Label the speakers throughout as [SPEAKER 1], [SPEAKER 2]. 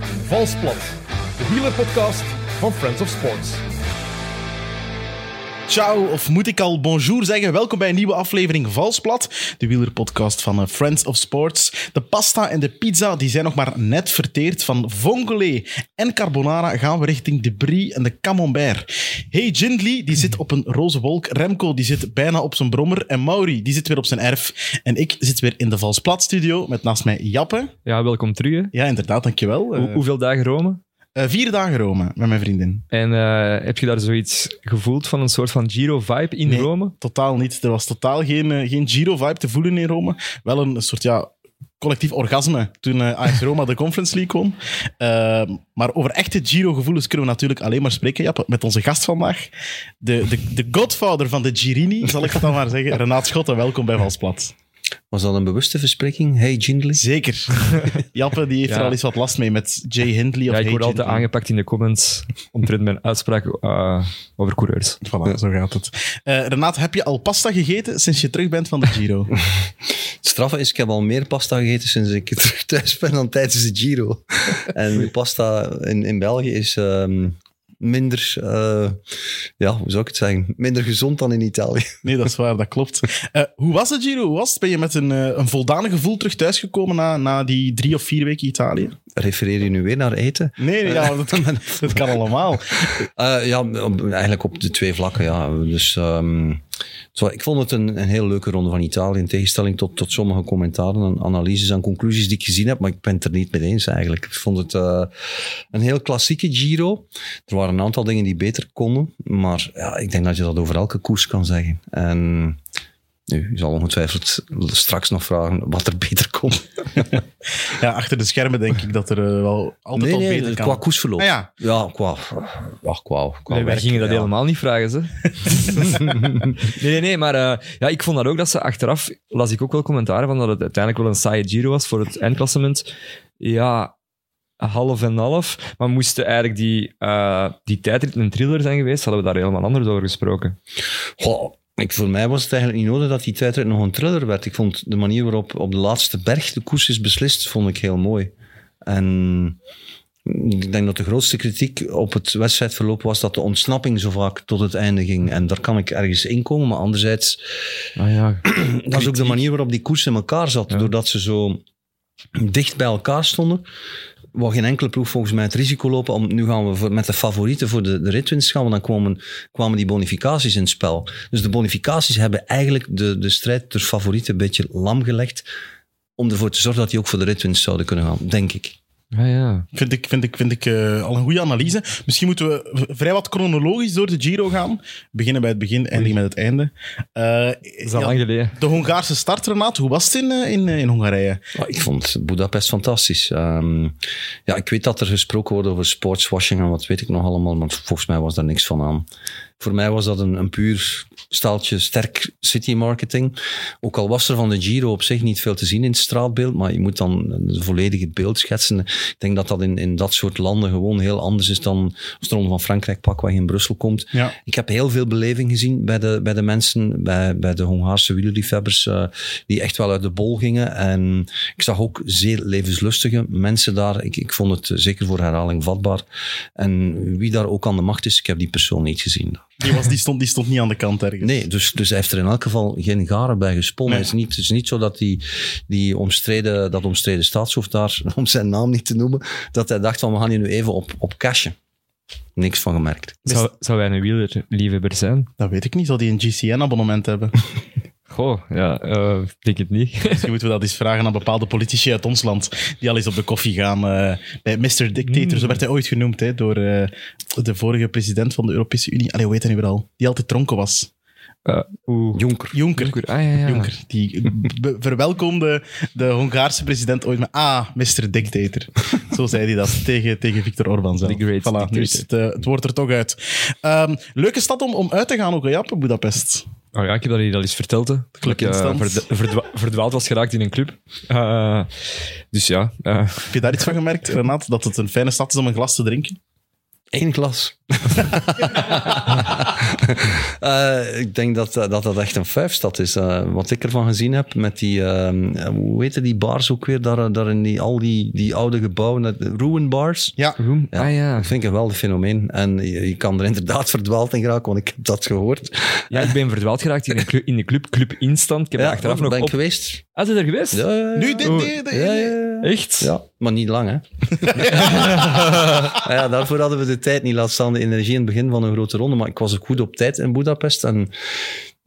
[SPEAKER 1] Valsplat, de wielerpodcast van Friends of Sports.
[SPEAKER 2] Ciao, of moet ik al bonjour zeggen? Welkom bij een nieuwe aflevering Valsplat, de wielerpodcast van eh, Friends of Sports. De pasta en de pizza die zijn nog maar net verteerd. Van vongole en carbonara gaan we richting de brie en de camembert. Hey Gindley, die zit op een roze wolk. Remco, die zit bijna op zijn brommer. En Mauri, die zit weer op zijn erf. En ik zit weer in de Valsplat studio met naast mij Jappe.
[SPEAKER 3] Ja, welkom terug. hè.
[SPEAKER 2] Ja, inderdaad, dankjewel.
[SPEAKER 3] Hoe-
[SPEAKER 2] Eh,
[SPEAKER 3] hoeveel dagen Rome?
[SPEAKER 2] eh, vier dagen Rome met mijn vriendin.
[SPEAKER 3] En eh, heb je daar zoiets gevoeld van een soort van Giro-vibe in
[SPEAKER 2] Nee.
[SPEAKER 3] Rome?
[SPEAKER 2] Totaal niet. Er was totaal geen, eh, geen Giro-vibe te voelen in Rome. Wel een soort ja, collectief orgasme toen eh AS Roma de Conference League won. Ehm, maar over echte Giro-gevoelens kunnen we natuurlijk alleen maar spreken Jappe, met onze gast vandaag. De, de, de godfather van de Girini, zal ik het dan maar zeggen. Renaat Schotten, welkom bij Valsplat.
[SPEAKER 4] Was dat een bewuste verspreking? Hey, Jindley.
[SPEAKER 2] Zeker. Jappe die heeft
[SPEAKER 3] Ja.
[SPEAKER 2] er al eens wat last mee met Jay Hindley. Of
[SPEAKER 3] Ja, ik
[SPEAKER 2] Hey
[SPEAKER 3] word altijd
[SPEAKER 2] Hindley.
[SPEAKER 3] aangepakt in de comments omtrent mijn uitspraak eh, over coureurs.
[SPEAKER 2] Voilà, zo gaat het. Eh Renaat, heb je al pasta gegeten sinds je terug bent van de Giro?
[SPEAKER 4] Het straffe is, ik heb al meer pasta gegeten sinds ik terug thuis ben dan tijdens de Giro. En de pasta in, in België is ehm, minder, eh, ja, hoe zou ik het zeggen, minder gezond dan in Italië.
[SPEAKER 2] Nee, dat is waar, dat klopt. Eh, hoe was het, Giro? Hoe was het? Ben je met een, eh, een voldaan gevoel terug thuisgekomen na, na die drie of vier weken Italië?
[SPEAKER 4] Refereer je nu weer naar eten?
[SPEAKER 2] Nee, nee,
[SPEAKER 3] Eh.
[SPEAKER 2] ja, dat, kan, dat kan allemaal.
[SPEAKER 4] Eh, ja, op- eigenlijk op de twee vlakken, ja. Dus ehm, het wa- ik vond het een, een heel leuke ronde van Italië, in tegenstelling tot, tot sommige commentaren en analyses en conclusies die ik gezien heb, maar ik ben het er niet mee eens eigenlijk. Ik vond het eh, een heel klassieke Giro. Er waren een aantal dingen die beter konden, maar ja, ik denk dat je dat over elke koers kan zeggen. En nu, je zal ongetwijfeld straks nog vragen wat er beter komt.
[SPEAKER 2] Ja, achter de schermen denk ik dat er eh, wel altijd al beter kan.
[SPEAKER 4] eh, qua koersverloop.
[SPEAKER 2] Ah, ja.
[SPEAKER 4] qua... Ja, qua, qua
[SPEAKER 3] Nee, wij
[SPEAKER 4] werk,
[SPEAKER 3] gingen dat
[SPEAKER 4] ja.
[SPEAKER 3] helemaal niet vragen, ze. nee, nee, nee, maar eh, ja, ik vond dat ook dat ze achteraf, las ik ook wel commentaren van dat het uiteindelijk wel een saaie Giro was voor het eindklassement. Ja, half en half. Maar moesten eigenlijk die, eh die tijdrit een thriller zijn geweest, hadden we daar helemaal anders over gesproken.
[SPEAKER 4] Goh, ik, voor mij was het eigenlijk niet nodig dat die tijdrit nog een thriller werd. Ik vond de manier waarop op de laatste berg de koers is beslist, vond ik heel mooi. En ik denk dat de grootste kritiek op het wedstrijdverloop was dat de ontsnapping zo vaak tot het einde ging. En daar kan ik ergens in komen, maar anderzijds
[SPEAKER 3] Ah ja,
[SPEAKER 4] dat is ook de manier waarop die koers in elkaar zat. Doordat ze zo dicht bij elkaar stonden, wou geen enkele ploeg volgens mij het risico lopen om nu gaan we voor- met de favorieten voor de, de ritwinst gaan, want dan kwamen, kwamen die bonificaties in het spel. Dus de bonificaties hebben eigenlijk de, de strijd tussen favorieten een beetje lam gelegd om ervoor te zorgen dat die ook voor de ritwinst zouden kunnen gaan, denk ik.
[SPEAKER 3] ah, ja.
[SPEAKER 2] Vind ik, vind ik, vind ik eh, al een goede analyse. Misschien moeten we v- vrij wat chronologisch door de Giro gaan. Beginnen bij het begin, eindigen met het einde. Eh,
[SPEAKER 3] Dat is al
[SPEAKER 2] ja,
[SPEAKER 3] lang geleden.
[SPEAKER 2] de Hongaarse start, Renaat, hoe was het in, eh, in, eh, in Hongarije?
[SPEAKER 4] Ja, ik vond Budapest fantastisch. Ehm, ja, ik weet dat er gesproken wordt over sportswashing en wat weet ik nog allemaal, maar volgens mij was daar niks van aan. Voor mij was dat een, een puur staaltje sterk city marketing. Ook al was er van de Giro op zich niet veel te zien in het straatbeeld, maar je moet dan een volledige beeld schetsen. Ik denk dat dat in, in dat soort landen gewoon heel anders is dan als de Ronde van Frankrijk pakweg in Brussel komt.
[SPEAKER 2] Ja.
[SPEAKER 4] Ik heb heel veel beleving gezien bij de, bij de mensen, bij, bij de Hongaarse wielerliefhebbers, eh, die echt wel uit de bol gingen. En ik zag ook zeer levenslustige mensen daar. Ik, ik vond het eh, zeker voor herhaling vatbaar. En wie daar ook aan de macht is, ik heb die persoon niet gezien.
[SPEAKER 2] Die, was, die, stond, die stond niet aan de kant ergens.
[SPEAKER 4] Nee, dus, dus hij heeft er in elk geval geen garen bij gesponnen.
[SPEAKER 2] Nee.
[SPEAKER 4] Het, is niet, het is niet zo dat die, die omstreden, dat omstreden staatshoofd daar, om zijn naam niet te noemen, dat hij dacht van we gaan hier nu even op, op cashen. Niks van gemerkt.
[SPEAKER 3] Zou, zou wij een wielerliefhebber zijn?
[SPEAKER 2] Dat weet ik niet. Zal die een GCN-abonnement hebben?
[SPEAKER 3] Goh, ja, eh, ik denk het niet.
[SPEAKER 2] Misschien moeten we dat eens vragen aan bepaalde politici uit ons land, die al eens op de koffie gaan eh, bij Mr. Dictator. Zo werd hij ooit genoemd hè, door eh, de vorige president van de Europese Unie. Allee, hoe heet hij nu weer al? Die altijd dronken was.
[SPEAKER 3] Eh, Oeh.
[SPEAKER 4] Jonker.
[SPEAKER 2] Jonker.
[SPEAKER 3] Jonker, ah, ja, ja.
[SPEAKER 2] Jonker. Die eh, be- verwelkomde de Hongaarse president ooit met ah, Mr. Dictator. Zo zei hij dat tegen, tegen Viktor Orban zelf.
[SPEAKER 3] The great
[SPEAKER 2] voilà, nu is
[SPEAKER 3] dictator.
[SPEAKER 2] het, eh, het woord er toch uit. Ehm, leuke stad om, om uit te gaan ook, hè, Jappe, Budapest.
[SPEAKER 3] Oh ja, ik heb dat hier al eens verteld. Hè. Dat ik eh,
[SPEAKER 2] Clubinstand.
[SPEAKER 3] verd- verdwa- verdwaald was geraakt in een club. Eh, dus ja, eh,
[SPEAKER 2] Heb je daar iets van gemerkt, Renat? Dat het een fijne stad is om een glas te drinken?
[SPEAKER 4] Eén glas. Eh, ik denk dat, eh, dat dat echt een vijfstad is. Eh, wat ik ervan gezien heb met die, eh, hoe heette die bars ook weer, daar, daar in die, al die, die oude gebouwen, dat- ruinbars.
[SPEAKER 2] Ja.
[SPEAKER 4] Ja,
[SPEAKER 3] Ah ja.
[SPEAKER 4] Dat vind ik een geweldig fenomeen. En je, je kan er inderdaad verdwaald in geraken, want ik heb dat gehoord.
[SPEAKER 3] ja, ik ben verdwaald geraakt in, een clu- in de club, Club Instant. Ik heb
[SPEAKER 4] ja,
[SPEAKER 3] daar achteraf
[SPEAKER 4] ben
[SPEAKER 3] nog
[SPEAKER 4] ik
[SPEAKER 3] op...
[SPEAKER 4] geweest.
[SPEAKER 3] Ah, ze er geweest?
[SPEAKER 4] Ja, ja, ja.
[SPEAKER 2] Nu dit, dit, dit.
[SPEAKER 4] Ja, ja, ja.
[SPEAKER 3] Echt?
[SPEAKER 4] Ja, maar niet lang, hè. Maar ja, daarvoor hadden we de tijd niet laten staan, de energie in het begin van een grote ronde. Maar ik was ook goed op tijd in Budapest. En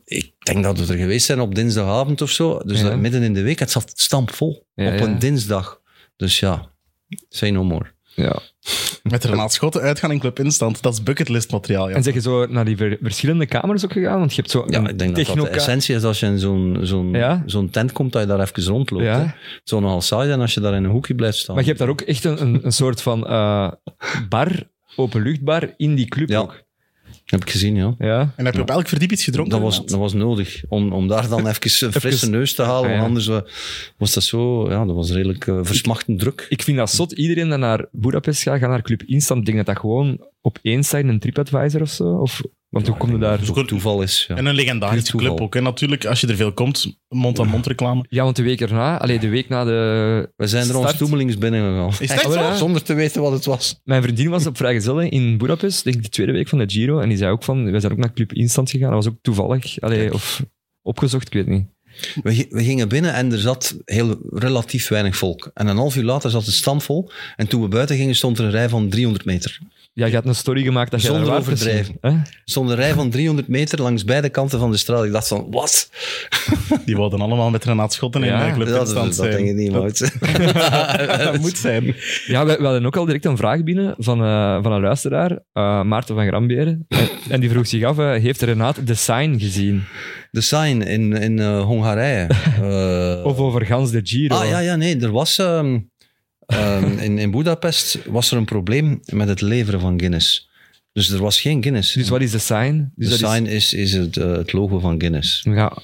[SPEAKER 4] ik denk dat we er geweest zijn op dinsdagavond of zo. Dus
[SPEAKER 3] Ja.
[SPEAKER 4] dat- midden in de week, het zat stampvol
[SPEAKER 3] Ja,
[SPEAKER 4] op
[SPEAKER 3] ja.
[SPEAKER 4] een dinsdag. Dus ja, say no more.
[SPEAKER 3] Ja.
[SPEAKER 2] Met Renaat Schotten uitgaan in Club Instant. Dat is bucketlist materiaal, ja.
[SPEAKER 3] En zeg je zo naar die ver- verschillende kamers ook gegaan? Want je hebt zo
[SPEAKER 4] Ja,
[SPEAKER 3] een
[SPEAKER 4] ik denk dat dat de
[SPEAKER 3] technoka-
[SPEAKER 4] essentie is als je in zo'n zo'n
[SPEAKER 3] Ja.
[SPEAKER 4] zo'n tent komt, dat je daar even rondloopt.
[SPEAKER 3] Ja.
[SPEAKER 4] hè. Het zou nogal saai zijn als je daar in een hoekje blijft staan.
[SPEAKER 3] Maar je hebt daar ook echt een, een, een soort van eh bar, openluchtbar, in die club
[SPEAKER 4] Ja.
[SPEAKER 3] ook.
[SPEAKER 4] Heb ik gezien, ja.
[SPEAKER 3] Ja.
[SPEAKER 2] En heb je op elk verdiep iets gedronken?
[SPEAKER 4] Dat was,
[SPEAKER 2] Renaat?
[SPEAKER 4] dat was nodig, om, om daar dan even een frisse neus te halen.
[SPEAKER 3] Ah, ja.
[SPEAKER 4] Want anders eh, was dat zo, ja, dat was redelijk eh, versmachtend druk.
[SPEAKER 3] Ik vind dat zot. Iedereen dat naar Budapest gaat, gaat naar Club Instant. Ik denk dat dat gewoon op één site een TripAdvisor of zo. Of, want hoe kom je daar...
[SPEAKER 4] Zo'n toeval is. Ja.
[SPEAKER 2] En een legendarische
[SPEAKER 4] Puur toeval.
[SPEAKER 2] club ook. En natuurlijk, als je er veel komt, mond-aan-mond reclame.
[SPEAKER 3] Ja, want de week erna, allee, de week na de...
[SPEAKER 4] We zijn er ons
[SPEAKER 3] Start.
[SPEAKER 4] toemelings binnen gegaan.
[SPEAKER 2] Is dat
[SPEAKER 3] Ah, wel,
[SPEAKER 2] zo?
[SPEAKER 3] ja.
[SPEAKER 4] Zonder te weten wat het was.
[SPEAKER 3] Mijn vriendin was op vrijgezel hè, in Budapest, denk ik de tweede week van de Giro. En die zei ook van, wij zijn ook naar Club Instant gegaan. Dat was ook toevallig. Allee, of opgezocht, ik weet niet.
[SPEAKER 4] We, gi- we gingen binnen en er zat heel relatief weinig volk. En een half uur later zat het stampvol. En toen we buiten gingen, stond er een rij van 300 meter.
[SPEAKER 3] Ja, je had een story gemaakt dat je
[SPEAKER 4] Zonder
[SPEAKER 3] daar waard
[SPEAKER 4] overdrijven.
[SPEAKER 3] was, dus- hè?
[SPEAKER 4] Er stond een rij van 300 meter langs beide kanten van de straat. Ik dacht van, wat?
[SPEAKER 2] Die wouden allemaal met Renaat Schotten in
[SPEAKER 3] Ja,
[SPEAKER 2] eh, Club
[SPEAKER 4] Ja, dat,
[SPEAKER 2] Instant
[SPEAKER 4] dat denk ik niet, Mout.
[SPEAKER 2] Dat, dat moet zijn.
[SPEAKER 3] Ja, we, we hadden ook al direct een vraag binnen van, eh, van een luisteraar, eh, Maarten van Gramberen. En, en die vroeg zich af, eh, heeft Renaat de sign gezien?
[SPEAKER 4] De sign in, in eh, Hongarije. Eh,
[SPEAKER 3] Of over gans de Giro?
[SPEAKER 4] Ah ja, ja, nee, er was ehm, ehm, in, in Budapest was er een probleem met het leveren van Guinness. Dus er was geen Guinness.
[SPEAKER 3] Dus wat is de sign? Dus
[SPEAKER 4] de
[SPEAKER 3] dat
[SPEAKER 4] sign is, is het, eh, het logo van Guinness.
[SPEAKER 3] Is, ja,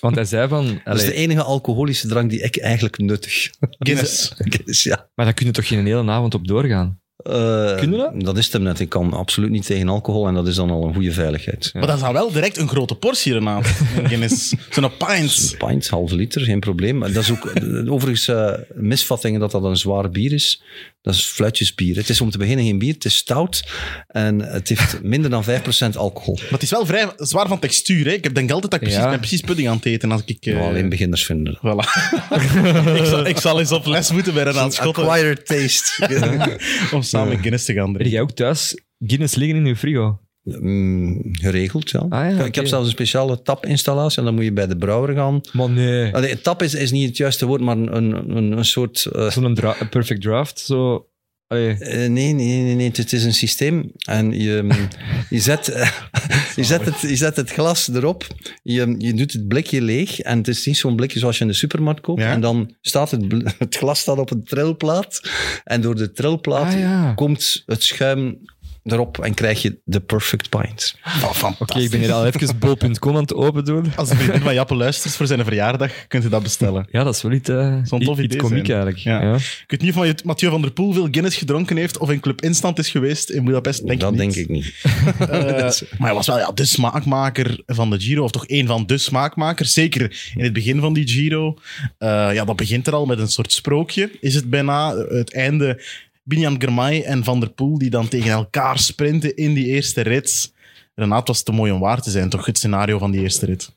[SPEAKER 3] want hij zei van...
[SPEAKER 4] Dat is
[SPEAKER 3] allee,
[SPEAKER 2] e-
[SPEAKER 4] de enige alcoholische drank die ik eigenlijk nuttig.
[SPEAKER 2] Guinness.
[SPEAKER 4] Guinness, ja.
[SPEAKER 3] Maar daar kun je toch geen hele avond op doorgaan?
[SPEAKER 4] Eh,
[SPEAKER 3] Kun je dat?
[SPEAKER 4] Dat is het hem net. Ik kan absoluut niet tegen alcohol en dat is dan al een goede veiligheid.
[SPEAKER 2] Maar dat is dan wel direct een grote portie, Renaat. Een Guinness. Zo'n pint.
[SPEAKER 4] Pint, half liter, geen probleem. Maar Dat is ook eh, overigens eh, misvattingen dat dat een zwaar bier is. Dat is fluitjesbier. Het is om te beginnen geen bier, het is stout en het heeft minder dan 5% alcohol.
[SPEAKER 2] Maar het is wel vrij zwaar van textuur. Hè? Ik heb denk altijd dat ik precies,
[SPEAKER 3] Ja.
[SPEAKER 2] ik ben precies pudding aan het eten als ik... eh,
[SPEAKER 4] Nou, alleen beginners vinden dat.
[SPEAKER 2] Voilà. ik, zal, ik zal eens op les moeten bij Renaat Schotten
[SPEAKER 4] Acquired taste.
[SPEAKER 2] om samen Guinness te gaan
[SPEAKER 3] Heb
[SPEAKER 2] drinken.
[SPEAKER 3] jij ook thuis Guinness liggen in je frigo?
[SPEAKER 4] Mm, geregeld, ja.
[SPEAKER 3] ja,
[SPEAKER 4] ik, ik
[SPEAKER 3] oké.
[SPEAKER 4] heb zelfs een speciale tapinstallatie en dan moet je bij de brouwer gaan.
[SPEAKER 3] Maar nee.
[SPEAKER 4] Allee, tap is, is niet het juiste woord, maar een, een, een soort... eh,
[SPEAKER 3] Zo'n dra- een perfect draft, zo... Allee.
[SPEAKER 4] Eh, nee, nee, nee, nee, het is een systeem. En je, ehm, je, zet, eh, je, zet het, je zet het glas erop, je, je doet het blikje leeg. En het is niet zo'n blikje zoals je in de supermarkt koopt.
[SPEAKER 2] Ja.
[SPEAKER 4] En dan staat het, bl- het glas staat op een trilplaat. En door de trilplaat
[SPEAKER 3] Ah, ja.
[SPEAKER 4] komt het schuim erop en krijg je de perfect pint.
[SPEAKER 2] Oh, fantastisch.
[SPEAKER 3] Oké, ik ben hier al even bol.com aan het opendoen.
[SPEAKER 2] Als de vriendin van Jappe luistert voor zijn verjaardag, kunt u dat bestellen.
[SPEAKER 3] Ja, dat is wel iets, eh
[SPEAKER 2] Zo'n tof
[SPEAKER 3] iets, iets
[SPEAKER 2] idee
[SPEAKER 3] komiek
[SPEAKER 2] zijn.
[SPEAKER 3] eigenlijk.
[SPEAKER 2] Ja.
[SPEAKER 3] ja.
[SPEAKER 2] Ik weet niet of Mathieu- Mathieu van der Poel veel Guinness gedronken heeft of in Club Instant is geweest in Budapest. Denk
[SPEAKER 4] dat
[SPEAKER 2] ik niet.
[SPEAKER 4] denk ik niet.
[SPEAKER 2] Eh, maar hij was wel ja, de smaakmaker van de Giro, of toch één van de smaakmakers. Zeker in het begin van die Giro. Eh, ja, dat begint er al met een soort sprookje. Is het bijna het einde Binjan Germay en Van der Poel die dan tegen elkaar sprinten in die eerste rit. Renaat was te mooi om waar te zijn, toch? Het scenario van die eerste rit.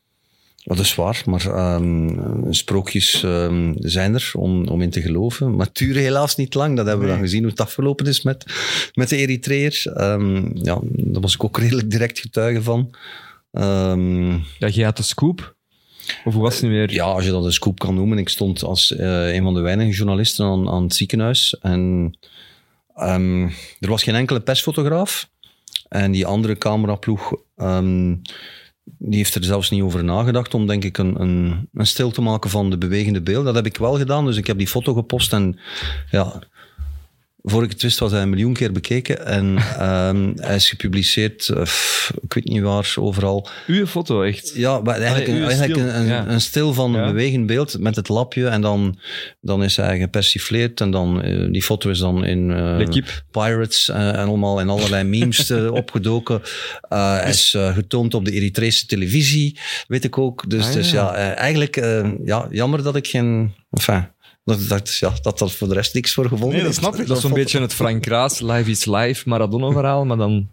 [SPEAKER 4] Dat is waar, maar ehm, sprookjes ehm, zijn er om, om in te geloven. Maar het duurde helaas niet lang. Dat hebben we dan gezien hoe het afgelopen is met, met de Eritreërs. Ehm, ja, daar was ik ook redelijk direct getuige van. Ehm,
[SPEAKER 3] Ja, jij had de scoop. Of hoe was het nu weer?
[SPEAKER 4] ja, als je dat een scoop kan noemen. Ik stond als eh, een van de weinige journalisten aan, aan het ziekenhuis. En ehm, er was geen enkele persfotograaf. En die andere cameraploeg, ehm, die heeft er zelfs niet over nagedacht om, denk ik, een, een, een stil te maken van de bewegende beelden. Dat heb ik wel gedaan, dus ik heb die foto gepost en ja... voor ik het wist, was hij een miljoen keer bekeken. En ehm, hij is gepubliceerd, eh, pff, ik weet niet waar, overal.
[SPEAKER 3] Uw foto, echt.
[SPEAKER 4] Ja, maar eigenlijk,
[SPEAKER 3] Allee,
[SPEAKER 4] een,
[SPEAKER 3] uw
[SPEAKER 4] eigenlijk
[SPEAKER 3] stil,
[SPEAKER 4] een, een,
[SPEAKER 3] ja.
[SPEAKER 4] een stil van een
[SPEAKER 3] Ja.
[SPEAKER 4] bewegend beeld met het lapje. En dan, dan is hij gepersifleerd. En dan, eh, die foto is dan in eh,
[SPEAKER 3] L'Equipe.
[SPEAKER 4] Pirates eh, en allemaal in allerlei memes eh, opgedoken. Eh, hij is eh, getoond op de Eritrese televisie, weet ik ook. Dus,
[SPEAKER 3] Ah,
[SPEAKER 4] dus
[SPEAKER 3] ja.
[SPEAKER 4] ja, eh, eigenlijk eh, ja, jammer dat ik geen... Enfin, dat, dat, ja, dat er voor de rest niks voor gevonden
[SPEAKER 2] Nee, dat
[SPEAKER 4] is.
[SPEAKER 2] snap ik.
[SPEAKER 3] Dat is zo'n
[SPEAKER 2] foto-
[SPEAKER 3] beetje het Frank Kraas, Live is Live, Maradona-verhaal, maar dan...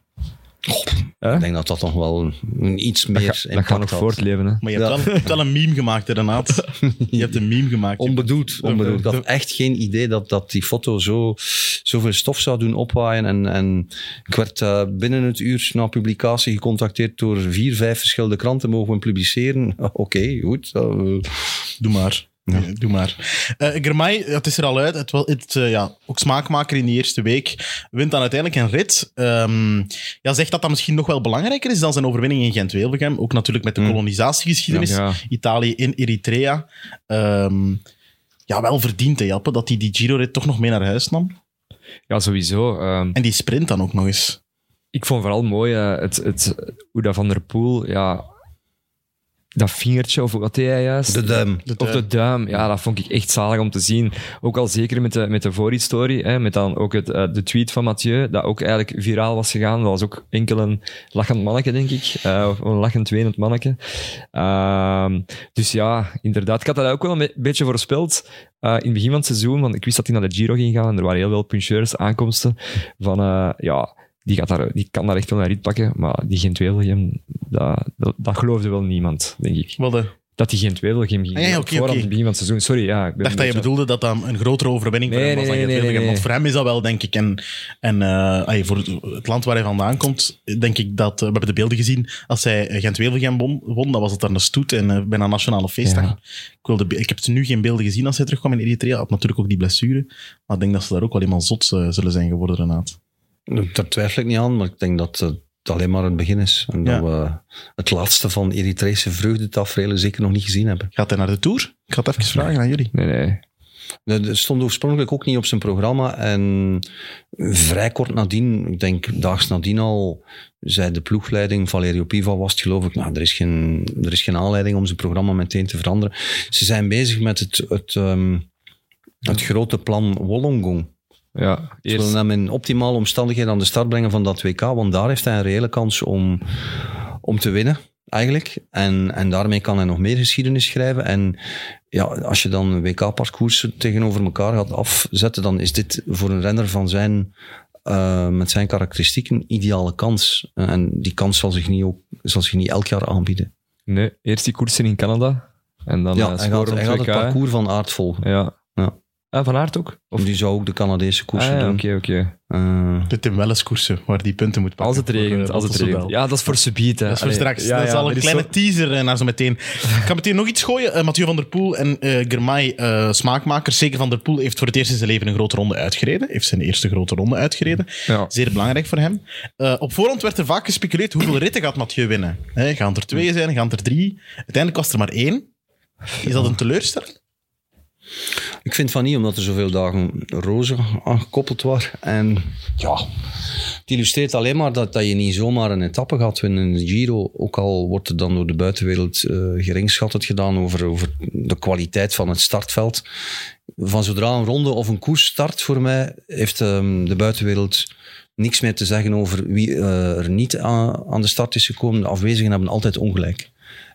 [SPEAKER 4] Ik denk dat dat nog wel een- een iets meer
[SPEAKER 3] Dat, ga- dat
[SPEAKER 4] impact
[SPEAKER 3] gaat nog
[SPEAKER 4] had.
[SPEAKER 3] voortleven, hè.
[SPEAKER 2] Maar je hebt, wel, je hebt wel een meme gemaakt, inderdaad. Je hebt een meme gemaakt.
[SPEAKER 4] Onbedoeld, onbedoeld. Ik had echt geen idee dat, dat die foto zo, zoveel stof zou doen opwaaien. En, en ik werd eh, binnen het uur na publicatie gecontacteerd door vier, vijf verschillende kranten. Mogen we hem publiceren? Oké, goed. Eh,
[SPEAKER 2] Doe maar. Eh, Doe maar. Eh Germay, het is er al uit. Het, wel, het, eh, ja, ook smaakmaker in die eerste week. Wint dan uiteindelijk een rit. Ehm, ja, zegt dat dat misschien nog wel belangrijker is dan zijn overwinning in Gent-Wevelgem. Ook natuurlijk met de kolonisatiegeschiedenis.
[SPEAKER 3] Mm. Ja.
[SPEAKER 2] Italië in Eritrea. Ehm, ja, wel verdiend, hè, Jappe, dat hij die Giro-rit toch nog mee naar huis nam.
[SPEAKER 3] Ja, sowieso. ehm,
[SPEAKER 2] En die sprint dan ook nog eens.
[SPEAKER 3] ik vond vooral mooi eh, het, het, hoe dat Van der Poel... Ja, dat vingertje, of wat deed hij juist?
[SPEAKER 4] de duim.
[SPEAKER 3] Op de duim, ja, dat vond ik echt zalig om te zien. Ook al zeker met de, met de voorhistorie, hè, met dan ook het, eh, de tweet van Mathieu, dat ook eigenlijk viraal was gegaan. Dat was ook enkel een lachend manneke, denk ik. Eh, of een lachend, wenend manneke. Ehm, dus ja, inderdaad. Ik had dat ook wel een be- beetje voorspeld eh, in het begin van het seizoen, want ik wist dat hij naar de Giro ging gaan en er waren heel veel puncheurs, aankomsten, van eh, ja... Die, gaat daar, die kan daar echt wel een rit pakken, maar die Gent-Wevelgem, dat, dat, dat geloofde wel niemand, denk ik.
[SPEAKER 2] Wat, eh,
[SPEAKER 3] Dat die Gent Wevelgem ging.
[SPEAKER 2] Ah, ja,
[SPEAKER 3] Op
[SPEAKER 2] oké,
[SPEAKER 3] voorhand
[SPEAKER 2] oké.
[SPEAKER 3] in het begin van het seizoen. Sorry, ja. Ik ben
[SPEAKER 2] Ik dacht dat je
[SPEAKER 3] een beetje-
[SPEAKER 2] bedoelde dat dat een grotere overwinning voor
[SPEAKER 3] Nee,
[SPEAKER 2] hem was
[SPEAKER 3] nee,
[SPEAKER 2] dan
[SPEAKER 3] nee,
[SPEAKER 2] Gent-Wevelgem.
[SPEAKER 3] nee, nee.
[SPEAKER 2] Want voor hem is dat wel, denk ik. En, en eh, ay, voor het land waar hij vandaan komt, denk ik dat... eh, we hebben de beelden gezien. Als hij eh, Gent-Wevelgem won, won, dan was het daar een stoet en eh, bijna een nationale feestdag.
[SPEAKER 3] Ja.
[SPEAKER 2] Ik, wilde, be- ik heb nu geen beelden gezien als hij terugkwam in Eritrea. Had natuurlijk ook die blessure. Maar ik denk dat ze daar ook wel helemaal zot eh, zullen zijn geworden, Renaat.
[SPEAKER 4] Daar twijfel ik niet aan, maar ik denk dat het alleen maar het begin is. En dat
[SPEAKER 2] Ja.
[SPEAKER 4] we het laatste van Eritrese vreugdetaferelen zeker nog niet gezien hebben.
[SPEAKER 2] Gaat hij naar de Tour? Ik ga het even vragen aan jullie.
[SPEAKER 3] Nee, nee.
[SPEAKER 4] Dat dat stond oorspronkelijk ook niet op zijn programma. En vrij kort nadien, ik denk daags nadien al, zei de ploegleiding, Valerio Piva was het geloof ik, nou, er, is geen, er is geen aanleiding om zijn programma meteen te veranderen. Ze zijn bezig met het, het, ehm, het grote plan Wollongong.
[SPEAKER 3] Ja,
[SPEAKER 4] Ze willen
[SPEAKER 3] eerst.
[SPEAKER 4] hem in optimale omstandigheden aan de start brengen van dat WK, want daar heeft hij een reële kans om, om te winnen, eigenlijk. En, en daarmee kan hij nog meer geschiedenis schrijven. En ja, als je dan WK-parcours tegenover elkaar gaat afzetten, dan is dit voor een renner van zijn, eh, met zijn karakteristieken een ideale kans. Eh, En die kans zal zich niet, ook, zal zich niet elk jaar aanbieden.
[SPEAKER 3] Nee, eerst die koersen in Canada. En dan
[SPEAKER 4] ja,
[SPEAKER 3] eh,
[SPEAKER 4] hij
[SPEAKER 3] sporen
[SPEAKER 4] gaat,
[SPEAKER 3] op
[SPEAKER 4] hij gaat het
[SPEAKER 3] WK, hè.
[SPEAKER 4] parcours van aard volgen.
[SPEAKER 3] Ja.
[SPEAKER 4] Ja.
[SPEAKER 3] Ah, van Aert ook? Of
[SPEAKER 4] Of die zou ook de Canadese koersen
[SPEAKER 3] Ah, ja,
[SPEAKER 4] doen.
[SPEAKER 3] Oké, oké.
[SPEAKER 4] Eh,
[SPEAKER 2] De Tim Welles koersen, waar die punten moet pakken.
[SPEAKER 3] Als het regent,
[SPEAKER 2] Voor, eh,
[SPEAKER 3] als het
[SPEAKER 2] Bottelsodel.
[SPEAKER 3] regent. Ja, dat is voor subiet, hè.
[SPEAKER 2] Dat is voor
[SPEAKER 3] Allee,
[SPEAKER 2] straks.
[SPEAKER 3] ja,
[SPEAKER 2] dat is
[SPEAKER 3] ja,
[SPEAKER 2] al
[SPEAKER 3] maar
[SPEAKER 2] een
[SPEAKER 3] die
[SPEAKER 2] kleine
[SPEAKER 3] zo-
[SPEAKER 2] teaser eh, naar zo meteen. Ik ga meteen nog iets gooien. Eh, Mathieu van der Poel en eh Germay, eh, smaakmaker. Zeker van der Poel heeft voor het eerst in zijn leven een grote ronde uitgereden. Heeft zijn eerste grote ronde uitgereden.
[SPEAKER 3] Ja.
[SPEAKER 2] Zeer belangrijk voor hem. Eh, op voorhand werd er vaak gespeculeerd hoeveel ritten gaat Mathieu winnen. Hè, gaan er twee zijn, gaan er drie? Uiteindelijk was er maar één. Is dat een teleurstelling?
[SPEAKER 4] Ik vind van niet, omdat er zoveel dagen rozen aangekoppeld waren. En ja, het illustreert alleen maar dat, dat je niet zomaar een etappe gaat winnen in de Giro. Ook al wordt er dan door de buitenwereld eh geringschattend gedaan over, over de kwaliteit van het startveld. Van zodra een ronde of een koers start voor mij, heeft ehm, de buitenwereld niks meer te zeggen over wie eh, er niet aan, aan de start is gekomen. De afwezigen hebben altijd ongelijk.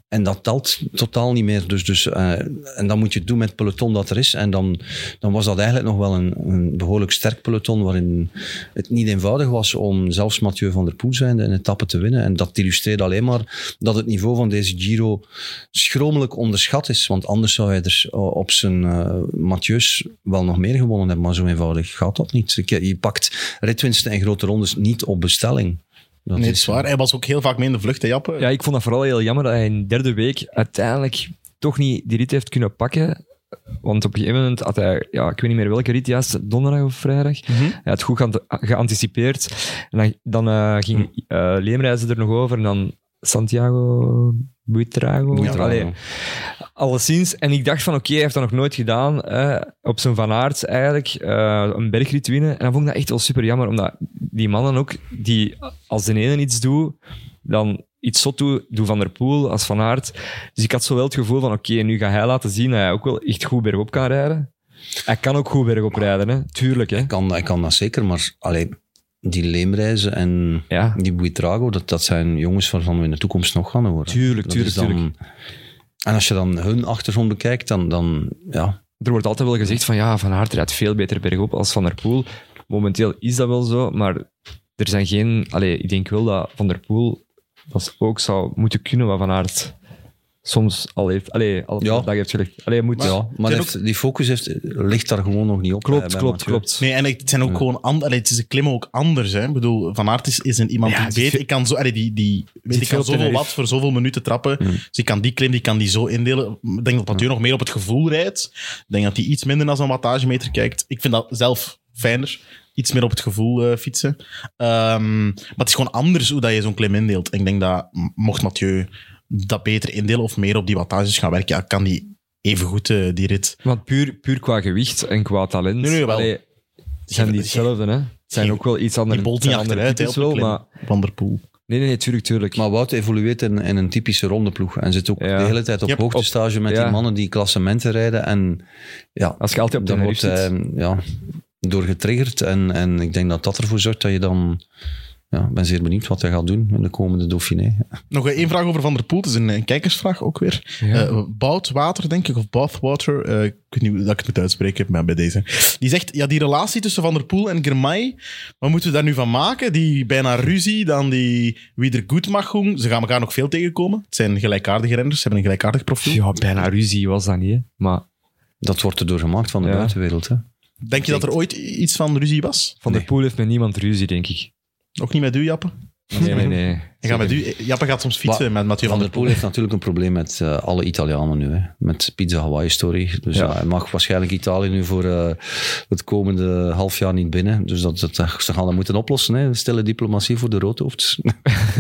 [SPEAKER 4] En dat telt totaal niet meer. Dus, dus, eh, en dan moet je het doen met het peloton dat er is. En dan, dan was dat eigenlijk nog wel een, een behoorlijk sterk peloton, waarin het niet eenvoudig was om zelfs Mathieu van der Poel zijnde een etappe te winnen. En dat illustreert alleen maar dat het niveau van deze Giro schromelijk onderschat is. Want anders zou hij er eh, op zijn eh Mathieu's wel nog meer gewonnen hebben. Maar zo eenvoudig gaat dat niet. Je- Je pakt ritwinsten en grote rondes niet op bestelling. Dat
[SPEAKER 2] Nee, dat is waar. Hij was ook heel vaak mee in de vlucht, hè, Jappe?
[SPEAKER 3] Ja, ik vond dat vooral heel jammer dat hij in de derde week uiteindelijk toch niet die rit heeft kunnen pakken. Want op een gegeven moment had hij, ja, ik weet niet meer welke rit, juist donderdag of vrijdag. Hij had goed geant- geanticipeerd. En dan, dan eh, ging eh Leemreizen er nog over. En dan Santiago Buitrago.
[SPEAKER 4] Buitrago.
[SPEAKER 3] Allee, alleszins. En ik dacht van, oké, hij heeft dat nog nooit gedaan. hè, op zijn Van Aert eigenlijk, eh, een bergrit winnen. En dan vond ik dat echt wel super jammer, omdat die mannen ook, die als de ene iets doet, dan iets zot doet, doet Van der Poel als Van Aert. Dus ik had zo wel het gevoel van, oké, nu gaat hij laten zien dat hij ook wel echt goed bergop kan rijden. Hij kan ook goed bergop rijden, hè. Tuurlijk, hè.
[SPEAKER 4] Hij kan, hij kan dat zeker, maar allee, die leemreizen en
[SPEAKER 3] Ja.
[SPEAKER 4] die Buitrago, dat, dat zijn jongens waarvan we in de toekomst nog gaan horen.
[SPEAKER 3] Tuurlijk,
[SPEAKER 4] Dat
[SPEAKER 3] tuurlijk,
[SPEAKER 4] is dan-
[SPEAKER 3] tuurlijk.
[SPEAKER 4] En als je dan hun achtergrond bekijkt, dan, dan ja,
[SPEAKER 3] er wordt altijd wel gezegd van ja, Van Aert rijdt veel beter bergop als Van der Poel. Momenteel is dat wel zo, maar er zijn geen... Allee, ik denk wel dat Van der Poel dat ook zou moeten kunnen wat Van Aert soms al heeft... Allee, al
[SPEAKER 4] Ja.
[SPEAKER 3] dat heeft gelegd. Allee, moet...
[SPEAKER 4] ja maar
[SPEAKER 2] zijn
[SPEAKER 4] heeft- die focus heeft, ligt daar gewoon nog niet op.
[SPEAKER 3] Klopt,
[SPEAKER 4] bij- bij
[SPEAKER 3] klopt,
[SPEAKER 4] Mathieu.
[SPEAKER 3] klopt.
[SPEAKER 2] Nee, en het zijn ook gewoon ander, allee, het is de klimmen ook anders. Hè. Ik bedoel, Van Aert is, is een iemand
[SPEAKER 3] Ja, het
[SPEAKER 2] die
[SPEAKER 3] is
[SPEAKER 2] weet,
[SPEAKER 3] veel-
[SPEAKER 2] ik kan zo, allee, die, die, weet,
[SPEAKER 3] zit
[SPEAKER 2] ik kan
[SPEAKER 3] veel te
[SPEAKER 2] zoveel
[SPEAKER 3] ver.
[SPEAKER 2] wat voor zoveel minuten trappen. Dus ik kan die klim, die kan die zo indelen. Ik denk dat Mathieu nog meer op het gevoel rijdt. Ik denk dat hij iets minder naar zijn wattagemeter kijkt. Ik vind dat zelf fijner. Iets meer op het gevoel eh, fietsen. Ehm, maar het is gewoon anders hoe dat je zo'n klim indeelt. En ik denk dat, m- mocht Mathieu dat beter indelen of meer op die wattages gaan werken, ja, kan die evengoed eh, die rit.
[SPEAKER 3] Want puur, puur qua gewicht en qua talent
[SPEAKER 2] Nee, nee, wel.
[SPEAKER 3] allee, zijn die hetzelfde. Hè? Het zijn
[SPEAKER 2] Geen-
[SPEAKER 3] ook wel iets anders.
[SPEAKER 2] Die bolt niet achteruit, hè,
[SPEAKER 3] is
[SPEAKER 2] op de
[SPEAKER 3] wel,
[SPEAKER 2] klim.
[SPEAKER 3] maar...
[SPEAKER 2] Van der Poel.
[SPEAKER 3] Nee, nee, nee, tuurlijk, tuurlijk.
[SPEAKER 4] Maar Wout evolueert in, in een typische rondeploeg en zit ook
[SPEAKER 3] Ja.
[SPEAKER 4] de hele tijd op
[SPEAKER 2] Yep.
[SPEAKER 4] hoogtestage met
[SPEAKER 3] Ja.
[SPEAKER 4] die mannen die klassementen rijden. En ja,
[SPEAKER 3] als je altijd op de
[SPEAKER 4] dan
[SPEAKER 3] rug
[SPEAKER 4] wordt eh,
[SPEAKER 3] zit...
[SPEAKER 4] hij ja, door getriggerd. En, en ik denk dat dat ervoor zorgt dat je dan... Ja, ik ben zeer benieuwd wat hij gaat doen in de komende Dauphiné.
[SPEAKER 2] Nog eh, één vraag over Van der Poel. Het is een, een kijkersvraag ook weer.
[SPEAKER 3] Ja.
[SPEAKER 2] Eh, Boutwater, denk ik, of Bathwater. eh, ik weet niet hoe dat ik het moet uitspreken, maar bij deze. Die zegt, ja, die relatie tussen Van der Poel en Germay, wat moeten we daar nu van maken? Die bijna ruzie, dan die wie er goed mag doen. Ze gaan elkaar nog veel tegenkomen. Het zijn gelijkaardige renners, ze hebben een gelijkaardig profiel.
[SPEAKER 3] Ja, bijna ruzie was dat niet, hè. Maar
[SPEAKER 4] Dat wordt erdoor gemaakt van de
[SPEAKER 3] Ja.
[SPEAKER 4] buitenwereld. Hè?
[SPEAKER 2] Denk je dat er ooit iets van ruzie was?
[SPEAKER 3] Van
[SPEAKER 4] Nee.
[SPEAKER 3] der Poel heeft met niemand ruzie, denk ik.
[SPEAKER 2] Ook niet met u, Jappe?
[SPEAKER 3] Nee, nee, nee.
[SPEAKER 2] Ik ga met u. Jappe gaat soms fietsen met Mathieu
[SPEAKER 4] Van der Poel heeft natuurlijk een probleem met eh, alle Italianen nu. Hè? Met Pizza Hawaii Story. Dus
[SPEAKER 3] Ja.
[SPEAKER 4] ja. hij mag waarschijnlijk Italië nu voor eh, het komende half jaar niet binnen. Dus dat, dat, ze gaan dat moeten oplossen. Hè? Stille diplomatie voor de roodhoofds.
[SPEAKER 2] Ik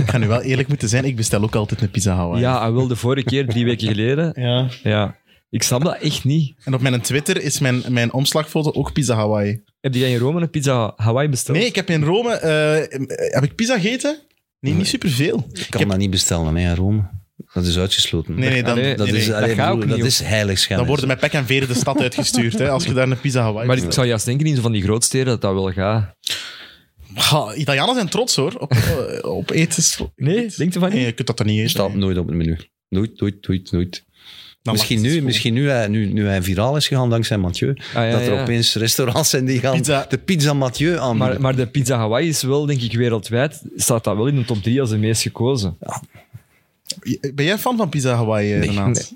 [SPEAKER 2] ga nu wel eerlijk moeten zijn, ik bestel ook altijd een pizza Hawaii.
[SPEAKER 3] Ja, hij wilde vorige keer, drie weken geleden.
[SPEAKER 2] ja.
[SPEAKER 3] Ja. Ik snap dat echt niet.
[SPEAKER 2] En op mijn Twitter is mijn, mijn omslagfoto ook pizza Hawaii.
[SPEAKER 3] Heb jij in Rome een pizza Hawaii besteld?
[SPEAKER 2] Nee, ik heb in Rome... eh, heb ik pizza gegeten? Nee, niet superveel.
[SPEAKER 4] Ik
[SPEAKER 2] Ik
[SPEAKER 4] kan
[SPEAKER 2] heb-
[SPEAKER 4] dat niet bestellen hè, in Rome. Dat is uitgesloten.
[SPEAKER 2] Nee, nee, dan,
[SPEAKER 3] Allee,
[SPEAKER 4] dat
[SPEAKER 2] nee,
[SPEAKER 4] is, eh,
[SPEAKER 2] nee.
[SPEAKER 4] allee,
[SPEAKER 3] gaat ook
[SPEAKER 4] bedoel, dat
[SPEAKER 3] niet,
[SPEAKER 4] is heiligschennis.
[SPEAKER 2] Dan worden met pek en veren de stad uitgestuurd, hè, als je daar een pizza Hawaii...
[SPEAKER 3] Maar ik zou juist denken in zo van die grootsteden dat dat wel gaat.
[SPEAKER 2] Ha, Italianen zijn trots, hoor, op, eh, op etens.
[SPEAKER 3] Nee, denk je van
[SPEAKER 2] Nee, je kunt dat dan niet eten.
[SPEAKER 4] staat nooit op het menu. Nooit, nooit, nooit, nooit.
[SPEAKER 2] Dan
[SPEAKER 4] misschien
[SPEAKER 2] lacht het
[SPEAKER 4] nu,
[SPEAKER 2] school.
[SPEAKER 4] misschien nu, hij, nu, nu hij viraal is gegaan dankzij Mathieu.
[SPEAKER 3] ja,
[SPEAKER 4] dat er
[SPEAKER 3] ja.
[SPEAKER 4] opeens restaurants zijn die gaan
[SPEAKER 2] Pizza-
[SPEAKER 4] de pizza Mathieu aanbieden.
[SPEAKER 3] Maar, maar de pizza Hawaii is wel, denk ik, wereldwijd. Staat dat wel in de top drie als de meest gekozen?
[SPEAKER 2] Ben jij fan van pizza Hawaii, eh, Renaat?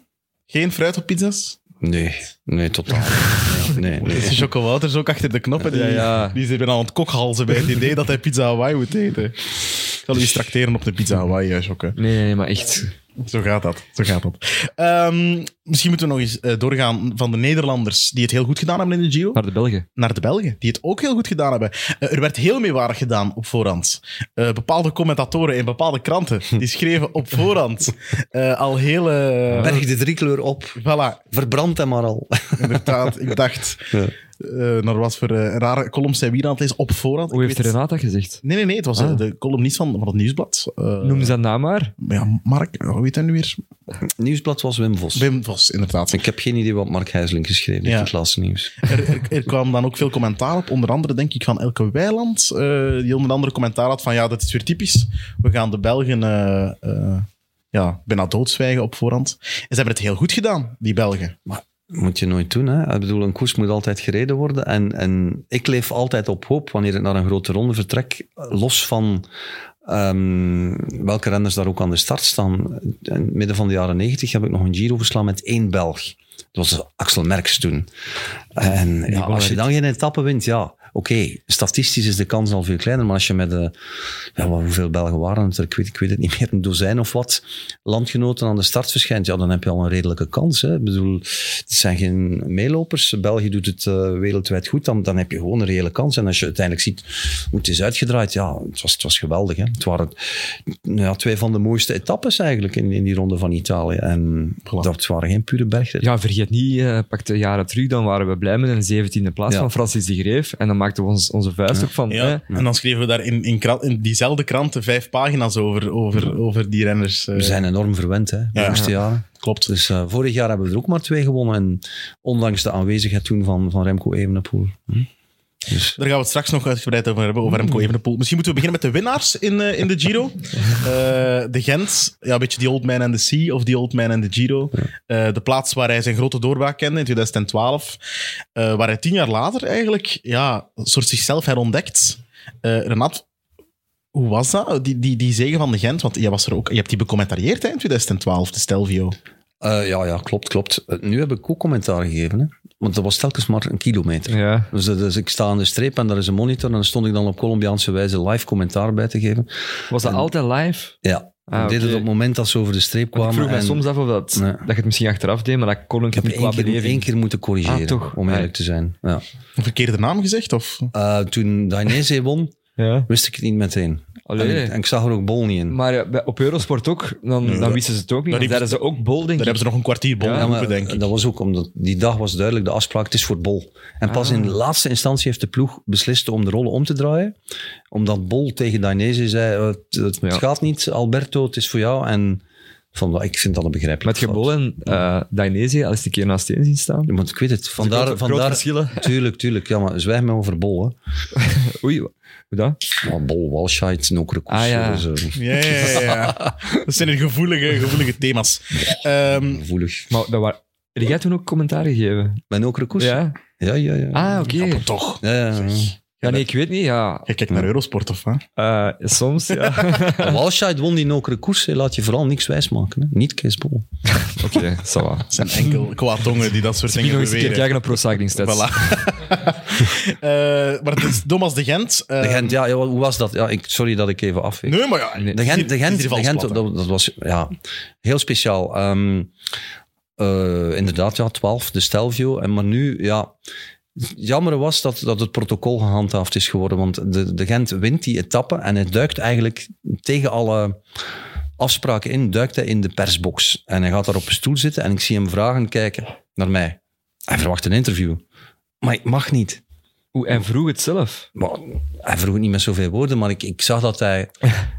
[SPEAKER 2] Geen fruit op pizza's?
[SPEAKER 4] Nee, nee, totaal. niet. nee, nee.
[SPEAKER 2] Is Choco Wouters ook achter de knoppen? Die,
[SPEAKER 3] Ja, ja.
[SPEAKER 2] die zit bijna aan het kokhalzen bij het idee dat hij pizza Hawaii moet eten. Ik zal u eens tracteren op de pizza Hawaii, eh, Choco.
[SPEAKER 3] Nee, nee, maar echt.
[SPEAKER 2] Zo gaat dat. Zo gaat dat. Ehm, misschien moeten we nog eens eh, doorgaan van de Nederlanders die het heel goed gedaan hebben in de Giro,
[SPEAKER 3] Maar de Belgen.
[SPEAKER 2] naar de Belgen die het ook heel goed gedaan hebben. Eh, er werd heel meewarig gedaan op voorhand. Eh, bepaalde commentatoren in bepaalde kranten die schreven op voorhand eh, al hele. eh,
[SPEAKER 4] Berg de driekleur op.
[SPEAKER 2] Voilà,
[SPEAKER 4] Verbrand hem maar al.
[SPEAKER 2] inderdaad. ik dacht,
[SPEAKER 4] Ja.
[SPEAKER 2] eh naar wat voor eh, rare columns zijn we hier aan het lezen op voorhand.
[SPEAKER 3] Hoe
[SPEAKER 2] Ik
[SPEAKER 3] heeft
[SPEAKER 2] weet-
[SPEAKER 3] Renata dat gezegd?
[SPEAKER 2] Nee, nee, nee. Het was eh, de columnist van, van het nieuwsblad. Eh,
[SPEAKER 3] Noem zijn naam maar.
[SPEAKER 2] Ja, Mark, hoe heet hij nu weer?
[SPEAKER 4] Nieuwsblad was Wim Vos.
[SPEAKER 2] Wim Vos, inderdaad.
[SPEAKER 4] Ik heb geen idee wat Mark Huizeling geschreven heeft
[SPEAKER 2] Ja.
[SPEAKER 4] in het laatste nieuws.
[SPEAKER 2] Er, er, er kwam dan ook veel commentaar op, onder andere denk ik van Elke Weiland, eh, die onder andere commentaar had van ja, dat is weer typisch. We gaan de Belgen eh, eh, ja, bijna doodzwijgen op voorhand. En ze hebben het heel goed gedaan, die Belgen.
[SPEAKER 4] Moet je nooit doen, hè? Ik bedoel, een koers moet altijd gereden worden. En, en ik leef altijd op hoop wanneer ik naar een grote ronde vertrek. Los van ehm, welke renners daar ook aan de start staan. In het midden van de jaren negentig heb ik nog een Giro verslaan met één Belg. Dat was Axel Merks toen. En ja,
[SPEAKER 3] won
[SPEAKER 4] als je
[SPEAKER 3] het.
[SPEAKER 4] dan geen etappe wint, ja, statistisch is de kans al veel kleiner, maar als je met, eh, ja, maar hoeveel Belgen waren het er, ik weet, ik weet het niet meer, een dozijn of wat landgenoten aan de start verschijnt, ja, dan heb je al een redelijke kans. Hè. Ik bedoel, het zijn geen meelopers. België doet het eh, wereldwijd goed, dan, dan heb je gewoon een reële kans. En als je uiteindelijk ziet hoe het is uitgedraaid, ja, het was, het was geweldig. Hè. Het waren nou ja, twee van de mooiste etappes eigenlijk in, in die ronde van Italië. En dat waren geen pure bergritten.
[SPEAKER 3] Ja, vergeet niet, eh pakte jaren terug, dan waren we blij met een zeventiende plaats
[SPEAKER 4] Ja.
[SPEAKER 3] van Francis de Greef. En dan maakten we ons, onze vuist ook van.
[SPEAKER 2] Ja,
[SPEAKER 3] hè.
[SPEAKER 2] En dan schreven we daar in, in, kra- in diezelfde kranten vijf pagina's over, over, over die renners. eh.
[SPEAKER 4] We zijn enorm verwend, hè, de
[SPEAKER 2] Ja.
[SPEAKER 4] eerste jaren.
[SPEAKER 2] Klopt.
[SPEAKER 4] Dus eh, vorig jaar hebben we er ook maar twee gewonnen. En ondanks de aanwezigheid toen van, van Remco Evenepoel.
[SPEAKER 2] Daar gaan we het straks nog uitgebreid over hebben, over Remco Evenepoel. Misschien moeten we beginnen met de winnaars in, eh, in de Giro. Eh, de Gent, ja, een beetje The Old Man and the Sea of The Old Man and the Giro. Eh, de plaats waar hij zijn grote doorbraak kende in 2012. eh, waar hij tien jaar later eigenlijk ja, een soort zichzelf herontdekt. Eh, Renat, hoe was dat? Die, die, die zegen van de Gent, want jij was er ook, je hebt die becommentarieerd hè, in 2012, de Stelvio.
[SPEAKER 4] Eh, ja, ja, klopt, klopt. Eh, nu heb ik ook commentaar gegeven, hè. want dat was telkens maar een kilometer.
[SPEAKER 3] Ja.
[SPEAKER 4] Dus, dat is- ik sta aan de streep en daar is een monitor en dan stond ik dan op Colombiaanse wijze live commentaar bij te geven.
[SPEAKER 3] Was dat altijd live?
[SPEAKER 4] Ja,
[SPEAKER 3] Ah,
[SPEAKER 4] ik deed
[SPEAKER 3] oké.
[SPEAKER 4] het op het moment dat ze over de streep
[SPEAKER 3] Want
[SPEAKER 4] kwamen.
[SPEAKER 3] ik vroeg mij
[SPEAKER 4] en
[SPEAKER 3] soms af of dat,
[SPEAKER 4] Nee.
[SPEAKER 3] dat je het misschien achteraf deed, maar dat kon ik,
[SPEAKER 4] ik heb
[SPEAKER 3] niet qua
[SPEAKER 4] één keer, één
[SPEAKER 3] beleving.
[SPEAKER 4] keer moeten corrigeren,
[SPEAKER 3] Ah, toch?
[SPEAKER 4] om eerlijk
[SPEAKER 3] Nee.
[SPEAKER 4] te zijn. Ja.
[SPEAKER 2] Een verkeerde naam gezegd? Of?
[SPEAKER 4] Eh, toen Dainese won,
[SPEAKER 3] Ja.
[SPEAKER 4] wist ik het niet meteen.
[SPEAKER 3] Allee.
[SPEAKER 4] En, ik, en ik zag er ook bol niet in.
[SPEAKER 3] Maar eh, bij- op Eurosport ook, dan,
[SPEAKER 4] Mm.
[SPEAKER 3] dan wisten ze het ook niet.
[SPEAKER 2] daar
[SPEAKER 3] Dan
[SPEAKER 2] hebben
[SPEAKER 3] zeiden ze ook bol, denk
[SPEAKER 2] Daar
[SPEAKER 3] ik.
[SPEAKER 2] hebben ze nog een kwartier bol
[SPEAKER 3] Ja,
[SPEAKER 2] geroepen,
[SPEAKER 4] maar
[SPEAKER 2] denk ik.
[SPEAKER 4] Dat was ook omdat die dag was duidelijk de afspraak: het is voor Bol. En pas
[SPEAKER 3] Ah.
[SPEAKER 4] in de laatste instantie heeft de ploeg beslist om de rollen om te draaien. Omdat Bol tegen Dainese zei: eh, het, het
[SPEAKER 3] Ja.
[SPEAKER 4] gaat niet, Alberto, het is voor jou. En van, ik vind dat een
[SPEAKER 3] Met
[SPEAKER 4] begrijpelijk.
[SPEAKER 3] Gebol en eh Dainese al eens een keer naast één zien staan.
[SPEAKER 4] Want ik weet het. Vandaar,
[SPEAKER 3] grote- grote
[SPEAKER 4] vandaar,
[SPEAKER 3] verschillen.
[SPEAKER 4] Tuurlijk, tuurlijk. Ja, maar zwijg me over Bol. Hè.
[SPEAKER 3] Oei, hoe dat?
[SPEAKER 4] Maar Bol, Walscheid, Nokere Koes.
[SPEAKER 3] Ah, ja.
[SPEAKER 4] dus, eh,
[SPEAKER 2] Ja, ja, ja, ja. Dat zijn gevoelige, gevoelige thema's. Ehm,
[SPEAKER 4] gevoelig.
[SPEAKER 3] Maar dat waren... Heb jij toen ook commentaar gegeven?
[SPEAKER 4] Bij Nokere Koes?
[SPEAKER 3] Ja?
[SPEAKER 4] ja, ja. ja.
[SPEAKER 3] Ah, oké.
[SPEAKER 2] toch?
[SPEAKER 4] Ja, ja, ja.
[SPEAKER 3] Ja, nee, ik weet niet, ja.
[SPEAKER 2] Je kijkt naar Eurosport of wat?
[SPEAKER 3] Eh, soms, ja.
[SPEAKER 4] Maar Walscheid won die Nokere Koes. hè. Laat je vooral niks wijsmaken. Hè. Niet Kees Bol.
[SPEAKER 3] Oké, ça va.
[SPEAKER 2] Het zijn enkel kwaadongen die dat soort
[SPEAKER 3] Wie
[SPEAKER 2] dingen
[SPEAKER 3] nog eens een keer
[SPEAKER 2] beweren.
[SPEAKER 3] kijken naar Pro Cycling Stats.
[SPEAKER 2] Voilà. Eh, maar het is Thomas de Gent. eh,
[SPEAKER 4] De Gent, ja, ja, hoe was dat? Ja, ik, sorry dat ik even afweek.
[SPEAKER 2] Nee, maar ja.
[SPEAKER 4] De Gent, de
[SPEAKER 2] het is
[SPEAKER 4] Gent,
[SPEAKER 2] hier
[SPEAKER 4] de Gent
[SPEAKER 2] vals plat, hè.
[SPEAKER 4] dat, dat was ja, heel speciaal. Ehm, eh, inderdaad, ja, 12, de Stelvio. En maar nu, ja... Jammer was dat, dat het protocol gehandhaafd is geworden, want de, de Gent wint die etappe en het duikt eigenlijk tegen alle afspraken in, duikt hij in de persbox. En hij gaat daar op een stoel zitten en ik zie hem vragen kijken naar mij. Hij verwacht een interview. Maar ik mag niet.
[SPEAKER 3] Oeh, en vroeg het zelf.
[SPEAKER 4] Maar hij vroeg het niet met zoveel woorden, maar ik, ik zag dat hij...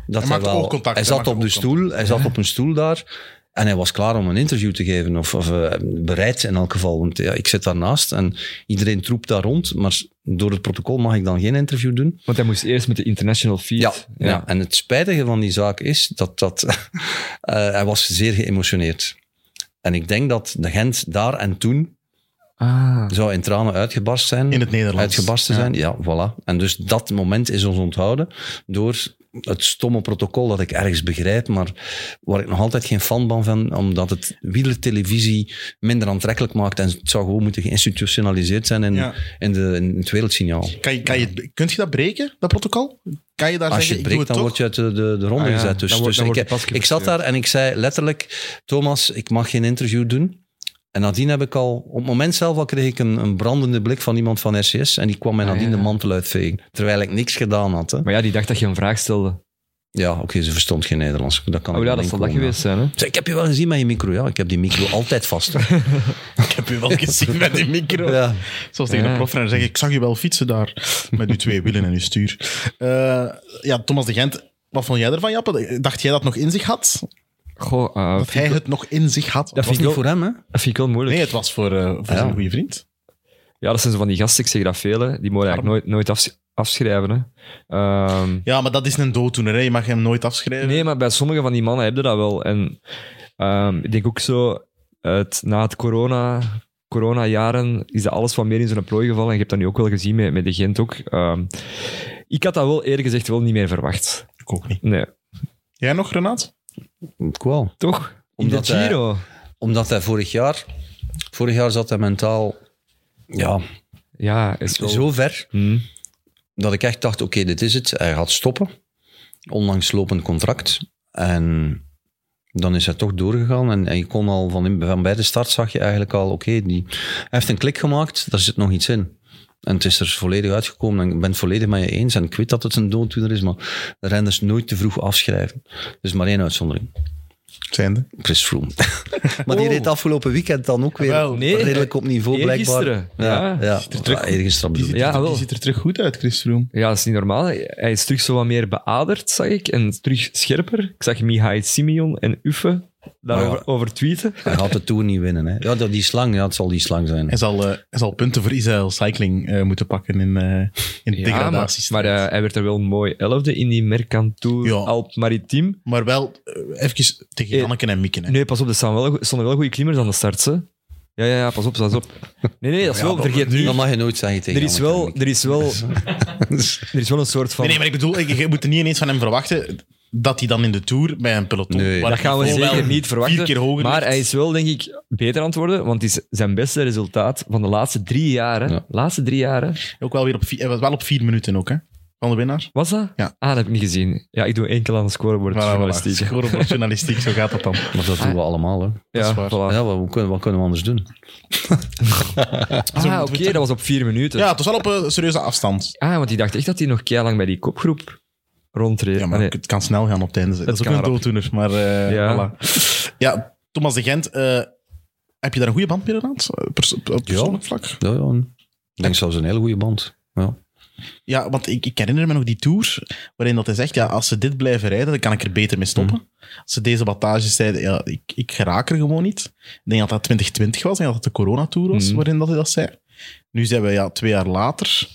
[SPEAKER 4] Dat hij,
[SPEAKER 2] maakte
[SPEAKER 4] wel,
[SPEAKER 2] oogcontact, hij
[SPEAKER 4] hij zat
[SPEAKER 2] maakte
[SPEAKER 4] op de
[SPEAKER 2] oogcontact.
[SPEAKER 4] stoel, hij zat op een stoel daar en hij was klaar om een interview te geven. Of, of eh, bereid in elk geval, want ja, ik zit daarnaast en iedereen troept daar rond. Maar door het protocol mag ik dan geen interview doen.
[SPEAKER 3] Want hij moest eerst met de international feed.
[SPEAKER 4] Ja, ja. en het spijtige van die zaak is dat, dat eh, hij was zeer geëmotioneerd. En ik denk dat de Gent daar en toen
[SPEAKER 3] Ah.
[SPEAKER 4] zou in tranen uitgebarst zijn.
[SPEAKER 2] In het Nederlands.
[SPEAKER 4] Uitgebarsten zijn, ja. voilà. En dus dat moment is ons onthouden door het stomme protocol dat ik ergens begrijp, maar waar ik nog altijd geen fan van ben, omdat het wielertelevisie minder aantrekkelijk maakt en het zou gewoon moeten geïnstitutionaliseerd zijn in,
[SPEAKER 2] Ja.
[SPEAKER 4] in, de, in het wereldsignaal.
[SPEAKER 2] Kan je, kan je, kunt je dat breken, dat protocol? Kan je daar
[SPEAKER 4] Als je
[SPEAKER 2] zeggen, ik
[SPEAKER 4] het breekt, dan
[SPEAKER 2] doe
[SPEAKER 4] word
[SPEAKER 2] het
[SPEAKER 4] je uit de, de, de ronde
[SPEAKER 3] Ah ja,
[SPEAKER 4] gezet. Dus,
[SPEAKER 3] dan wordt-
[SPEAKER 4] dus
[SPEAKER 3] dan
[SPEAKER 4] ik,
[SPEAKER 3] wordt je pas
[SPEAKER 4] ik zat daar en ik zei letterlijk, Thomas, ik mag geen interview doen. En nadien heb ik al, op het moment zelf al kreeg ik een, een brandende blik van iemand van RCS en die kwam mij
[SPEAKER 3] Ah
[SPEAKER 4] nadien
[SPEAKER 3] ja.
[SPEAKER 4] de mantel uitvegen, terwijl ik niks gedaan had. Hè.
[SPEAKER 3] Maar ja, die dacht dat je een vraag stelde.
[SPEAKER 4] Ja, oké, ze verstond geen Nederlands. Dat kan
[SPEAKER 3] Oh
[SPEAKER 4] ik
[SPEAKER 3] ja,
[SPEAKER 4] wel
[SPEAKER 3] dat zal dat
[SPEAKER 4] inkomen.
[SPEAKER 3] geweest zijn, hè?
[SPEAKER 4] Ze zei, ik heb je wel gezien met je micro. Ja, ik heb die micro altijd vast.
[SPEAKER 2] toch? Ik heb je wel gezien met die micro.
[SPEAKER 4] ja.
[SPEAKER 2] Zoals tegen
[SPEAKER 3] Ja.
[SPEAKER 2] een profrenner zeg ik, ik zag je wel fietsen daar. Met uw twee wielen en uw stuur. Eh, ja, Thomas de Gent, wat vond jij ervan, Jappe? Dacht jij dat nog in zich had?
[SPEAKER 3] Goh, eh,
[SPEAKER 2] Dat hij het nog in zich had?
[SPEAKER 4] Dat was
[SPEAKER 3] vind ik
[SPEAKER 4] niet
[SPEAKER 3] ook-
[SPEAKER 4] voor hem, hè?
[SPEAKER 3] dat vind ik Ah, wel moeilijk.
[SPEAKER 2] Nee, het was voor, eh, voor
[SPEAKER 4] Ja.
[SPEAKER 2] zijn goede vriend.
[SPEAKER 3] Ja, dat zijn zo van die gasten, ik zeg dat veel, hè. Die mogen eigenlijk nooit, nooit afs- afschrijven, hè. Ehm,
[SPEAKER 2] Ja, maar dat is een dooddoener. Hè. Je mag hem nooit afschrijven.
[SPEAKER 3] Nee, maar bij sommige van die mannen heb je dat wel. En ehm, ik denk ook zo, het, na het corona, corona-jaren is dat alles wat meer in zijn plooi gevallen. En je hebt dat nu ook wel gezien met, met de Gent ook. Ehm, ik had dat wel eerlijk gezegd wel niet meer verwacht.
[SPEAKER 2] ik ook niet.
[SPEAKER 3] Nee,
[SPEAKER 2] Jij nog, Renaat?
[SPEAKER 4] Ik wel.
[SPEAKER 3] toch?
[SPEAKER 4] Omdat
[SPEAKER 3] in de Giro.
[SPEAKER 4] Omdat hij vorig jaar... Vorig jaar zat hij mentaal... Ja,
[SPEAKER 3] Ja, is wel...
[SPEAKER 4] zo ver
[SPEAKER 3] Hm.
[SPEAKER 4] dat ik echt dacht, oké, dit is het. Hij gaat stoppen. Onlangs lopend contract. En dan is hij toch doorgegaan. En, en je kon al van, in- van bij de start zag je eigenlijk al, oké, die hij heeft een klik gemaakt, daar zit nog iets in. En het is er volledig uitgekomen en ik ben het volledig met je eens. En ik weet dat het een dooddoener is, maar de renders nooit te vroeg afschrijven. Er is maar één uitzondering.
[SPEAKER 2] Zijnde.
[SPEAKER 4] Chris Froome. maar die reed afgelopen weekend dan ook weer
[SPEAKER 2] Wel,
[SPEAKER 3] nee.
[SPEAKER 4] redelijk op niveau, blijkbaar.
[SPEAKER 3] Eergisteren,
[SPEAKER 4] Ja,
[SPEAKER 3] ja.
[SPEAKER 4] ja.
[SPEAKER 2] er terug.
[SPEAKER 4] Ja, eergisteren
[SPEAKER 2] Die
[SPEAKER 4] bedoel
[SPEAKER 2] ziet,
[SPEAKER 4] ik.
[SPEAKER 3] Ja,
[SPEAKER 2] er, die
[SPEAKER 3] wel.
[SPEAKER 2] ziet er terug goed uit, Chris Froome.
[SPEAKER 3] Ja, dat is niet normaal. Hij is terug zo wat meer beaderd, zag ik. En terug scherper. Ik zag Mihai Simeon en Uffe daarover
[SPEAKER 2] Ah
[SPEAKER 4] Maar ja.
[SPEAKER 3] over tweeten.
[SPEAKER 4] Hij gaat de Tour niet winnen. Hè. Ja, dat- die slang, ja, het zal die slang zijn.
[SPEAKER 2] Hij zal, eh, hij zal punten voor Israël Cycling eh, moeten pakken in, eh in
[SPEAKER 3] Ja, maar
[SPEAKER 2] degradaties.
[SPEAKER 3] maar eh, hij werd er wel mooi elfde in die Mercantour
[SPEAKER 2] Ja.
[SPEAKER 3] Alp Maritiem.
[SPEAKER 2] Maar wel eh, even tegen
[SPEAKER 3] Eh,
[SPEAKER 2] Janneken en Mieken. Hè.
[SPEAKER 3] Nee, pas op, er staan wel, goe- stonden wel goede klimmers aan de start. Hè. Ja, ja, ja, pas op, pas op. Nee, nee, dat is wel, vergeet
[SPEAKER 4] Dat
[SPEAKER 3] niet.
[SPEAKER 4] mag je nooit zeggen tegen
[SPEAKER 3] Er is,
[SPEAKER 4] Anneke
[SPEAKER 3] wel, er, is wel, er is wel een soort van...
[SPEAKER 2] Nee, nee, maar ik bedoel, ik- je moet er niet ineens van hem verwachten dat hij dan in de Tour bij een peloton... waar
[SPEAKER 4] Nee.
[SPEAKER 3] dat
[SPEAKER 2] het
[SPEAKER 3] gaan we
[SPEAKER 2] niveau
[SPEAKER 3] zeker
[SPEAKER 2] wel
[SPEAKER 3] niet verwachten.
[SPEAKER 2] Vier keer hoger
[SPEAKER 3] maar
[SPEAKER 2] ligt.
[SPEAKER 3] hij is wel, denk ik, beter aan het worden. Want het is zijn beste resultaat van de laatste drie jaren.
[SPEAKER 4] Ja.
[SPEAKER 3] Laatste drie jaren.
[SPEAKER 2] Ook wel weer op vier, hij was wel op vier minuten ook, hè? Van de winnaar.
[SPEAKER 3] Was dat?
[SPEAKER 2] Ja.
[SPEAKER 3] Ah, dat heb ik niet gezien. Ja, ik doe enkel aan de scorebord.
[SPEAKER 2] Voilà, voilà.
[SPEAKER 3] journalistiek. Ah,
[SPEAKER 2] Scoren op journalistiek, zo gaat dat dan.
[SPEAKER 4] Maar dat doen we allemaal. Hè.
[SPEAKER 2] is
[SPEAKER 3] Ja,
[SPEAKER 2] waar.
[SPEAKER 3] voilà.
[SPEAKER 4] Ja, wat, wat kunnen, wat kunnen we anders doen?
[SPEAKER 3] Ah,
[SPEAKER 2] moeten we
[SPEAKER 3] oké,
[SPEAKER 2] het-
[SPEAKER 3] dat eh, was op vier minuten.
[SPEAKER 2] Ja, het was wel op een serieuze afstand.
[SPEAKER 3] Ah, want ik dacht echt dat hij nog lang bij die kopgroep rondreed.
[SPEAKER 2] Ja, maar
[SPEAKER 3] Ah, nee.
[SPEAKER 2] het kan snel gaan op het einde. Dat is ook
[SPEAKER 3] kan
[SPEAKER 2] een
[SPEAKER 3] rap.
[SPEAKER 2] dooddoener, maar eh,
[SPEAKER 3] Ja.
[SPEAKER 2] voilà. Ja, Thomas de Gent, eh, heb je daar een goede band mee gedaan? Pers op persoonlijk vlak?
[SPEAKER 4] Ja, ja. Ik denk zelfs een hele goede band. Ja.
[SPEAKER 2] Ja, want ik, ik herinner me nog die tour waarin dat hij zegt, ja, als ze dit blijven rijden, dan kan ik er beter mee stoppen.
[SPEAKER 4] Mhm.
[SPEAKER 2] Als ze deze wattages zeiden, ja, ik, ik raak er gewoon niet. Ik denk dat dat 2020 was en dat het de coronatour was
[SPEAKER 3] Mhm.
[SPEAKER 2] waarin dat hij dat zei. Nu zijn we ja, twee jaar later.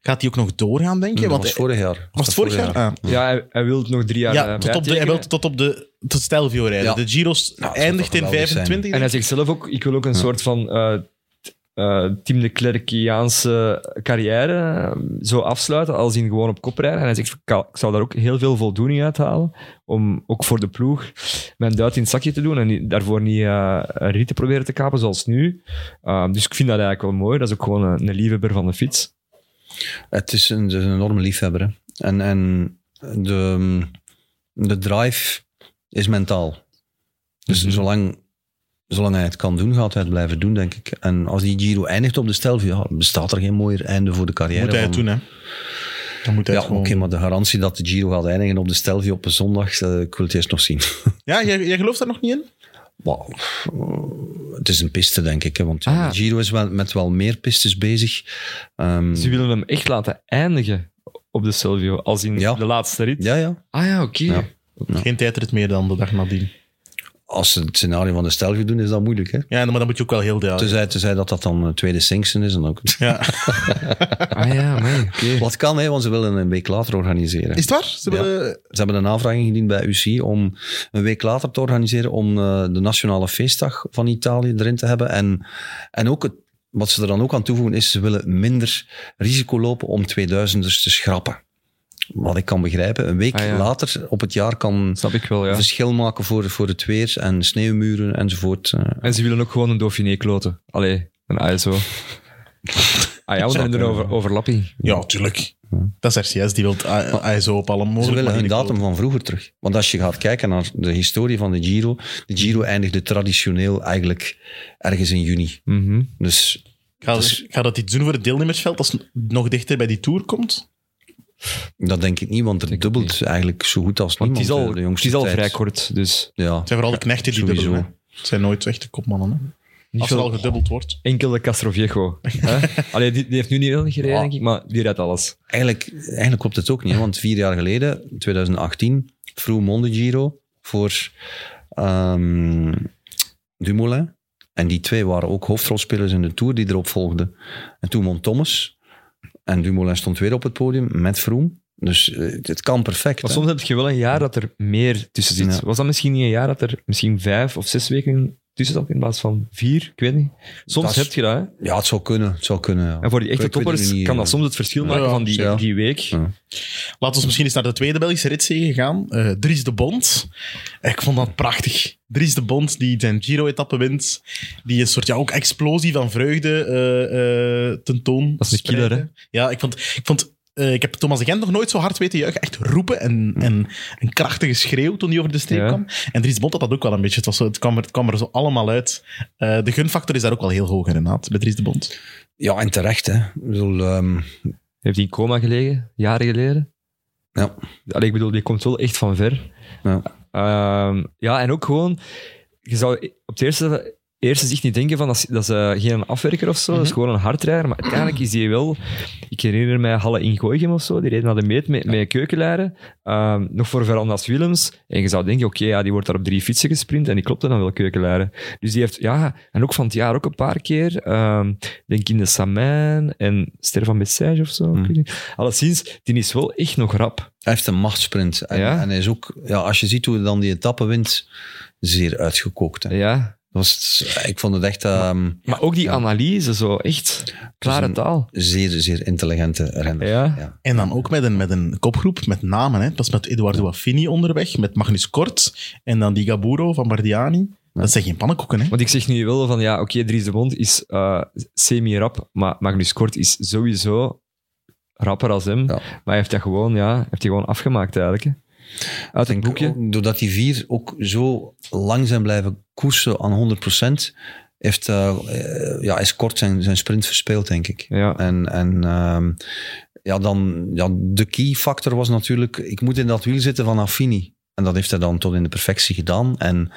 [SPEAKER 2] Gaat hij ook nog doorgaan, denk je?
[SPEAKER 4] Dat
[SPEAKER 2] Want
[SPEAKER 4] was
[SPEAKER 2] hij-
[SPEAKER 4] vorig jaar.
[SPEAKER 2] was het vorig jaar? Ah.
[SPEAKER 3] ja hij, hij wil nog drie jaar
[SPEAKER 2] Ja, tot
[SPEAKER 3] eh,
[SPEAKER 2] op, de, hij
[SPEAKER 3] bijtekenen.
[SPEAKER 2] wil tot op de tot Stelvio rijden.
[SPEAKER 4] Ja.
[SPEAKER 2] De Giro's
[SPEAKER 4] zou
[SPEAKER 2] eindigt
[SPEAKER 4] toch
[SPEAKER 2] in
[SPEAKER 4] geweldig zijn.
[SPEAKER 2] 25.
[SPEAKER 3] En hij zegt zelf ook, ik wil ook een soort van eh t- eh, Tim de Klerkiaanse carrière eh, zo afsluiten, als in gewoon op kop rijden. En hij zegt, ik kan- ik zou daar ook heel veel voldoening uit halen, om ook voor de ploeg mijn duit in het zakje te doen en niet- daarvoor niet eh, een riet te proberen te kapen, zoals nu. Eh, dus ik vind dat eigenlijk wel mooi. Dat is ook gewoon een, een liefhebber van de fiets.
[SPEAKER 4] Het is een, het is een enorme liefhebber. hè. En, en de, de drive is mentaal. Dus
[SPEAKER 3] Mhm.
[SPEAKER 4] zolang, zolang hij het kan doen, gaat hij het blijven doen, denk ik. En als die Giro eindigt op de Stelvio, ja, bestaat er geen mooier einde voor de carrière.
[SPEAKER 2] moet hij
[SPEAKER 4] van-
[SPEAKER 2] het doen, hè? Dan moet hij
[SPEAKER 4] Ja,
[SPEAKER 2] het
[SPEAKER 4] oké,
[SPEAKER 2] gewoon...
[SPEAKER 4] maar de garantie dat de Giro gaat eindigen op de Stelvio op een zondag, eh, ik wil het eerst nog zien.
[SPEAKER 2] Ja, jij, jij gelooft daar nog niet in?
[SPEAKER 4] Wauw. eh, Het is een piste, denk ik. Hè, want ja,
[SPEAKER 3] Ah.
[SPEAKER 4] de Giro is wel, met wel meer pistes bezig. Ehm,
[SPEAKER 3] Ze willen hem echt laten eindigen op de Silvio, als in
[SPEAKER 4] Ja.
[SPEAKER 3] de laatste rit.
[SPEAKER 4] ja, ja.
[SPEAKER 3] Ah ja, oké.
[SPEAKER 4] Ja.
[SPEAKER 2] Geen tijdrit meer dan de dag nadien.
[SPEAKER 4] Als ze het scenario van de Stelvio doen, is dat moeilijk. Hè?
[SPEAKER 2] Ja, maar dan moet je ook wel heel duidelijk.
[SPEAKER 4] Tenzij, tenzij dat dat dan eh, tweede Sinksen is. En dan...
[SPEAKER 3] Ah ja, amai, oké.
[SPEAKER 4] Wat kan, hè, want ze willen een week later organiseren.
[SPEAKER 2] Is het waar? Ze
[SPEAKER 4] Ja.
[SPEAKER 2] willen...
[SPEAKER 4] Ze hebben een aanvraag ingediend bij UCI om een week later te organiseren om eh, de nationale feestdag van Italië erin te hebben. En, en ook het, wat ze er dan ook aan toevoegen is, ze willen minder risico lopen om 2000ers te schrappen. Wat ik kan begrijpen. Een week
[SPEAKER 3] Ah, ja.
[SPEAKER 4] later op het jaar kan
[SPEAKER 3] Snap ik wel, ja.
[SPEAKER 4] verschil maken voor, voor het weer en sneeuwmuren enzovoort. eh.
[SPEAKER 3] En ze willen ook gewoon een Dauphiné kloten. Allee, een ISO. Ah ja, we hebben er
[SPEAKER 4] eh,
[SPEAKER 3] over, overlapping.
[SPEAKER 2] Ja, tuurlijk. Dat is RCS, die wil ISO op alle
[SPEAKER 4] Ze
[SPEAKER 2] mogelijke
[SPEAKER 4] willen hun
[SPEAKER 2] manieren
[SPEAKER 4] datum van vroeger terug. Want als je gaat kijken naar de historie van de Giro, de Giro eindigde traditioneel eigenlijk ergens in juni.
[SPEAKER 3] Mhm.
[SPEAKER 4] Dus
[SPEAKER 2] Gaat gaat dat iets doen voor het deelnemersveld als het nog dichter bij die Tour komt?
[SPEAKER 4] dat denk ik niet, want er
[SPEAKER 3] Denk ik
[SPEAKER 4] dubbelt eigenlijk zo goed als
[SPEAKER 3] Want
[SPEAKER 4] niemand.
[SPEAKER 3] het is al,
[SPEAKER 4] eh, de
[SPEAKER 3] het
[SPEAKER 4] jongste
[SPEAKER 3] is al
[SPEAKER 4] tijd.
[SPEAKER 3] vrij kort, dus
[SPEAKER 4] Ja.
[SPEAKER 2] Het zijn vooral de knechten die
[SPEAKER 4] sowieso.
[SPEAKER 2] dubbelen. hè. Het zijn nooit echte kopmannen. Hè.
[SPEAKER 3] niet
[SPEAKER 2] Als er
[SPEAKER 3] veel-
[SPEAKER 2] al gedubbeld wordt.
[SPEAKER 3] enkel de Castroviejo. hè? Allee, die, die heeft nu niet heel gereden,
[SPEAKER 4] Ja.
[SPEAKER 3] denk ik, maar die rijdt alles.
[SPEAKER 4] Eigenlijk, eigenlijk klopt het ook niet, hè, want vier jaar geleden, 2018, vroeg Monde Giro voor ehm, Dumoulin. En die twee waren ook hoofdrolspelers in de Tour die erop volgde. En toen won Thomas. En Dumoulin stond weer op het podium met Froome. Dus eh, het kan perfect.
[SPEAKER 3] Maar
[SPEAKER 4] hè.
[SPEAKER 3] soms heb je wel een jaar dat er meer tussen zit.
[SPEAKER 4] Ja.
[SPEAKER 3] Was dat misschien niet een jaar dat er misschien vijf of zes weken tussen zat in plaats van vier? Ik weet niet. Soms
[SPEAKER 4] Dat is-
[SPEAKER 3] heb je dat, hè.
[SPEAKER 4] Ja, het zou kunnen. Het zou kunnen ja.
[SPEAKER 3] En voor die echte
[SPEAKER 4] Ik weet het
[SPEAKER 3] toppers
[SPEAKER 4] niet,
[SPEAKER 3] kan
[SPEAKER 4] eh.
[SPEAKER 3] dat soms het verschil
[SPEAKER 4] Ja.
[SPEAKER 3] maken van die,
[SPEAKER 4] Ja.
[SPEAKER 3] die week.
[SPEAKER 4] Ja.
[SPEAKER 2] Laten we misschien eens naar de tweede Belgische ritzege gaan. Eh Dries de Bond. Ik vond dat prachtig. Dries de Bond, die zijn Giro-etappe wint. Die een soort ja, ook explosie van vreugde eh eh tentoon.
[SPEAKER 3] Dat is een killer, hè?
[SPEAKER 2] spreidde. Ja, ik vond, ik vond eh, ik heb Thomas de Gent nog nooit zo hard weten juichen. Echt roepen en, en een krachtige schreeuw toen hij over de streep
[SPEAKER 3] Ja.
[SPEAKER 2] kwam. En Dries Bond had dat ook wel een beetje. Het, was zo, het, kwam, er, het kwam er zo allemaal uit. Eh, de gunfactor is daar ook wel heel hoog inderdaad, bij Dries de Bond.
[SPEAKER 4] Ja, en terecht, hè. Ik bedoel, ehm,
[SPEAKER 3] Heeft hij in coma gelegen, jaren geleden?
[SPEAKER 4] Ja.
[SPEAKER 3] Allee, ik bedoel, die komt wel echt van ver.
[SPEAKER 4] Ja.
[SPEAKER 3] Ehm, ja, en ook gewoon, je zou op het eerste, eerste zicht niet denken van dat is, dat is eh, geen afwerker of zo, dat is
[SPEAKER 4] Mhm.
[SPEAKER 3] gewoon een hardrijder. Maar uiteindelijk is hij wel, ik herinner mij Halle Ingooigem of zo, die reed naar de meet met, met keukenleider. Ehm, nog voor Verandas Willems. En je zou denken, oké, ja, die wordt daar op drie fietsen gesprint en die klopte dan wel keukenleider. Dus die heeft, ja, en ook van het jaar ook een paar keer. ehm, denk in de Samijn en Ster van Bessage of zo. ik
[SPEAKER 4] Mm.
[SPEAKER 3] weet niet. Alleszins, die is wel echt nog rap.
[SPEAKER 4] hij heeft een machtsprint. En,
[SPEAKER 3] Ja.
[SPEAKER 4] en hij is ook, ja, als je ziet hoe hij dan die etappe wint, zeer uitgekookt. Hè.
[SPEAKER 3] Ja.
[SPEAKER 4] Dat was het- ik vond het echt ehm,
[SPEAKER 3] Maar ook die analyse, zo echt klare
[SPEAKER 4] een-
[SPEAKER 3] taal.
[SPEAKER 4] zeer, zeer intelligente renner.
[SPEAKER 3] Ja.
[SPEAKER 4] Ja.
[SPEAKER 2] En dan ook met een, met een kopgroep, met namen. Hè. Pas met Eduardo Affini onderweg, met Magnus Kort en dan die Gaburo van Bardiani. Dat zijn geen pannenkoeken, hè?
[SPEAKER 3] Want ik zeg nu wel van ja, oké, Dries de Bond is eh, semi-rap, maar Magnus Kort is sowieso rapper als hem.
[SPEAKER 4] Ja.
[SPEAKER 3] Maar hij heeft dat gewoon, ja, heeft hij gewoon afgemaakt eigenlijk. hè. Uit
[SPEAKER 4] Ik
[SPEAKER 3] een
[SPEAKER 4] denk
[SPEAKER 3] boekje.
[SPEAKER 4] ook doordat die vier ook zo lang zijn blijven koersen aan 100%, heeft, eh, eh, ja, is kort zijn, zijn sprint verspeeld, denk ik.
[SPEAKER 3] Ja.
[SPEAKER 4] En, en ehm, ja, dan, ja, de key factor was natuurlijk, ik moet in dat wiel zitten van Affini. En dat heeft hij dan tot in de perfectie gedaan. En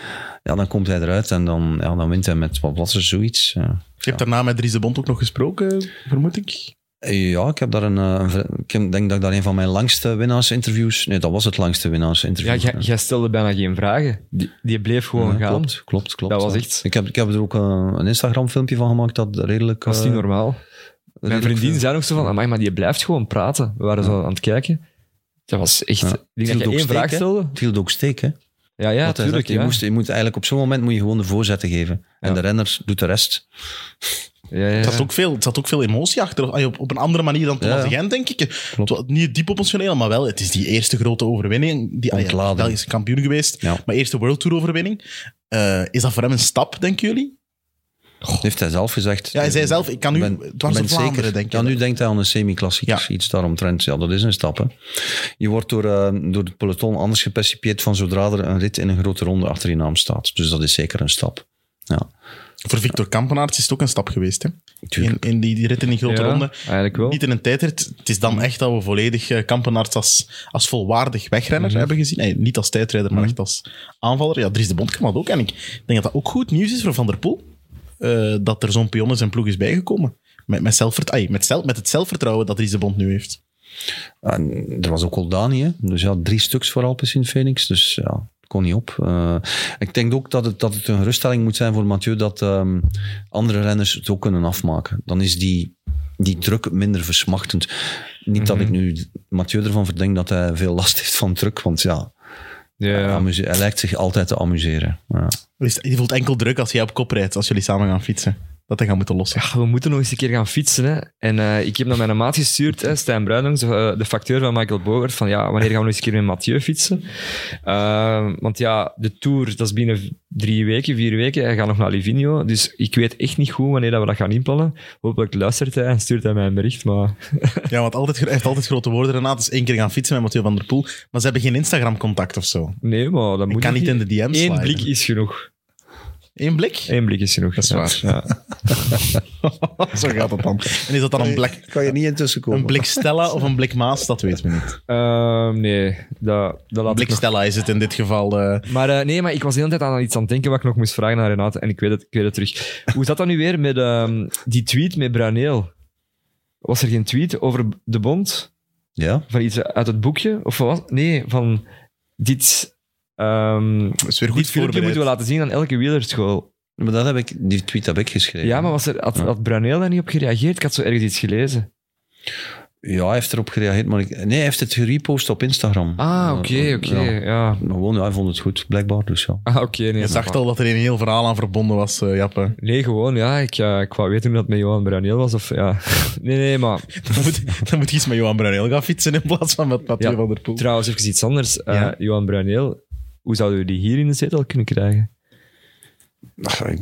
[SPEAKER 4] ja, dan komt hij eruit en dan, ja, dan wint hij met wat was er zoiets. Ja,
[SPEAKER 2] Je hebt daarna met Dries de Bond ook nog gesproken, vermoed ik.
[SPEAKER 4] ja ik heb daar een, eh, een ver- ik heb- denk dat ik daar een van mijn langste winnaarsinterviews, nee, dat was het langste
[SPEAKER 3] Ja,
[SPEAKER 4] winnaarsinterview.
[SPEAKER 3] jij, jij stelde bijna geen vragen. Die, die bleef gewoon
[SPEAKER 4] Ja,
[SPEAKER 3] gaan.
[SPEAKER 4] Klopt, klopt, klopt.
[SPEAKER 3] Dat was
[SPEAKER 4] ja.
[SPEAKER 3] echt-
[SPEAKER 4] Ik heb, ik heb er ook eh, een Instagram-filmpje van gemaakt dat redelijk...
[SPEAKER 3] Dat is
[SPEAKER 4] eh,
[SPEAKER 3] niet normaal. Mijn
[SPEAKER 4] redelijk eh,
[SPEAKER 3] vriendin
[SPEAKER 4] veel-
[SPEAKER 3] zei ook zo van, amai, maar die blijft gewoon praten. We waren zo aan het kijken. Dat was echt...
[SPEAKER 4] Ja.
[SPEAKER 3] Ik denk
[SPEAKER 4] Viel
[SPEAKER 3] dat je
[SPEAKER 4] ook
[SPEAKER 3] één
[SPEAKER 4] steek,
[SPEAKER 3] vraag
[SPEAKER 4] hè?
[SPEAKER 3] stelde.
[SPEAKER 4] Het hield ook steek, hè?
[SPEAKER 3] Ja, ja,
[SPEAKER 4] Want hij
[SPEAKER 3] tuurlijk.
[SPEAKER 4] zegt,
[SPEAKER 3] ja.
[SPEAKER 4] Je, moest, je moet eigenlijk op zo'n moment moet je gewoon de voorzetten geven. En
[SPEAKER 3] Ja.
[SPEAKER 4] de renner doet de rest.
[SPEAKER 3] Ja, ja, ja.
[SPEAKER 2] Het had ook veel, het zat ook veel emotie achter. Ah, Op, op een andere manier dan Thomas
[SPEAKER 4] Ja.
[SPEAKER 2] de Gent, denk ik. Het was Niet diep emotioneel, maar wel. Het is die eerste grote overwinning. Die ah ja,
[SPEAKER 4] Ontlading.
[SPEAKER 2] Belgische kampioen geweest.
[SPEAKER 4] Ja.
[SPEAKER 2] Maar eerste World Tour overwinning. Eh, is dat voor hem een stap, denken jullie?
[SPEAKER 4] Heeft hij zelf gezegd. eh,
[SPEAKER 2] Ja, hij zei zelf, ik kan nu
[SPEAKER 4] ben-
[SPEAKER 2] dwars
[SPEAKER 4] ben
[SPEAKER 2] door Vlaanderen,
[SPEAKER 4] zeker.
[SPEAKER 2] denk
[SPEAKER 4] Ja,
[SPEAKER 2] ik.
[SPEAKER 4] nu denkt hij aan een semi-klassieker,
[SPEAKER 2] Ja.
[SPEAKER 4] iets daaromtrent. Ja, dat is een stap, hè. Je wordt door, eh, door het peloton anders gepercipieerd van zodra er een rit in een grote ronde achter je naam staat. Dus dat is zeker een stap. Ja,
[SPEAKER 2] Voor Victor Kampenaerts is het ook een stap geweest. Hè? In,
[SPEAKER 4] tuurlijk.
[SPEAKER 2] in die, die rit in die grote
[SPEAKER 3] Ja,
[SPEAKER 2] ronde.
[SPEAKER 3] Eigenlijk wel.
[SPEAKER 2] Niet in een tijdrit. Het is dan echt dat we volledig eh, Kampenaerts als, als volwaardig wegrenner
[SPEAKER 3] Mhm.
[SPEAKER 2] hebben gezien. Nee, niet als tijdrijder, maar echt als aanvaller. Ja, Dries de Bond kan dat ook. En ik denk dat dat ook goed nieuws is voor Van der Poel. eh, dat er zo'n pion in zijn ploeg is bijgekomen. Met, met, zelfvert ai, met, zelf, met het zelfvertrouwen dat Dries de Bond nu heeft.
[SPEAKER 4] En er was ook Oldani, hè. Dus ja, drie stuks voor Alpecin Phoenix. Dus ja, kon niet op. Eh, ik denk ook dat het, dat het een geruststelling moet zijn voor Mathieu dat ehm, andere renners het ook kunnen afmaken. Dan is die, die druk minder versmachtend. Niet dat
[SPEAKER 3] Mhm.
[SPEAKER 4] ik nu Mathieu ervan verdenk dat hij veel last heeft van druk, want ja,
[SPEAKER 3] Ja, ja.
[SPEAKER 4] amuse- hij lijkt zich altijd te amuseren. Ja.
[SPEAKER 2] Dus je voelt enkel druk als jij op kop rijdt, als jullie samen gaan fietsen. Dat hij gaat moeten lossen.
[SPEAKER 3] Ja, we moeten nog eens een keer gaan fietsen. Hè. En eh, ik heb naar mijn maat gestuurd, hè, Stijn Bruinings, eh, de facteur van Michael Bogert, van ja, wanneer gaan we nog eens een keer met Mathieu fietsen? Ehm, want ja, de Tour, dat is binnen v- drie weken, vier weken. Hij gaat nog naar Livigno. Dus ik weet echt niet goed wanneer dat we dat gaan inplannen. Hopelijk luistert hij en stuurt hij mij een bericht. Maar
[SPEAKER 2] Ja, want altijd, gro- hij heeft altijd grote woorden, Renaat. Dus één keer gaan fietsen met Mathieu van der Poel. Maar ze hebben geen Instagram-contact of zo.
[SPEAKER 3] nee, maar dat
[SPEAKER 2] Ik
[SPEAKER 3] moet
[SPEAKER 2] kan
[SPEAKER 3] ik
[SPEAKER 2] niet in de DM's
[SPEAKER 3] Eén
[SPEAKER 2] sliden.
[SPEAKER 3] blik is genoeg.
[SPEAKER 2] Eén blik?
[SPEAKER 3] Eén blik is genoeg. Dat
[SPEAKER 2] is waar.
[SPEAKER 3] Ja.
[SPEAKER 2] Zo gaat dat dan. En is dat dan een blik,
[SPEAKER 4] Kan je niet intussen
[SPEAKER 2] een blik Stella of een blik Maas? Dat weten we niet.
[SPEAKER 3] Ehm, nee, dat, dat laat
[SPEAKER 2] Een
[SPEAKER 3] ik
[SPEAKER 2] blik
[SPEAKER 3] nog
[SPEAKER 2] Stella is het in dit geval. eh.
[SPEAKER 3] Maar eh, nee, maar ik was de hele tijd aan iets aan het denken wat ik nog moest vragen aan Renate. En ik weet het, ik weet het terug. Hoe zat dat nu weer met ehm, die tweet met Braneel? Was er geen tweet over de bond?
[SPEAKER 4] Ja,
[SPEAKER 3] Van iets uit het boekje? Of wat? Nee, van dit... ehm
[SPEAKER 2] is weer
[SPEAKER 3] dit
[SPEAKER 2] goed
[SPEAKER 3] filmpje
[SPEAKER 2] voorbereid.
[SPEAKER 3] moeten we laten zien aan elke wielerschool.
[SPEAKER 4] maar dat heb ik, die tweet heb ik geschreven.
[SPEAKER 3] Ja, maar was er, had, had Braneel daar niet op gereageerd? Ik had zo ergens iets gelezen.
[SPEAKER 4] Ja, hij heeft erop gereageerd, maar ik, nee, hij heeft het gerepost op Instagram.
[SPEAKER 3] Ah, oké,
[SPEAKER 4] Eh,
[SPEAKER 3] oké.
[SPEAKER 4] ja.
[SPEAKER 3] Ja.
[SPEAKER 4] Gewoon, ja, hij vond het goed, blijkbaar. Dus ja.
[SPEAKER 3] Ah, oké. nee,
[SPEAKER 2] Je
[SPEAKER 3] dat
[SPEAKER 2] zag
[SPEAKER 3] mag.
[SPEAKER 2] al dat er een heel verhaal aan verbonden was, eh, Jappe.
[SPEAKER 3] Nee, gewoon, ja. Ik, eh, ik wou weten hoe dat met Johan Braneel was. Of, ja. Nee, nee, maar...
[SPEAKER 2] Dan moet, dan moet je eens met Johan Brunel gaan fietsen in plaats van met Mathieu
[SPEAKER 3] Ja.
[SPEAKER 2] van der Poel.
[SPEAKER 3] Trouwens, even iets anders. Eh,
[SPEAKER 2] Ja.
[SPEAKER 3] Johan Bruineel, hoe zouden we die hier in de zetel kunnen krijgen? Waar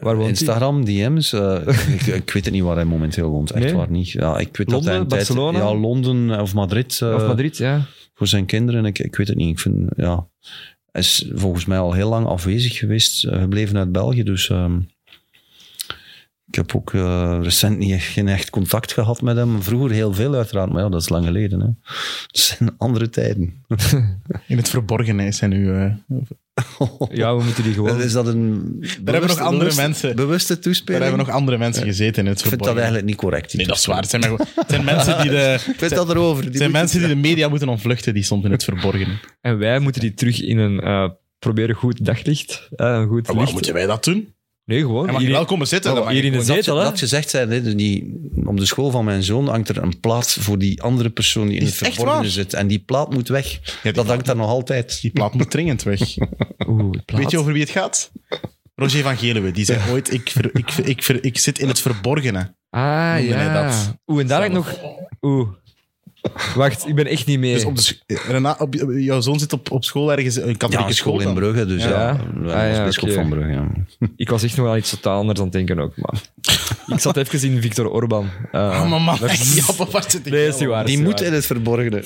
[SPEAKER 3] woont hij?
[SPEAKER 4] Instagram, DM's. eh, ik, ik weet het niet waar hij momenteel woont. Echt
[SPEAKER 3] Nee?
[SPEAKER 4] waar niet. Ja, ik weet dat
[SPEAKER 3] Londen,
[SPEAKER 4] hij een tijd-
[SPEAKER 3] Barcelona?
[SPEAKER 4] ja, Londen of Madrid. eh,
[SPEAKER 3] Of Madrid, ja.
[SPEAKER 4] Voor zijn kinderen. Ik, ik weet het niet. Ik vind, ja, hij is volgens mij al heel lang afwezig geweest. eh, gebleven uit België. Dus ehm, ik heb ook eh, recent niet, echt- geen echt contact gehad met hem. Vroeger heel veel uiteraard. Maar ja, dat is lang geleden. Hè. Dat zijn andere tijden.
[SPEAKER 2] In het verborgen hè, zijn nu... eh,
[SPEAKER 3] Ja, we moeten die gewoon...
[SPEAKER 4] Is dat een bewuste-
[SPEAKER 2] hebben nog andere
[SPEAKER 4] bewuste-
[SPEAKER 2] mensen.
[SPEAKER 4] Bewuste
[SPEAKER 2] daar
[SPEAKER 4] toespeling?
[SPEAKER 2] hebben nog andere mensen gezeten in het
[SPEAKER 4] Ik vind dat
[SPEAKER 2] verborgen.
[SPEAKER 4] eigenlijk niet correct. die
[SPEAKER 2] Nee, dat is waar. Het zijn, maar gewoon- het zijn mensen die de...
[SPEAKER 4] Ik weet dat erover. Die
[SPEAKER 2] Het zijn
[SPEAKER 4] moet-
[SPEAKER 2] mensen die de media moeten ontvluchten, die soms in het verborgen.
[SPEAKER 3] En wij moeten die terug in een... eh, proberen goed daglicht. eh, een goed
[SPEAKER 2] Maar waarom
[SPEAKER 3] licht.
[SPEAKER 2] moeten wij dat doen?
[SPEAKER 3] Nee, gewoon.
[SPEAKER 2] Hij mag
[SPEAKER 3] hier-
[SPEAKER 2] wel komen zitten.
[SPEAKER 3] Oh,
[SPEAKER 2] dat mag
[SPEAKER 3] hier in de
[SPEAKER 2] ik
[SPEAKER 4] Dat,
[SPEAKER 3] zetel, hè.
[SPEAKER 4] dat gezegd zijn, hè, dus die, op de school van mijn zoon hangt er een plaat voor die andere persoon die in
[SPEAKER 2] Is
[SPEAKER 4] het
[SPEAKER 2] het echt
[SPEAKER 4] verborgen
[SPEAKER 2] waar?
[SPEAKER 4] zit. En die plaat moet weg.
[SPEAKER 2] die
[SPEAKER 4] dat hangt daar nog altijd.
[SPEAKER 2] Die plaat moet dringend weg.
[SPEAKER 3] Oeh, plaat.
[SPEAKER 2] Weet je over wie het gaat? Roger van Geluwe. Die zei ooit, ik, ver- ik, ver- ik, ver- ik zit in het verborgene.
[SPEAKER 3] Ah,
[SPEAKER 2] Noemde hij
[SPEAKER 3] ja.
[SPEAKER 2] dat.
[SPEAKER 3] Oeh, en daar heb ik nog... Oeh. Wacht, ik ben echt niet mee.
[SPEAKER 2] Dus op de, sch- Rena- op, op- jouw zoon zit op, op school ergens, een katholieke
[SPEAKER 4] Ja, school in
[SPEAKER 2] dan.
[SPEAKER 4] Brugge, dus ja.
[SPEAKER 3] Ja.
[SPEAKER 4] ja.
[SPEAKER 3] Ah,
[SPEAKER 4] was
[SPEAKER 3] ja,
[SPEAKER 4] bisschop
[SPEAKER 3] oké.
[SPEAKER 4] van Brugge. ja.
[SPEAKER 3] Ik was echt nog wel iets totaal anders aan het denken ook, maar... ik zat even in Victor Orban. Eh,
[SPEAKER 2] Ah, maar man, ja, maar waar zit ik?
[SPEAKER 3] Nee, is niet waar.
[SPEAKER 4] Die
[SPEAKER 3] is niet
[SPEAKER 4] moet
[SPEAKER 3] waar.
[SPEAKER 4] in het verborgene.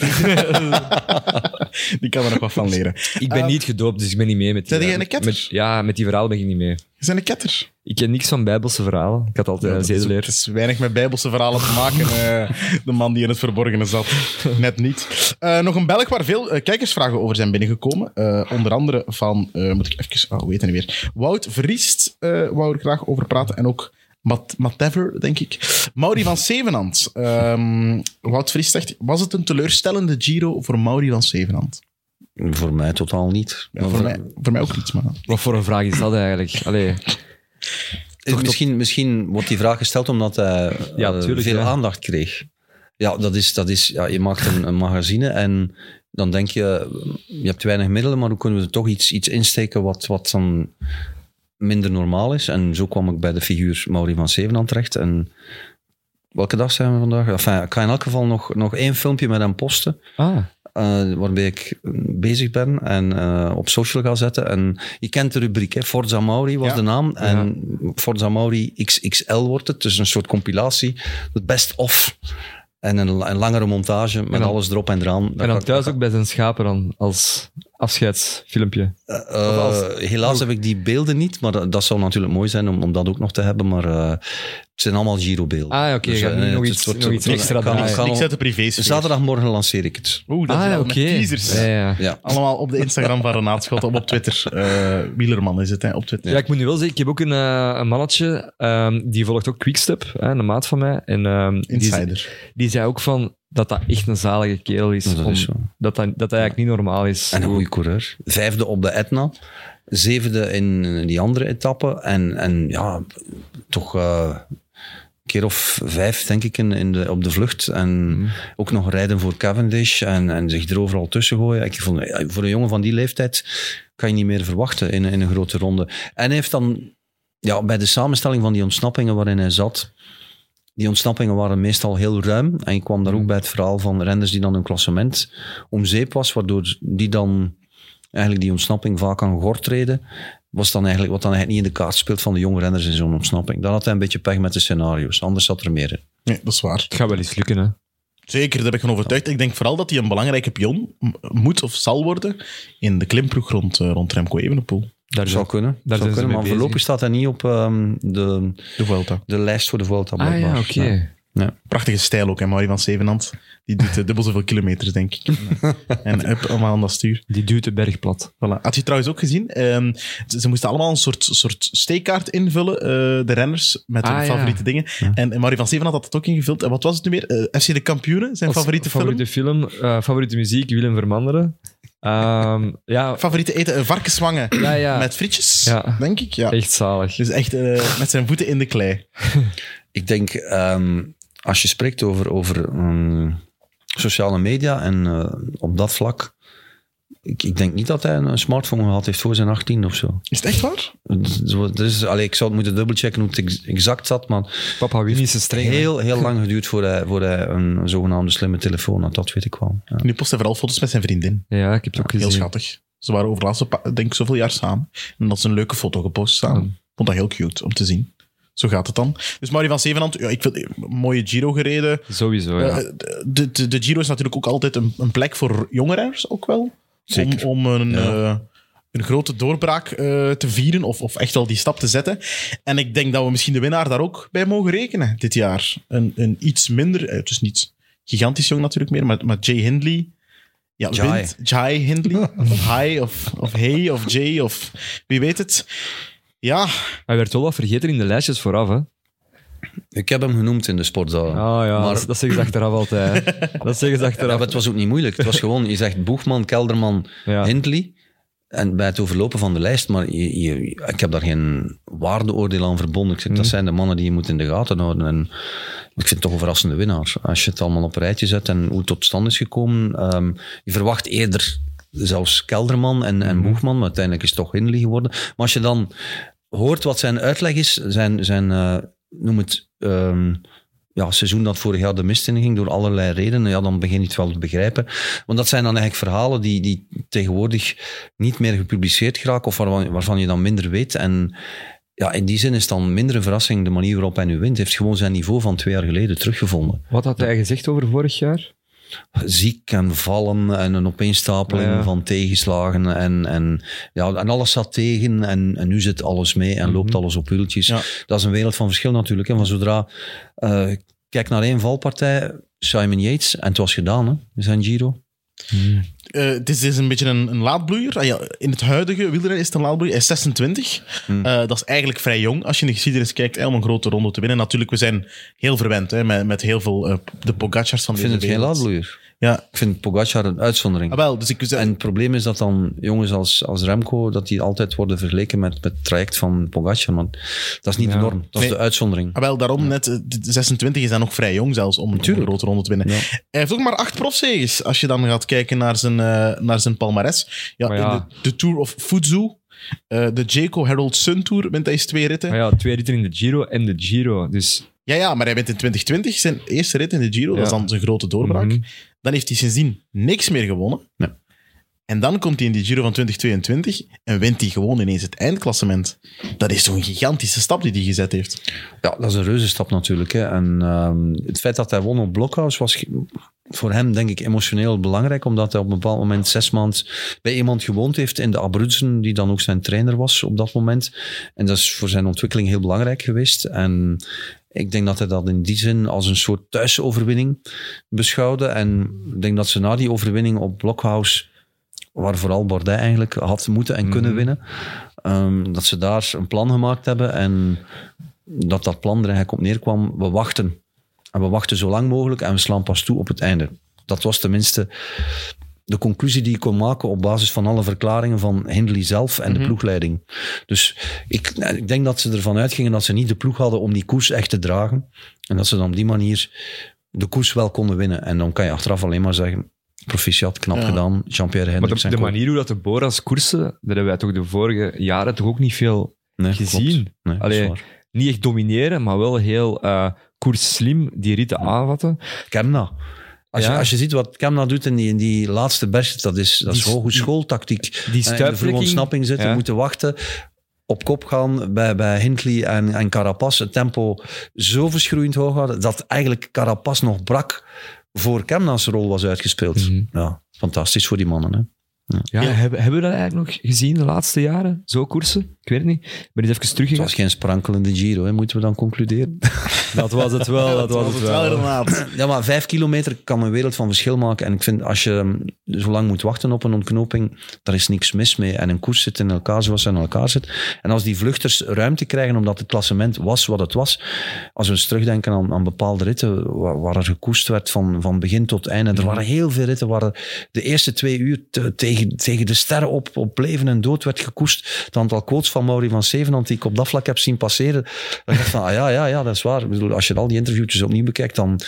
[SPEAKER 2] Die kan er nog wat van leren.
[SPEAKER 3] Ik ben
[SPEAKER 2] Eh,
[SPEAKER 3] niet gedoopt, dus ik ben niet mee met die...
[SPEAKER 2] Zijn jij een
[SPEAKER 3] met-
[SPEAKER 2] ketter?
[SPEAKER 3] met- Ja, met die verhalen ben ik niet mee.
[SPEAKER 2] Ze zijn een ketter.
[SPEAKER 3] Ik ken niks van bijbelse verhalen. Ik had altijd een
[SPEAKER 2] Het is-
[SPEAKER 3] zedeleer.
[SPEAKER 2] Het is weinig met bijbelse verhalen te maken, eh, de man die in het verborgene zat. Net niet. Eh, nog een Belg waar veel eh, kijkersvragen over zijn binnengekomen. Eh, onder andere van, eh, moet ik even, oh, hoe heet hij nu weer? Wout Vriest eh wou er graag over praten. En ook Mat Matever, denk ik. Mauri van Zevenand. Ehm, Wout Vriest zegt, was het een teleurstellende Giro voor Mauri van Zevenand?
[SPEAKER 4] voor mij totaal niet.
[SPEAKER 2] Ja,
[SPEAKER 4] Maar
[SPEAKER 2] voor, mij, voor mij ook iets, maar...
[SPEAKER 3] Wat voor een vraag is dat eigenlijk? Allee,
[SPEAKER 4] is- misschien, misschien wordt die vraag gesteld omdat hij eh,
[SPEAKER 3] Ja, tuurlijk,
[SPEAKER 4] veel
[SPEAKER 3] ja.
[SPEAKER 4] aandacht kreeg. Ja, dat is, dat is, ja je maakt een, een magazine en dan denk je, je hebt weinig middelen, maar hoe kunnen we er toch iets, iets insteken wat, wat dan minder normaal is? En zo kwam ik bij de figuur Mauri van Zevenand terecht. En welke dag zijn we vandaag? Enfin, ik ga in elk geval nog, nog één filmpje met hem posten
[SPEAKER 3] ah,
[SPEAKER 4] eh, waarbij ik bezig ben en eh, op social ga zetten. En je kent de rubriek, hè? Forza Mauri was
[SPEAKER 2] Ja.
[SPEAKER 4] de naam. En Forza Mauri XXL wordt het, dus een soort compilatie. Het best of. En een, een langere montage met
[SPEAKER 3] En dan-
[SPEAKER 4] alles erop en eraan. Dat
[SPEAKER 3] en dan
[SPEAKER 4] ga-
[SPEAKER 3] thuis ook bij zijn schapen dan, als afscheidsfilmpje.
[SPEAKER 4] eh, eh, helaas heb ik die beelden niet, maar dat, dat zou natuurlijk mooi zijn om, om dat ook nog te hebben. Maar eh, het zijn allemaal Giro-beelden.
[SPEAKER 3] Ah, oké, je gaat
[SPEAKER 4] eh,
[SPEAKER 3] nu nog
[SPEAKER 4] het
[SPEAKER 3] iets-
[SPEAKER 4] wordt-
[SPEAKER 3] nog iets
[SPEAKER 4] het wordt-
[SPEAKER 3] extra
[SPEAKER 4] ik kan- ik
[SPEAKER 3] draaien.
[SPEAKER 4] kan
[SPEAKER 2] Niks
[SPEAKER 4] al-
[SPEAKER 2] uit de privé
[SPEAKER 4] Zaterdagmorgen lanceer ik het.
[SPEAKER 2] Oeh, dat is
[SPEAKER 3] ah,
[SPEAKER 2] wel
[SPEAKER 3] oké.
[SPEAKER 2] met teasers.
[SPEAKER 3] Ja, ja.
[SPEAKER 4] Ja.
[SPEAKER 2] Allemaal op de Instagram van Renaat Schotten, op, op Twitter. Eh, Wielerman is het, hè, op Twitter.
[SPEAKER 3] Ja, ik moet nu wel zeggen, ik heb ook een, eh, een mannetje, ehm, die volgt ook Quickstep, hè, een maat van mij. En, ehm, Die,
[SPEAKER 2] Insider.
[SPEAKER 3] die zei ook van dat dat echt een zalige kerel is.
[SPEAKER 4] Ja, dat
[SPEAKER 3] om-
[SPEAKER 4] is zo.
[SPEAKER 3] dat, dat, dat dat eigenlijk niet normaal is.
[SPEAKER 4] En een goede coureur. Vijfde op de Etna. Zevende in die andere etappe. En, en ja, toch eh, een keer of vijf, denk ik, in, in de, op de vlucht. En ook nog rijden voor Cavendish en, en zich er overal tussen gooien. Ik vond, ja, voor een jongen van die leeftijd kan je niet meer verwachten in, in een grote ronde. En hij heeft dan, ja, bij de samenstelling van die ontsnappingen waarin hij zat... Die ontsnappingen waren meestal heel ruim. En je kwam daar
[SPEAKER 3] Mm.
[SPEAKER 4] ook bij het verhaal van renders die dan hun klassement om zeep was, waardoor die dan eigenlijk die ontsnapping vaak aan gort treden. Was dan eigenlijk wat dan eigenlijk niet in de kaart speelt van de jonge renners in zo'n ontsnapping. Dan had hij een beetje pech met de scenario's. Anders zat er meer in.
[SPEAKER 2] Nee, dat is waar.
[SPEAKER 3] Het gaat wel eens lukken, hè.
[SPEAKER 2] Zeker, daar ben ik van overtuigd. Ik denk vooral dat hij een belangrijke pion m- moet of zal worden in de klimploeg rond, eh, rond Remco Evenepoel.
[SPEAKER 3] Daar
[SPEAKER 4] Zou kunnen.
[SPEAKER 3] zijn
[SPEAKER 4] zou
[SPEAKER 3] ze
[SPEAKER 4] kunnen
[SPEAKER 3] mee
[SPEAKER 4] maar
[SPEAKER 3] bezig.
[SPEAKER 4] voorlopig staat hij niet op ehm, de,
[SPEAKER 2] De Vuelta.
[SPEAKER 4] de lijst voor de Vuelta.
[SPEAKER 3] Ah ja,
[SPEAKER 4] blijkbaar.
[SPEAKER 3] oké.
[SPEAKER 4] Ja.
[SPEAKER 2] Prachtige stijl ook, hè, Marie van Zevenand. Die doet eh, dubbel zoveel kilometers, denk ik. en up, allemaal aan dat stuur.
[SPEAKER 3] Die duwt de berg plat.
[SPEAKER 2] Voilà. Had je trouwens ook gezien? ehm, ze, ze moesten allemaal een soort, soort steekkaart invullen, eh, de renners, met hun
[SPEAKER 3] Ah, ja.
[SPEAKER 2] favoriete dingen. En, en Marie van Zevenand had dat ook ingevuld. En wat was het nu meer? Eh, FC De Kampioenen, zijn
[SPEAKER 3] Als
[SPEAKER 2] favoriete, film?
[SPEAKER 3] favoriete film? eh, favoriete muziek, Willem Vermanderen. Ehm, ja,
[SPEAKER 2] favoriete eten, eh, varkenswangen
[SPEAKER 3] ja, ja.
[SPEAKER 2] met frietjes,
[SPEAKER 3] Ja.
[SPEAKER 2] denk ik. Ja.
[SPEAKER 3] Echt zalig.
[SPEAKER 2] Dus echt eh, met zijn voeten in de klei.
[SPEAKER 4] Ik denk, ehm, als je spreekt over, over ehm, sociale media en eh, op dat vlak. Ik, ik denk niet dat hij een smartphone gehad heeft voor zijn 18 of zo.
[SPEAKER 2] Is het echt waar?
[SPEAKER 4] Zo, Dus, allee, ik zou het moeten dubbelchecken hoe het ex- exact zat, maar
[SPEAKER 3] Papa Winnie is een streng. hè.
[SPEAKER 4] heel, heel lang geduurd voor hij, voor hij een zogenaamde slimme telefoon had, dat weet ik wel. Ja.
[SPEAKER 2] Nu post hij vooral foto's met zijn vriendin.
[SPEAKER 3] Ja, ik heb het ook
[SPEAKER 2] Heel
[SPEAKER 3] gezien.
[SPEAKER 2] schattig. Ze waren over de laatste, pa- denk ik, zoveel jaar samen. En dat is een leuke foto gepost samen. Vond dat heel cute om te zien. Zo gaat het dan. Dus Mauri van Zevenhand, ja, ik vind een mooie Giro gereden.
[SPEAKER 3] Sowieso, ja.
[SPEAKER 2] Eh, de, de, de Giro is natuurlijk ook altijd een, een plek voor jongerers ook wel.
[SPEAKER 4] Zeker.
[SPEAKER 2] Om, om een, eh, een grote doorbraak eh, te vieren of, of echt al die stap te zetten. En ik denk dat we misschien de winnaar daar ook bij mogen rekenen dit jaar. Een, een iets minder, eh, het is niet gigantisch jong natuurlijk meer, maar, maar Jay Hindley. Ja,
[SPEAKER 4] Jai.
[SPEAKER 2] wint. Jai Hindley. of Hai, of, of Hey, of Jay, of wie weet het. Ja,
[SPEAKER 3] Hij werd wel wat vergeten in de lijstjes vooraf, hè.
[SPEAKER 4] Ik heb hem genoemd in de sportzaal.
[SPEAKER 3] Ah ja,
[SPEAKER 4] Maar-
[SPEAKER 3] dat, dat zeggen ze achteraf altijd. hè. Dat zeggen ze
[SPEAKER 4] Ja,
[SPEAKER 3] achteraf.
[SPEAKER 4] maar het was ook niet moeilijk. Het was gewoon, je zegt Boegman, Kelderman,
[SPEAKER 3] Ja.
[SPEAKER 4] Hindley. En bij het overlopen van de lijst, maar je, je- ik heb daar geen waardeoordeel aan verbonden. Ik zeg,
[SPEAKER 3] Mhm.
[SPEAKER 4] dat zijn de mannen die je moet in de gaten houden. En ik vind het toch een verrassende winnaar. Als je het allemaal op een rijtje zet en hoe het tot stand is gekomen. ehm, je verwacht eerder zelfs Kelderman en, en
[SPEAKER 3] Mhm.
[SPEAKER 4] Boegman, maar uiteindelijk is het toch Hindley geworden. Maar als je dan hoort wat zijn uitleg is, zijn, zijn eh, noem het, ehm, ja, seizoen dat vorig jaar de mist in ging door allerlei redenen, ja, dan begin je het wel te begrijpen. Want dat zijn dan eigenlijk verhalen die, die tegenwoordig niet meer gepubliceerd geraken of waarvan, waarvan je dan minder weet. En ja, in die zin is het dan minder een verrassing de manier waarop hij nu wint. Hij heeft gewoon zijn niveau van twee jaar geleden teruggevonden.
[SPEAKER 3] Wat had hij gezegd over vorig jaar?
[SPEAKER 4] Ziek en vallen en een opeenstapeling
[SPEAKER 3] Ja.
[SPEAKER 4] van tegenslagen en, en, ja, en alles zat tegen en, en nu zit alles mee en loopt alles op wieltjes.
[SPEAKER 2] Mhm. Ja.
[SPEAKER 4] Dat is een wereld van verschil natuurlijk. En van zodra eh, ik kijk naar één valpartij, Simon Yates, en het was gedaan, hè, zijn Giro.
[SPEAKER 2] eh, dit is een beetje een, een laadbloeier. Ah ja, in het huidige wielrennen is het een laadbloeier. Hij is 26.
[SPEAKER 4] Hmm.
[SPEAKER 2] Eh, dat is eigenlijk vrij jong als je in de geschiedenis kijkt hè, om een grote ronde te winnen. Natuurlijk, we zijn heel verwend hè, met, met heel veel eh, de Pogacars van
[SPEAKER 4] Ik vind
[SPEAKER 2] deze
[SPEAKER 4] het geen
[SPEAKER 2] wereld.
[SPEAKER 4] laadbloeier.
[SPEAKER 2] Ja,
[SPEAKER 4] Ik vind Pogacar een uitzondering.
[SPEAKER 2] ah, wel. Dus ik zei,
[SPEAKER 4] En het probleem is dat dan jongens als, als Remco, dat die altijd worden vergeleken met, met het traject van Pogacar. Want dat is niet de norm, dat is
[SPEAKER 2] Nee.
[SPEAKER 4] de uitzondering.
[SPEAKER 2] ah, wel, daarom net, eh, de 26 is dan nog vrij jong zelfs om, om een grote ronde te winnen. Hij heeft ook maar acht profzeges als je dan gaat kijken naar zijn, eh, naar zijn palmares. Ja,
[SPEAKER 3] Maar ja.
[SPEAKER 2] In de, de Tour of Fuzu, eh, de Jaco Harold Sun Tour, wint hij eens twee ritten.
[SPEAKER 3] Maar Ah ja, twee ritten in de Giro en de Giro. Dus
[SPEAKER 2] Ja, ja, maar hij wint in 2020 zijn eerste rit in de Giro. Dat is
[SPEAKER 3] Ja.
[SPEAKER 2] dan zijn grote doorbraak.
[SPEAKER 3] Mhm.
[SPEAKER 2] Dan heeft hij sindsdien niks meer gewonnen.
[SPEAKER 4] Nee.
[SPEAKER 2] En dan komt hij in die Giro van 2022 en wint hij gewoon ineens het eindklassement. Dat is toch een gigantische stap die hij gezet heeft.
[SPEAKER 4] Ja, dat is een reuze stap natuurlijk. Hè. En ehm, het feit dat hij won op Blockhouse was ge- voor hem, denk ik, emotioneel belangrijk. Omdat hij op een bepaald moment zes maanden bij iemand gewoond heeft in de Abruzzen, die dan ook zijn trainer was op dat moment. En dat is voor zijn ontwikkeling heel belangrijk geweest. En ik denk dat hij dat in die zin als een soort thuisoverwinning beschouwde. En ik denk dat ze na die overwinning op Blockhouse, waar vooral Bordet eigenlijk had moeten en kunnen winnen, ehm, dat ze daar een plan gemaakt hebben en dat dat plan er eigenlijk op neerkwam, we wachten. En we wachten zo lang mogelijk en we slaan pas toe op het einde. Dat was tenminste de conclusie die ik kon maken op basis van alle verklaringen van Hindley zelf en de
[SPEAKER 3] Mhm.
[SPEAKER 4] ploegleiding. Dus ik, ik denk dat ze ervan uitgingen dat ze niet de ploeg hadden om die koers echt te dragen. En dat ze dan op die manier de koers wel konden winnen. En dan kan je achteraf alleen maar zeggen, proficiat, knap gedaan, Jean-Pierre
[SPEAKER 3] maar
[SPEAKER 4] Hendricks
[SPEAKER 3] de,
[SPEAKER 4] en
[SPEAKER 3] de
[SPEAKER 4] co.
[SPEAKER 3] manier hoe dat de Boras koersen, daar hebben wij toch de vorige jaren toch ook niet veel eh,
[SPEAKER 4] Nee,
[SPEAKER 3] gezien.
[SPEAKER 4] klopt. Nee, dat is
[SPEAKER 3] Allee,
[SPEAKER 4] waar.
[SPEAKER 3] niet echt domineren, maar wel heel eh koersslim die ritten aanvatten.
[SPEAKER 4] Kemna. Als, je,
[SPEAKER 3] Ja.
[SPEAKER 4] als je ziet wat Kemna doet in die, in die laatste berst, dat is, dat is
[SPEAKER 3] Die-
[SPEAKER 4] hogeschooltactiek.
[SPEAKER 3] die
[SPEAKER 4] Eh, in de vroege
[SPEAKER 3] stuiptrekking.
[SPEAKER 4] ontsnapping zitten,
[SPEAKER 3] Ja.
[SPEAKER 4] moeten wachten, op kop gaan bij, bij Hindley en, en Carapaz. Het tempo zo verschroeiend hoog hadden, dat eigenlijk Carapaz nog brak voor Kemna's rol was uitgespeeld.
[SPEAKER 3] Mhm.
[SPEAKER 4] Ja, fantastisch voor die mannen. Hè?
[SPEAKER 3] Ja, Hebben, hebben we dat eigenlijk nog gezien de laatste jaren? Zo koersen? Ik weet het niet. Ik ben eens even
[SPEAKER 4] Het
[SPEAKER 3] teruggegaan.
[SPEAKER 4] was geen sprankelende Giro, hè, moeten we dan concluderen.
[SPEAKER 3] Dat was het wel, dat was het wel.
[SPEAKER 2] inderdaad.
[SPEAKER 4] Ja, maar vijf kilometer kan een wereld van verschil maken. En ik vind, als je mm, zo lang moet wachten op een ontknoping, daar is niks mis mee. En een koers zit in elkaar zoals ze in elkaar zit. En als die vluchters ruimte krijgen, omdat het klassement was wat het was, als we eens terugdenken aan, aan bepaalde ritten waar, waar er gekoest werd van, van begin tot einde.
[SPEAKER 3] Mhm.
[SPEAKER 4] Er waren heel veel ritten waar de eerste twee uur te- tegen, tegen de sterren op, op leven en dood werd gekoest. Het aantal quotes van Mauri van Zevenhand die ik op dat vlak heb zien passeren. Dan dacht ik van, ah, ja, ja, ja, dat is waar. Ik bedoel, als je al die interviewtjes opnieuw bekijkt, dan,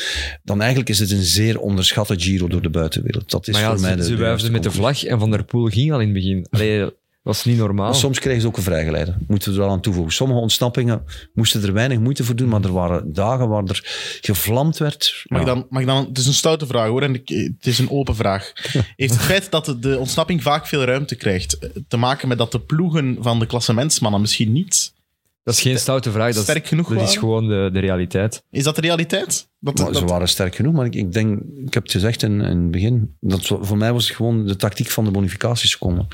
[SPEAKER 4] dan eigenlijk is het een zeer onderschatte Giro door de buitenwereld. Dat is
[SPEAKER 3] Maar ja,
[SPEAKER 4] voor mij de,
[SPEAKER 3] ze, ze
[SPEAKER 4] de
[SPEAKER 3] wuifden
[SPEAKER 4] juiste
[SPEAKER 3] met de
[SPEAKER 4] conclusie.
[SPEAKER 3] vlag en Van der Poel ging al in het begin. Allee, dat was niet normaal.
[SPEAKER 4] Maar Soms kregen ze ook een vrijgeleider. Moeten we er wel aan toevoegen. Sommige ontsnappingen moesten er weinig moeite voor doen, maar er waren dagen waar er gevlamd werd.
[SPEAKER 2] Mag ik
[SPEAKER 4] Ja.
[SPEAKER 2] dan, mag ik dan, het is een stoute vraag hoor, en ik, het is een open vraag. Heeft het feit dat de ontsnapping vaak veel ruimte krijgt eh, te maken met dat de ploegen van de klassementsmannen misschien niet
[SPEAKER 3] Dat is geen stoute vraag. Dat,
[SPEAKER 2] Sterk
[SPEAKER 3] is,
[SPEAKER 2] genoeg
[SPEAKER 3] dat is
[SPEAKER 2] waren?
[SPEAKER 3] gewoon de, de realiteit.
[SPEAKER 2] Is dat de realiteit? Dat,
[SPEAKER 4] Maar ze
[SPEAKER 2] dat-
[SPEAKER 4] waren sterk genoeg, maar ik, ik denk, ik heb het gezegd in, in het begin, dat wa- voor mij was het gewoon de tactiek van de bonificatieseconden.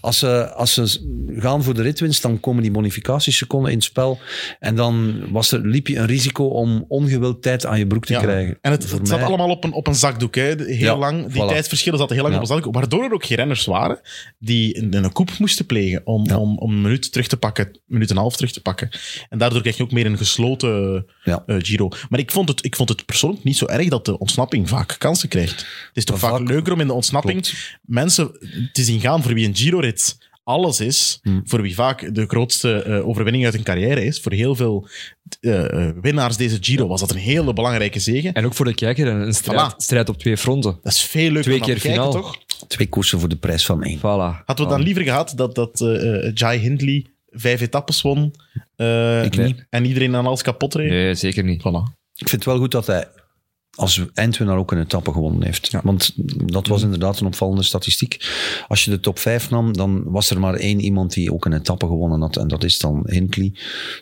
[SPEAKER 4] Als ze, als ze s- gaan voor de ritwinst, dan komen die bonificatieseconden in het spel en dan was er, liep je een risico om ongewild tijd aan je broek te
[SPEAKER 2] ja.
[SPEAKER 4] krijgen.
[SPEAKER 2] En het,
[SPEAKER 4] Voor
[SPEAKER 2] het zat
[SPEAKER 4] mij-
[SPEAKER 2] allemaal op een, op een zakdoek, hè. De- heel
[SPEAKER 4] Ja,
[SPEAKER 2] lang. Die
[SPEAKER 4] voilà.
[SPEAKER 2] tijdsverschillen zaten heel lang
[SPEAKER 4] Ja.
[SPEAKER 2] op een zakdoek, waardoor er ook geen renners waren die een, een koep moesten plegen om, om, om een minuut terug te pakken, een minuut en een half terug te pakken. En daardoor kreeg je ook meer een gesloten
[SPEAKER 4] Ja.
[SPEAKER 2] eh, Giro. Maar ik vond, het, ik vond het persoonlijk niet zo erg dat de ontsnapping vaak kansen krijgt. Het is toch
[SPEAKER 4] Maar
[SPEAKER 2] vaak
[SPEAKER 4] vaak-
[SPEAKER 2] leuker om in de ontsnapping mensen te zien gaan voor wie een Giro-rit alles is,
[SPEAKER 3] Hmm.
[SPEAKER 2] voor wie vaak de grootste eh, overwinning uit een carrière is. Voor heel veel eh, eh, winnaars deze Giro was dat een hele belangrijke zege.
[SPEAKER 3] En ook voor de kijker een, een strijd,
[SPEAKER 2] Voilà.
[SPEAKER 3] strijd op twee fronten.
[SPEAKER 2] Dat is veel leuker
[SPEAKER 3] Twee
[SPEAKER 2] om
[SPEAKER 3] keer
[SPEAKER 2] naar te kijken,
[SPEAKER 3] finaal. Oh.
[SPEAKER 2] toch?
[SPEAKER 4] Twee koersen voor de prijs van één.
[SPEAKER 3] Voilà.
[SPEAKER 2] Hadden we dan liever gehad dat, dat eh, eh, Jai Hindley vijf etappes won eh,
[SPEAKER 3] Ik niet.
[SPEAKER 2] en iedereen aan alles kapot reed?
[SPEAKER 3] Nee, zeker niet.
[SPEAKER 2] Voilà.
[SPEAKER 4] Ik vind het wel goed dat hij als eindwinnaar ook een etappe gewonnen heeft. Want dat
[SPEAKER 3] Mm.
[SPEAKER 4] was inderdaad een opvallende statistiek. Als je de top 5 nam, dan was er maar één iemand die ook een etappe gewonnen had. En dat is dan Hindley.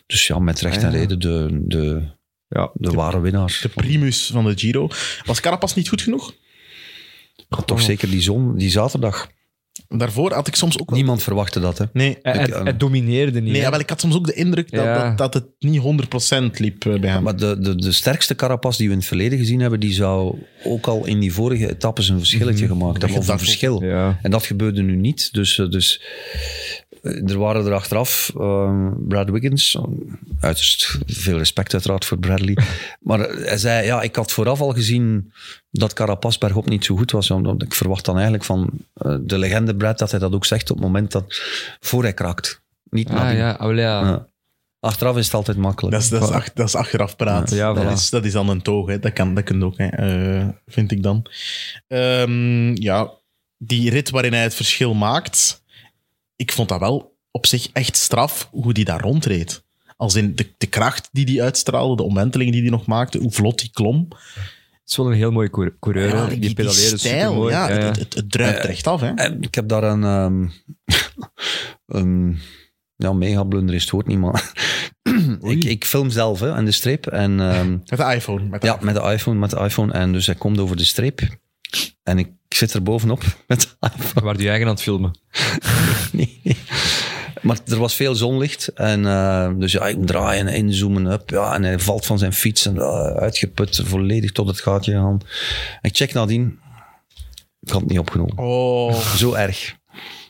[SPEAKER 4] Dus ja, met recht en reden de, de,
[SPEAKER 3] Ah, Ja.
[SPEAKER 4] de ware winnaar.
[SPEAKER 2] De primus van de Giro. Was Carapaz niet goed genoeg?
[SPEAKER 4] Maar Toch zeker die zon, die zaterdag.
[SPEAKER 2] Daarvoor had ik soms ook... wel-
[SPEAKER 4] Niemand verwachtte dat, hè.
[SPEAKER 2] Nee,
[SPEAKER 3] Hij, hij-
[SPEAKER 4] Ik, eh,
[SPEAKER 3] hij domineerde niet.
[SPEAKER 2] nee
[SPEAKER 3] hè.
[SPEAKER 2] wel, ik had soms ook de indruk dat,
[SPEAKER 3] Ja.
[SPEAKER 2] dat, dat het niet 100% liep eh, bij hem.
[SPEAKER 4] Maar de, de, de sterkste carapas die we in het verleden gezien hebben, die zou ook al in die vorige etappes een verschilletje
[SPEAKER 3] Mhm.
[SPEAKER 4] gemaakt hebben. Of een
[SPEAKER 2] Weggedaffeld.
[SPEAKER 4] verschil.
[SPEAKER 3] Ja.
[SPEAKER 4] En dat gebeurde nu niet. Dus, eh, dus eh, er waren er achteraf eh, Brad Wiggins, eh, uiterst veel respect uiteraard voor Bradley. maar eh, hij zei, ja, ik had vooraf al gezien dat Carapaz bergop niet zo goed was. Omdat ik verwacht dan eigenlijk van eh, de legende Brad dat hij dat ook zegt op het moment dat voor hij kraakt. Niet
[SPEAKER 3] Ah,
[SPEAKER 4] nadien.
[SPEAKER 3] ja. Oh, ja.
[SPEAKER 4] Ja. Achteraf is het altijd makkelijk.
[SPEAKER 2] Dat is, dat, is ach- dat is achteraf praten.
[SPEAKER 3] Ja,
[SPEAKER 2] dat,
[SPEAKER 3] voilà.
[SPEAKER 2] is, dat is dan een toog. Hè. Dat, kan, dat kan ook, hè. Eh, vind ik dan. Ehm, ja, die rit waarin hij het verschil maakt, ik vond dat wel op zich echt straf hoe die daar rondreed. Als in de, de kracht die die uitstraalde, de omwentelingen die die nog maakte, hoe vlot die klom.
[SPEAKER 3] Het is wel een heel mooie coure- coureur. hè. die, pedaleerde
[SPEAKER 2] stijl,
[SPEAKER 3] supermooi.
[SPEAKER 2] ja,
[SPEAKER 3] Ja, Eh, ja.
[SPEAKER 2] Het, het, het druipt er echt af. Hè.
[SPEAKER 4] En ik heb daar een... ehm een ja, mega blunder is het woord niet, maar... ik, ik film zelf, hè, aan de streep. En... ehm,
[SPEAKER 2] Met de iPhone. Met de
[SPEAKER 4] Ja, met de iPhone, met de iPhone. En dus hij komt over de streep. En ik zit er bovenop met de iPhone.
[SPEAKER 3] Waar die eigen aan het filmen.
[SPEAKER 4] Nee. Maar er was veel zonlicht. En eh, dus ja, ik draai en inzoomen up. Ja, en hij valt van zijn fiets en eh, uitgeput, volledig tot het gaatje aan. Ik check nadien. Ik had het niet opgenomen.
[SPEAKER 2] Oh,
[SPEAKER 4] Zo erg.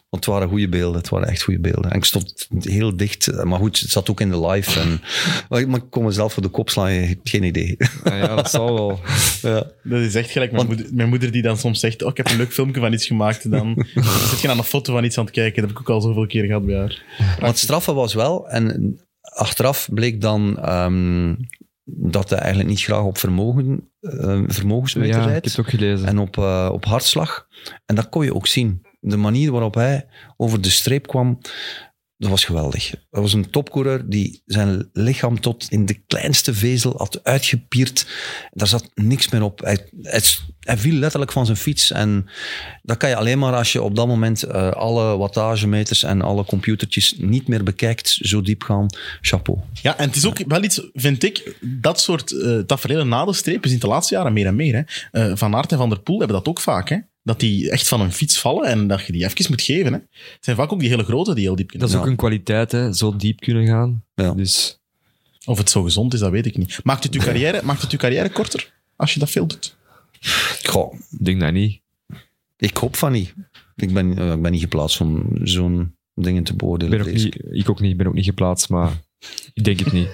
[SPEAKER 4] Want het waren goede beelden, het waren echt goede beelden. En ik stond heel dicht, maar goed, het zat ook in de live. En, maar ik- maar ik kon mezelf voor de kop slaan, je hebt geen idee.
[SPEAKER 3] Ah, ja, dat zal wel.
[SPEAKER 4] Ja.
[SPEAKER 2] dat is echt gelijk. Mijn, moeder, mijn moeder die dan soms zegt, oh, ik heb een leuk filmpje van iets gemaakt. En dan zit je aan een foto van iets aan het kijken. Dat heb ik ook al zoveel keer gehad bij haar.
[SPEAKER 4] Maar het straffen was wel, en achteraf bleek dan ehm, dat hij eigenlijk niet graag op vermogen, ehm, vermogensmeter
[SPEAKER 3] Ja, ik heb
[SPEAKER 4] rijdt
[SPEAKER 3] het ook gelezen.
[SPEAKER 4] en op, eh, op hartslag. En dat kon je ook zien. De manier waarop hij over de streep kwam, dat was geweldig. Dat was een topcoureur die zijn lichaam tot in de kleinste vezel had uitgepierd. Daar zat niks meer op. Hij, hij, hij viel letterlijk van zijn fiets. En dat kan je alleen maar als je op dat moment eh, alle wattagemeters en alle computertjes niet meer bekijkt. Zo diep gaan. Chapeau.
[SPEAKER 2] Ja, en het is ook wel iets, vind ik, dat soort eh tafereelen na de streep is in de laatste jaren meer en meer. Hè. Eh, van Aert en Van der Poel hebben dat ook vaak. Hè. Dat die echt van een fiets vallen en dat je die even moet geven. Hè. Het zijn vaak ook die hele grote die heel diep kunnen.
[SPEAKER 3] Dat is ook een kwaliteit, hè. Zo diep kunnen gaan.
[SPEAKER 4] Ja.
[SPEAKER 3] Dus
[SPEAKER 2] Of het zo gezond is, dat weet ik niet. Maakt het je carrière, maakt het je carrière korter als je dat veel doet?
[SPEAKER 4] Goh,
[SPEAKER 3] ik denk dat niet.
[SPEAKER 4] ik hoop van niet. Ik ben, eh, ik ben niet geplaatst om zo'n dingen te
[SPEAKER 3] Ik,
[SPEAKER 4] beoordelen.
[SPEAKER 3] ben ook
[SPEAKER 4] deze
[SPEAKER 3] niet. ik ook niet. Ik ben ook niet geplaatst, maar ik denk het niet.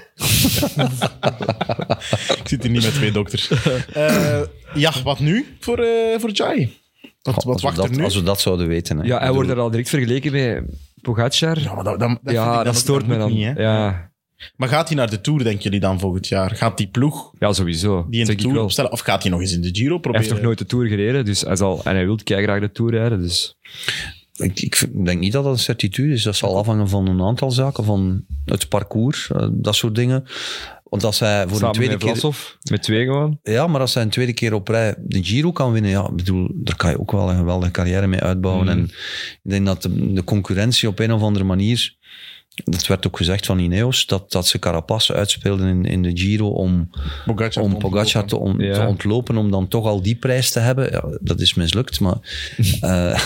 [SPEAKER 2] Ik zit hier niet met twee dokters. Eh, ja, wat nu voor, eh, voor Jai? Wat,
[SPEAKER 4] Goh,
[SPEAKER 2] wat
[SPEAKER 4] als
[SPEAKER 2] wacht
[SPEAKER 4] we dat,
[SPEAKER 2] er nu?
[SPEAKER 4] Als we dat zouden weten. Hè.
[SPEAKER 3] Ja, hij
[SPEAKER 4] Ik
[SPEAKER 3] wordt
[SPEAKER 4] bedoel,
[SPEAKER 3] er al direct vergeleken bij Pogacar.
[SPEAKER 2] Ja,
[SPEAKER 3] Ja,
[SPEAKER 2] maar dat, dat, dat, vind ik
[SPEAKER 3] dat,
[SPEAKER 2] dan ook-
[SPEAKER 3] stoort
[SPEAKER 2] moet
[SPEAKER 3] me dan.
[SPEAKER 2] niet, hè.
[SPEAKER 3] ja.
[SPEAKER 2] Maar gaat hij naar de Tour, denken jullie dan volgend jaar? Gaat die ploeg
[SPEAKER 3] ja, sowieso.
[SPEAKER 2] die in de
[SPEAKER 3] Denk ik
[SPEAKER 2] Tour
[SPEAKER 3] wel.
[SPEAKER 2] opstellen? Of gaat hij nog eens in de Giro
[SPEAKER 3] Hij
[SPEAKER 2] proberen?
[SPEAKER 3] heeft nog nooit de Tour gereden, dus hij zal, en hij wil graag de Tour rijden. Dus.
[SPEAKER 4] Ik, ik denk niet dat dat een certitude is. Dat zal afhangen van een aantal zaken, van het parcours, eh, dat soort dingen. Want als hij voor
[SPEAKER 3] Samen
[SPEAKER 4] een tweede
[SPEAKER 3] met
[SPEAKER 4] keer...
[SPEAKER 3] Vlasov, met twee gewoon.
[SPEAKER 4] Ja, maar als hij een tweede keer op rij de Giro kan winnen, ja, ik bedoel, daar kan je ook wel een
[SPEAKER 3] Mm.
[SPEAKER 4] geweldige carrière mee uitbouwen. En ik denk dat de, de concurrentie op een of andere manier dat werd ook gezegd van Ineos, dat, dat ze Carapaz uitspeelden in, in de Giro om
[SPEAKER 2] Pogacar
[SPEAKER 4] om
[SPEAKER 2] te
[SPEAKER 4] Pogacar te, on-
[SPEAKER 3] Ja.
[SPEAKER 4] te ontlopen, om dan toch al die prijs te hebben. Ja, dat is mislukt, maar... eh,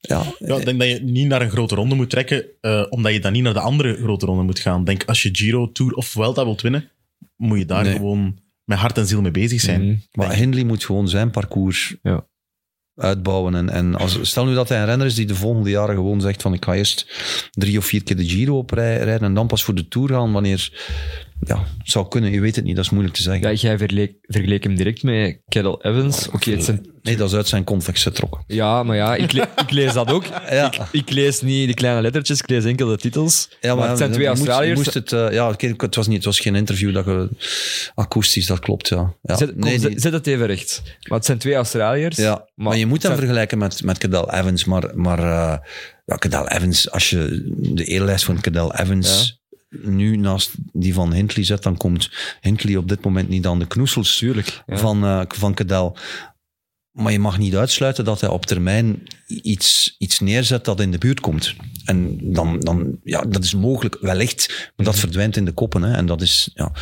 [SPEAKER 4] ja,
[SPEAKER 2] Ja, ik denk dat je niet naar een grote ronde moet trekken, eh, omdat je dan niet naar de andere grote ronde moet gaan. Ik Denk, als je Giro, Tour of Vuelta wilt winnen, moet je daar
[SPEAKER 4] Nee.
[SPEAKER 2] gewoon met hart en ziel mee bezig zijn.
[SPEAKER 3] Mhm.
[SPEAKER 4] Maar Hindley moet gewoon zijn parcours
[SPEAKER 3] Ja.
[SPEAKER 4] uitbouwen. En, en als, stel nu dat hij een renner is die de volgende jaren gewoon zegt van ik ga eerst drie of vier keer de Giro oprijden en dan pas voor de Tour gaan wanneer... Ja, het zou kunnen, je weet het niet, dat is moeilijk te zeggen.
[SPEAKER 3] Ja, jij verleek, vergeleek hem direct met Cadel Evans. Oké, het zijn
[SPEAKER 4] Nee, dat is uit zijn context getrokken.
[SPEAKER 3] Ja, maar ja, ik, le- ik lees dat ook.
[SPEAKER 4] Ja.
[SPEAKER 3] Ik, ik lees niet de kleine lettertjes, ik lees enkel de titels. maar, het zijn
[SPEAKER 4] je
[SPEAKER 3] twee
[SPEAKER 4] moest- je
[SPEAKER 3] Australiërs.
[SPEAKER 4] Moest, het, eh, ja, oké, het, was niet, het was geen interview dat je... Akoestisch, dat klopt, ja. ja.
[SPEAKER 3] zet, kom,
[SPEAKER 4] Nee,
[SPEAKER 3] zet,
[SPEAKER 4] die-
[SPEAKER 3] zet het even recht. Maar het zijn twee Australiërs.
[SPEAKER 4] Ja, maar, je
[SPEAKER 3] het
[SPEAKER 4] moet hem
[SPEAKER 3] zijn-
[SPEAKER 4] vergelijken met, met Cadel Evans. Maar, maar eh, ja, Cadel Evans, als je de eerlijst van Cadel Evans nu naast die van Hindley zet, dan komt Hindley op dit moment niet aan de knoesels
[SPEAKER 3] ja.
[SPEAKER 4] van, eh van Cadel. Maar je mag niet uitsluiten dat hij op termijn iets, iets neerzet dat in de buurt komt. En dan, dan ja, dat is mogelijk, wellicht, maar dat
[SPEAKER 3] Mhm.
[SPEAKER 4] verdwijnt in de koppen. Hè. En dat is, ja,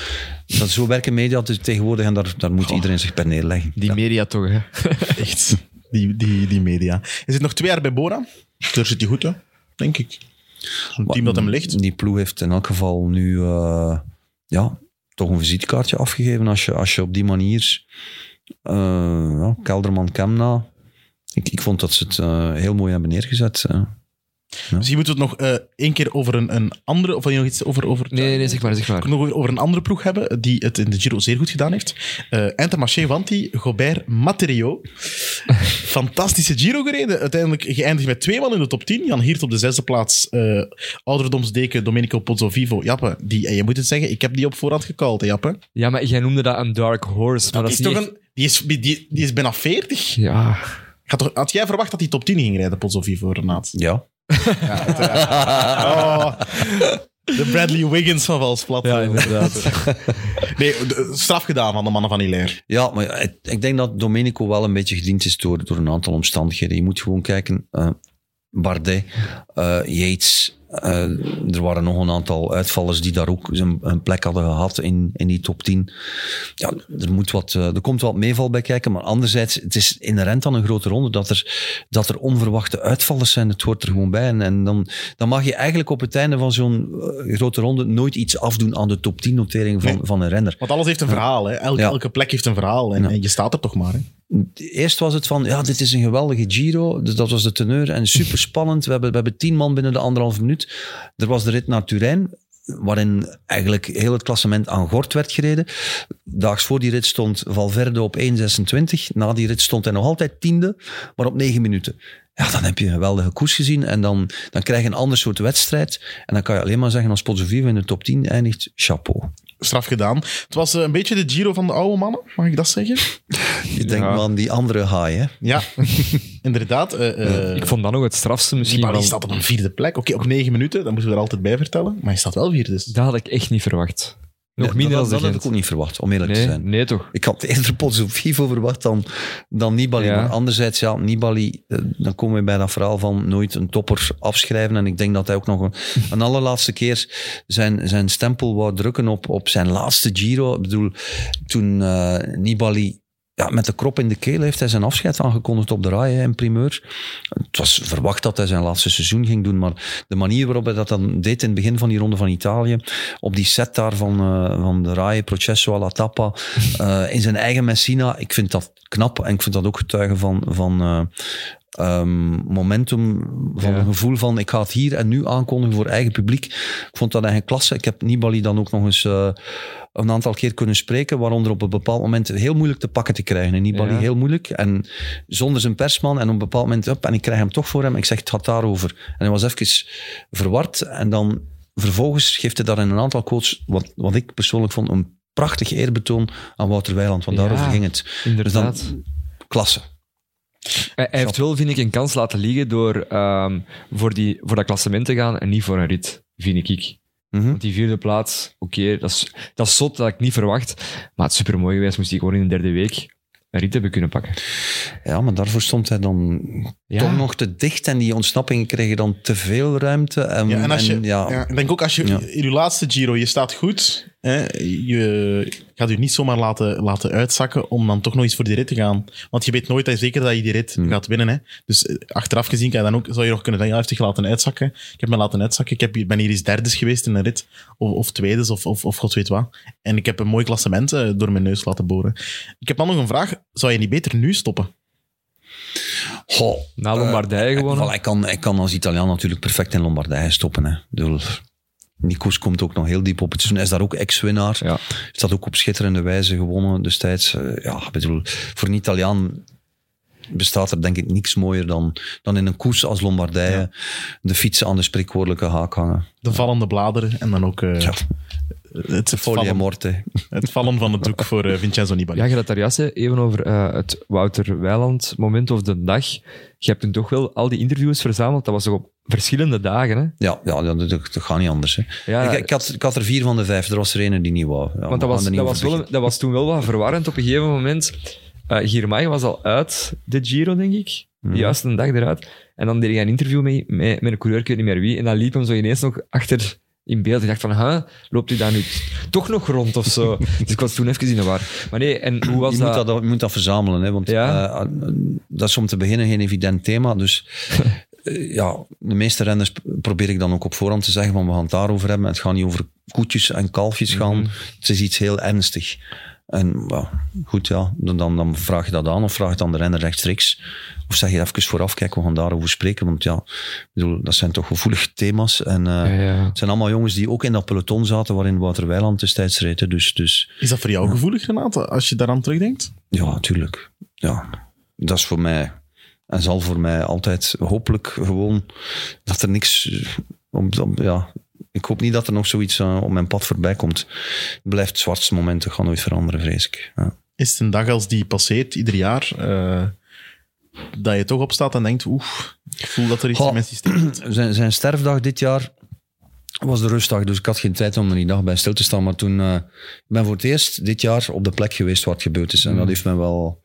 [SPEAKER 4] dat, zo werken media dus tegenwoordig en daar, daar moet iedereen zich per neerleggen.
[SPEAKER 3] Die media toch, hè?
[SPEAKER 2] Echt, die, die, die media. Hij zit nog twee jaar bij Bora. Daar zit hij goed, hè? denk ik. Zo'n team dat hem ligt.
[SPEAKER 4] Die ploeg heeft in elk geval nu eh, ja, toch een visitekaartje afgegeven. Als je, als je op die manier. eh, ja, Kelderman Kemna. Ik, ik vond dat ze het eh, heel mooi hebben neergezet. eh.
[SPEAKER 2] Misschien moeten we het nog eh, één keer over een, een andere... Of wil je nog iets over... over
[SPEAKER 3] Nee, nee, zeg maar, zeg maar.
[SPEAKER 2] Ik wil nog over een andere ploeg hebben die het in de Giro zeer goed gedaan heeft. Eh Intermarché Wanti, Gobert Materio. Fantastische Giro gereden. Uiteindelijk geëindigd met twee man in de top 10. Jan Hiert op de zesde plaats. eh, ouderdomsdeken Domenico Pozzovivo. Jappe, die, eh, je moet het zeggen, ik heb die op voorhand gecallt, hè, Jappe.
[SPEAKER 3] Ja, maar jij noemde dat een dark horse, maar dat, is
[SPEAKER 2] toch
[SPEAKER 3] niet...
[SPEAKER 2] een, die, is, die, die is bijna 40.
[SPEAKER 3] echt- Ja.
[SPEAKER 2] Had, toch, had jij verwacht dat hij top 10 ging rijden, Pozzovivo, Renaat?
[SPEAKER 4] Ja.
[SPEAKER 3] Ah.
[SPEAKER 2] Oh, de Bradley Wiggins van Valsplat.
[SPEAKER 3] ja, inderdaad.
[SPEAKER 2] nee, de- straf gedaan van de mannen van Hilaire.
[SPEAKER 4] Ja, maar ik, ik denk dat Domenico wel een beetje gediend is door, door een aantal omstandigheden. Je moet gewoon kijken. eh, Bardet, eh, Yates. eh, er waren nog een aantal uitvallers die daar ook zijn, hun plek hadden gehad in, in die top 10. Ja, er, moet wat, eh, er komt wat meeval bij kijken. Maar anderzijds, het is inherent aan een grote ronde dat er, dat er onverwachte uitvallers zijn. Het hoort er gewoon bij. En, en dan, dan mag je eigenlijk op het einde van zo'n eh, grote ronde nooit iets afdoen aan de top 10 notering van,
[SPEAKER 2] Nee.
[SPEAKER 4] van een renner.
[SPEAKER 2] Want alles heeft een verhaal, hè? Elke,
[SPEAKER 4] Ja.
[SPEAKER 2] elke plek heeft een verhaal. En,
[SPEAKER 4] Ja.
[SPEAKER 2] en je staat er toch maar. Hè?
[SPEAKER 4] Eerst was het van, ja, dit is een geweldige Giro. Dus dat was de teneur en super spannend. We hebben, we hebben tien man binnen de anderhalve minuut. Er was de rit naar Turijn, waarin eigenlijk heel het klassement aan gort werd gereden. Daags voor die rit stond Valverde op 1,26. Na die rit stond hij nog altijd tiende, maar op negen minuten. Ja, dan heb je een geweldige koers gezien en dan, dan krijg je een ander soort wedstrijd. En dan kan je alleen maar zeggen, als Pozzovivo in de top 10 eindigt, chapeau.
[SPEAKER 2] Straf gedaan. Het was eh, een beetje de Giro van de oude mannen, mag ik dat zeggen?
[SPEAKER 4] Je denkt,
[SPEAKER 3] Ja.
[SPEAKER 4] man, die andere haai, hè.
[SPEAKER 2] Ja, inderdaad. eh eh,
[SPEAKER 3] ik vond dat nog het strafste misschien.
[SPEAKER 2] Nibali
[SPEAKER 3] want
[SPEAKER 2] staat op een vierde plek. Oké, op negen minuten, dat moeten we er altijd bij vertellen. Maar hij staat wel vierde. Dus.
[SPEAKER 3] Dat had ik echt niet verwacht. Nog
[SPEAKER 4] Ja,
[SPEAKER 3] minder
[SPEAKER 4] dat,
[SPEAKER 3] dan
[SPEAKER 4] dat
[SPEAKER 3] de
[SPEAKER 4] heb ik ook
[SPEAKER 3] Gent.
[SPEAKER 4] niet verwacht, om eerlijk te
[SPEAKER 3] Nee,
[SPEAKER 4] zijn. Dus
[SPEAKER 3] nee, toch?
[SPEAKER 4] Ik had eerder Pozzovivo verwacht dan, dan Nibali.
[SPEAKER 3] Ja.
[SPEAKER 4] Maar anderzijds, ja, Nibali, eh, dan komen we bij dat verhaal van nooit een topper afschrijven. En ik denk dat hij ook nog een, een allerlaatste keer zijn, zijn stempel wou drukken op, op zijn laatste Giro. Ik bedoel, toen eh, Nibali ja, met de krop in de keel heeft hij zijn afscheid aangekondigd op de rij hè, in primeur. Het was verwacht dat hij zijn laatste seizoen ging doen, maar de manier waarop hij dat dan deed in het begin van die ronde van Italië, op die set daar van, eh, van de rij, Processo alla tappa, eh, in zijn eigen Messina, ik vind dat knap en ik vind dat ook getuigen van, van eh, ehm, momentum, van
[SPEAKER 3] Ja.
[SPEAKER 4] een gevoel van ik ga het hier en nu aankondigen voor eigen publiek. Ik vond dat eigen klasse. Ik heb Nibali dan ook nog eens eh, een aantal keer kunnen spreken, waaronder op een bepaald moment heel moeilijk te pakken te krijgen. En Nibali
[SPEAKER 3] Ja.
[SPEAKER 4] heel moeilijk. En zonder zijn persman. En op een bepaald moment, op, en ik krijg hem toch voor hem. Ik zeg, het gaat daarover. En hij was even verward. En dan vervolgens geeft hij daar in een aantal quotes, wat, wat ik persoonlijk vond, een prachtig eerbetoon aan Wouter Weiland. Want
[SPEAKER 3] Ja.
[SPEAKER 4] daarover ging het.
[SPEAKER 3] Inderdaad.
[SPEAKER 4] Dus dan, klasse.
[SPEAKER 3] Hij, hij heeft wel, vind ik, een kans laten liggen door ehm, voor, die, voor dat klassement te gaan en niet voor een rit, vind ik.
[SPEAKER 4] Mhm.
[SPEAKER 3] Want die vierde plaats, oké, dat, is, dat is zot, dat had ik niet verwacht. Maar het is supermooi geweest, moest hij gewoon in de derde week. een rit hebben kunnen pakken.
[SPEAKER 4] Ja, maar daarvoor stond hij dan
[SPEAKER 3] Ja.
[SPEAKER 4] toch nog te dicht en die ontsnappingen kregen dan te veel ruimte. En,
[SPEAKER 2] Ja, en als je,
[SPEAKER 4] Mm, en ja,
[SPEAKER 2] ja, ik denk ook als je
[SPEAKER 4] Ja.
[SPEAKER 2] in je laatste Giro, je staat goed. Hè, je gaat je niet zomaar laten, laten uitzakken om dan toch nog eens voor die rit te gaan. Want je weet nooit dat je zeker dat je die rit
[SPEAKER 4] Mm.
[SPEAKER 2] gaat winnen. Hè. Dus eh, achteraf gezien kan je dan ook, zou je nog kunnen denken, ja, hij heeft zich laten uitzakken. Ik heb me laten uitzakken. Ik heb, hier- ben hier eens derdes geweest in een rit. Of, of tweedes, of, of, of god weet wat. En ik heb een mooi klassement eh, door mijn neus laten boren. Ik heb dan nog een vraag. Zou je niet beter nu stoppen?
[SPEAKER 4] Goh,
[SPEAKER 3] Na Lombardije
[SPEAKER 4] eh,
[SPEAKER 3] gewonnen.
[SPEAKER 4] wel, hij, kan, hij kan als Italiaan natuurlijk perfect in Lombardije stoppen. Hè. Ik bedoel, Nikos komt ook nog heel diep op het seizoen. Hij is daar ook ex-winnaar.
[SPEAKER 3] Ja.
[SPEAKER 4] Is dat ook op schitterende wijze gewonnen destijds. Eh, ja, ik bedoel, voor een Italiaan bestaat er denk ik niks mooier dan, dan in een koers als Lombardije de fietsen aan de spreekwoordelijke haak hangen.
[SPEAKER 2] De vallende bladeren en dan ook eh,
[SPEAKER 4] Ja,
[SPEAKER 2] het,
[SPEAKER 4] folie
[SPEAKER 2] vallen,
[SPEAKER 4] morte.
[SPEAKER 2] het vallen van het doek voor eh, Vincenzo Nibali.
[SPEAKER 3] Ja, je had het daar juist hè, even over eh, het Wouter Weiland moment of de dag. Je hebt toen toch wel al die interviews verzameld. Dat was toch op verschillende dagen, hè?
[SPEAKER 4] Ja, ja dat, dat, dat gaat niet anders. Hè.
[SPEAKER 3] Ja,
[SPEAKER 4] ik, ik, had, ik had er vier van de vijf. Er was er ene die niet wou. Ja, maar
[SPEAKER 3] Want dat was,
[SPEAKER 4] we gaan er
[SPEAKER 3] dat,
[SPEAKER 4] niet
[SPEAKER 3] was
[SPEAKER 4] over
[SPEAKER 3] wel,
[SPEAKER 4] beginnen.
[SPEAKER 3] dat was toen wel wat verwarrend op een gegeven moment. eh Girmay was al uit de Giro, denk ik. Juist een dag eruit. En dan deed hij een interview mee, met, met een coureur, ik weet niet meer wie. En dan liep hem zo ineens nog achter in beeld. Ik dacht van, huh, loopt hij daar nu toch nog rond of zo? dus ik was toen even in de war. Maar nee, en hoe was
[SPEAKER 4] je,
[SPEAKER 3] dat?
[SPEAKER 4] Moet dat, je moet dat verzamelen, hè, want
[SPEAKER 3] Ja.
[SPEAKER 4] eh, dat is om te beginnen geen evident thema. Dus eh, ja, de meeste renners p- probeer ik dan ook op voorhand te zeggen van we gaan het daarover hebben. Het gaat niet over koetjes en kalfjes gaan.
[SPEAKER 3] Mhm.
[SPEAKER 4] Het is iets heel ernstig. En ja, goed, ja, dan, dan, dan vraag je dat aan of vraag het aan de renner rechtstreeks. Of zeg je even vooraf, kijk, we gaan daarover spreken. Want ja, ik bedoel, dat zijn toch gevoelige thema's. En, eh,
[SPEAKER 3] Ja, ja.
[SPEAKER 4] Het zijn allemaal jongens die ook in dat peloton zaten waarin Wouter Weiland destijds reed. hè. Dus, dus
[SPEAKER 2] Is dat voor jou gevoelig, Renate, als je daaraan terugdenkt?
[SPEAKER 4] Ja, tuurlijk. Ja. Dat is voor mij en zal voor mij altijd hopelijk gewoon dat er niks. eh, Om, om- ja. Ik hoop niet dat er nog zoiets eh, op mijn pad voorbij komt. Het blijft het zwartste moment, dat gaat nooit veranderen, vrees ik. Ja.
[SPEAKER 2] Is het een dag als die passeert, ieder jaar, eh, dat je toch opstaat en denkt, oeh, ik voel dat er iets
[SPEAKER 4] Goh.
[SPEAKER 2] in mijn systeem zit?
[SPEAKER 4] Zijn, zijn sterfdag dit jaar was de rustdag, dus ik had geen tijd om er die dag bij stil te staan. Maar toen, eh, ik ben voor het eerst dit jaar op de plek geweest waar het gebeurd is. En dat heeft me wel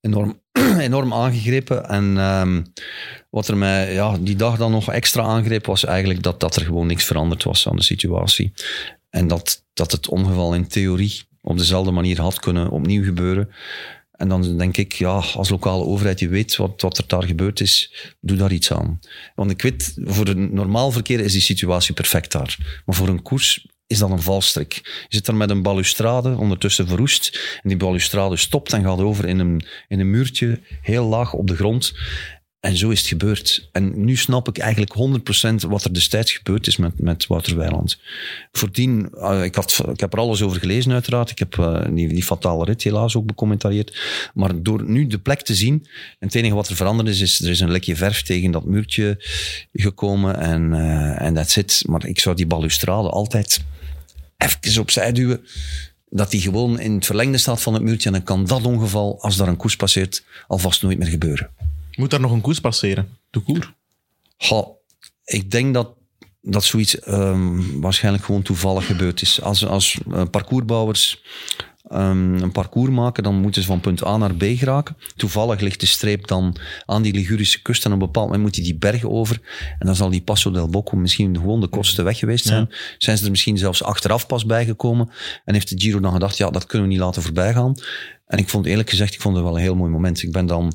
[SPEAKER 4] enorm, enorm aangegrepen. En ehm, wat er mij ja, die dag dan nog extra aangreep, was eigenlijk dat, dat er gewoon niks veranderd was aan de situatie. En dat, dat het ongeval in theorie op dezelfde manier had kunnen opnieuw gebeuren. En dan denk ik, ja, als lokale overheid, je weet wat, wat er daar gebeurd is, doe daar iets aan. Want ik weet, voor een normaal verkeer is die situatie perfect daar. Maar voor een koers is dat een valstrik. Je zit daar met een balustrade, ondertussen verroest. En die balustrade stopt en gaat over in een, in een muurtje, heel laag op de grond. En zo is het gebeurd. En nu snap ik eigenlijk 100% wat er destijds gebeurd is met, met Wouter Weiland. Voordien, eh, ik, had, ik heb er alles over gelezen uiteraard. Ik heb eh, die, die fatale rit helaas ook becommentarieerd. Maar door nu de plek te zien, en het enige wat er veranderd is, is er is een lekje verf tegen dat muurtje gekomen en eh, en that's it. Maar ik zou die balustrade altijd even opzij duwen. Dat die gewoon in het verlengde staat van het muurtje. En dan kan dat ongeval, als daar een koers passeert, alvast nooit meer gebeuren.
[SPEAKER 2] Moet daar nog een koers passeren? De koer?
[SPEAKER 4] Goh, ik denk dat, dat zoiets ehm, waarschijnlijk gewoon toevallig gebeurd is. Als, als eh, parcoursbouwers ehm, een parcours maken, dan moeten ze van punt A naar B geraken. Toevallig ligt de streep dan aan die Ligurische kust en op een bepaald moment moet hij die berg over. En dan zal die Passo del Bocco misschien gewoon de kortste weg geweest zijn. Zijn ze er misschien zelfs achteraf pas bijgekomen en heeft de Giro dan gedacht, ja, dat kunnen we niet laten voorbij gaan. En ik vond eerlijk gezegd, ik vond het wel een heel mooi moment. Ik ben dan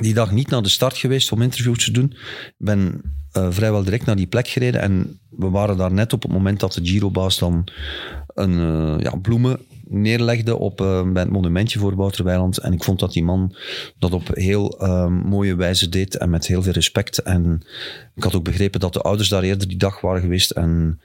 [SPEAKER 4] die dag niet naar de start geweest om interviews te doen. Ik ben eh, vrijwel direct naar die plek gereden. En we waren daar net op het moment dat de Girobaas dan een, eh, ja, bloemen neerlegde op, eh, bij het monumentje voor Wouter Weiland. En ik vond dat die man dat op heel eh, mooie wijze deed en met heel veel respect. En ik had ook begrepen dat de ouders daar eerder die dag waren geweest. En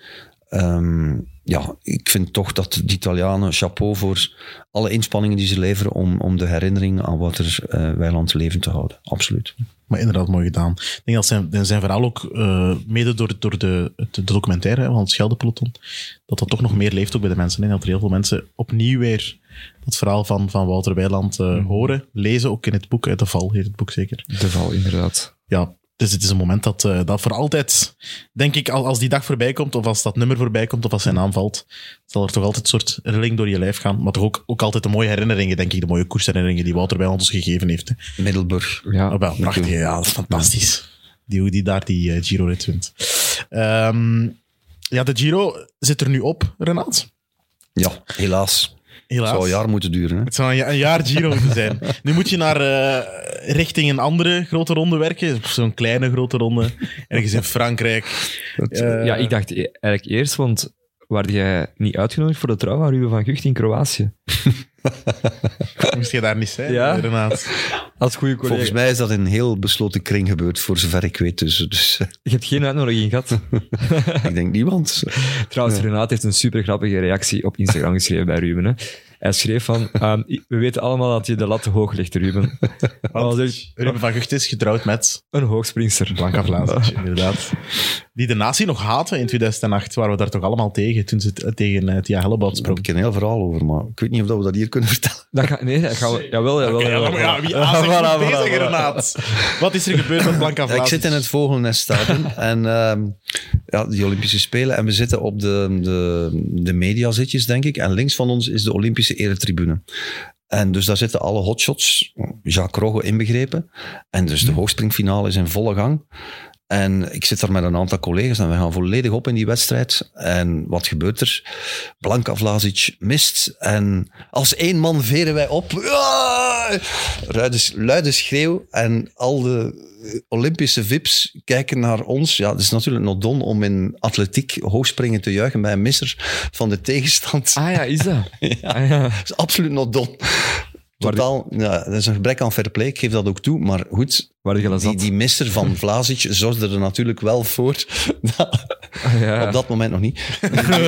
[SPEAKER 4] Ehm, ja, ik vind toch dat de Italianen chapeau voor alle inspanningen die ze leveren om, om de herinnering aan Wouter eh, Weiland levend te houden. Absoluut.
[SPEAKER 2] Maar inderdaad, mooi gedaan. Ik denk dat zijn, zijn verhaal ook, eh, mede door, door de, het- de documentaire hè, van het Scheldepeloton, dat dat toch nog meer leeft ook bij de mensen. En dat er heel veel mensen opnieuw weer dat verhaal van, van Mm. Wouter Weiland eh, horen, lezen, ook in het boek. eh, De Val heet het boek zeker.
[SPEAKER 3] De val, inderdaad.
[SPEAKER 2] ja, het Dus het is een moment dat, eh, dat voor altijd, denk ik, al- als die dag voorbij komt, of als dat nummer voorbij komt, of als zijn naam valt, zal er toch altijd een soort rilling door je lijf gaan. Maar toch ook, ook altijd de mooie herinneringen, denk ik, de mooie koersherinneringen die Wouter bij ons gegeven heeft. hè.
[SPEAKER 4] Middelburg.
[SPEAKER 3] Ja.
[SPEAKER 2] Oh, wel, prachtig. Ja, dat is fantastisch. Die, hoe die daar die eh, Giro-rit wint. Ehm, ja, de Giro zit er nu op, Renaat.
[SPEAKER 4] Ja, helaas. Het
[SPEAKER 2] Helaas.
[SPEAKER 4] zou een jaar moeten duren. Hè?
[SPEAKER 2] Het zou een, ja- een jaar Giro moeten zijn. Nu moet je naar eh, richting een andere grote ronde werken. Zo'n kleine grote ronde. Ergens in Frankrijk. Eh,
[SPEAKER 3] ja, ik dacht e- eigenlijk eerst, want waar jij niet uitgenodigd voor de trouw van Ruben van Gucht in Kroatië?
[SPEAKER 2] Moest je daar niet zijn,
[SPEAKER 3] Ja.
[SPEAKER 2] Renaat?
[SPEAKER 3] Als goede collega.
[SPEAKER 4] Volgens mij is dat in een heel besloten kring gebeurd, voor zover ik weet. Dus, dus
[SPEAKER 3] Je hebt geen uitnodiging gehad.
[SPEAKER 4] ik denk niemand.
[SPEAKER 3] Trouwens, Renaat heeft een super grappige reactie op Instagram geschreven bij Ruben. Hè. Hij schreef van, ehm, i- we weten allemaal dat je de lat te hoog legt, Ruben. Oh, zeg,
[SPEAKER 2] Ruben van Gucht is getrouwd met
[SPEAKER 3] een hoogspringster.
[SPEAKER 2] Blanca Vlaanderen, inderdaad. Die de natie nog haten in 2008, waren we daar toch allemaal tegen, toen ze t- tegen eh, Tia Hellebout
[SPEAKER 4] Daar
[SPEAKER 2] sprong.
[SPEAKER 4] heb ik een heel verhaal over, maar ik weet niet of dat we dat hier kunnen vertellen.
[SPEAKER 3] Dat ga, nee, dat gaan we, jawel, jawel.
[SPEAKER 2] Ja,
[SPEAKER 3] jawel.
[SPEAKER 2] maar ja, wie aanzet
[SPEAKER 3] Voilà,
[SPEAKER 2] moet
[SPEAKER 3] voilà,
[SPEAKER 2] bezig,
[SPEAKER 3] voilà.
[SPEAKER 2] Renaat? Wat is er gebeurd met Blanca
[SPEAKER 4] Ja,
[SPEAKER 2] Vlaanderen?
[SPEAKER 4] ik zit in het vogelnest stadion en ehm ja, die Olympische Spelen. En we zitten op de, de, de mediazitjes, denk ik. En links van ons is de Olympische eretribune. En dus daar zitten alle hotshots, Jacques Rogge inbegrepen. En dus de hoogspringfinale is in volle gang. En ik zit daar met een aantal collega's en we gaan volledig op in die wedstrijd. En wat gebeurt er? Blanka Vlasic mist. En als één man veren wij op. Ja! Luide, luide schreeuw. En al de eh, Olympische vips kijken naar ons. Ja, het is natuurlijk nog don om in atletiek hoogspringen te juichen bij een misser van de tegenstand.
[SPEAKER 3] Ah ja, is dat? Ah, ja.
[SPEAKER 4] Dat is absoluut nog don. Totaal, ja, dat is een gebrek aan fair play, ik geef dat ook toe. Maar goed,
[SPEAKER 3] Waar je
[SPEAKER 4] die,
[SPEAKER 3] zat.
[SPEAKER 4] die mister van Vlasic zorgde er natuurlijk wel voor. dat-
[SPEAKER 3] Ah, ja.
[SPEAKER 4] Op dat moment nog niet.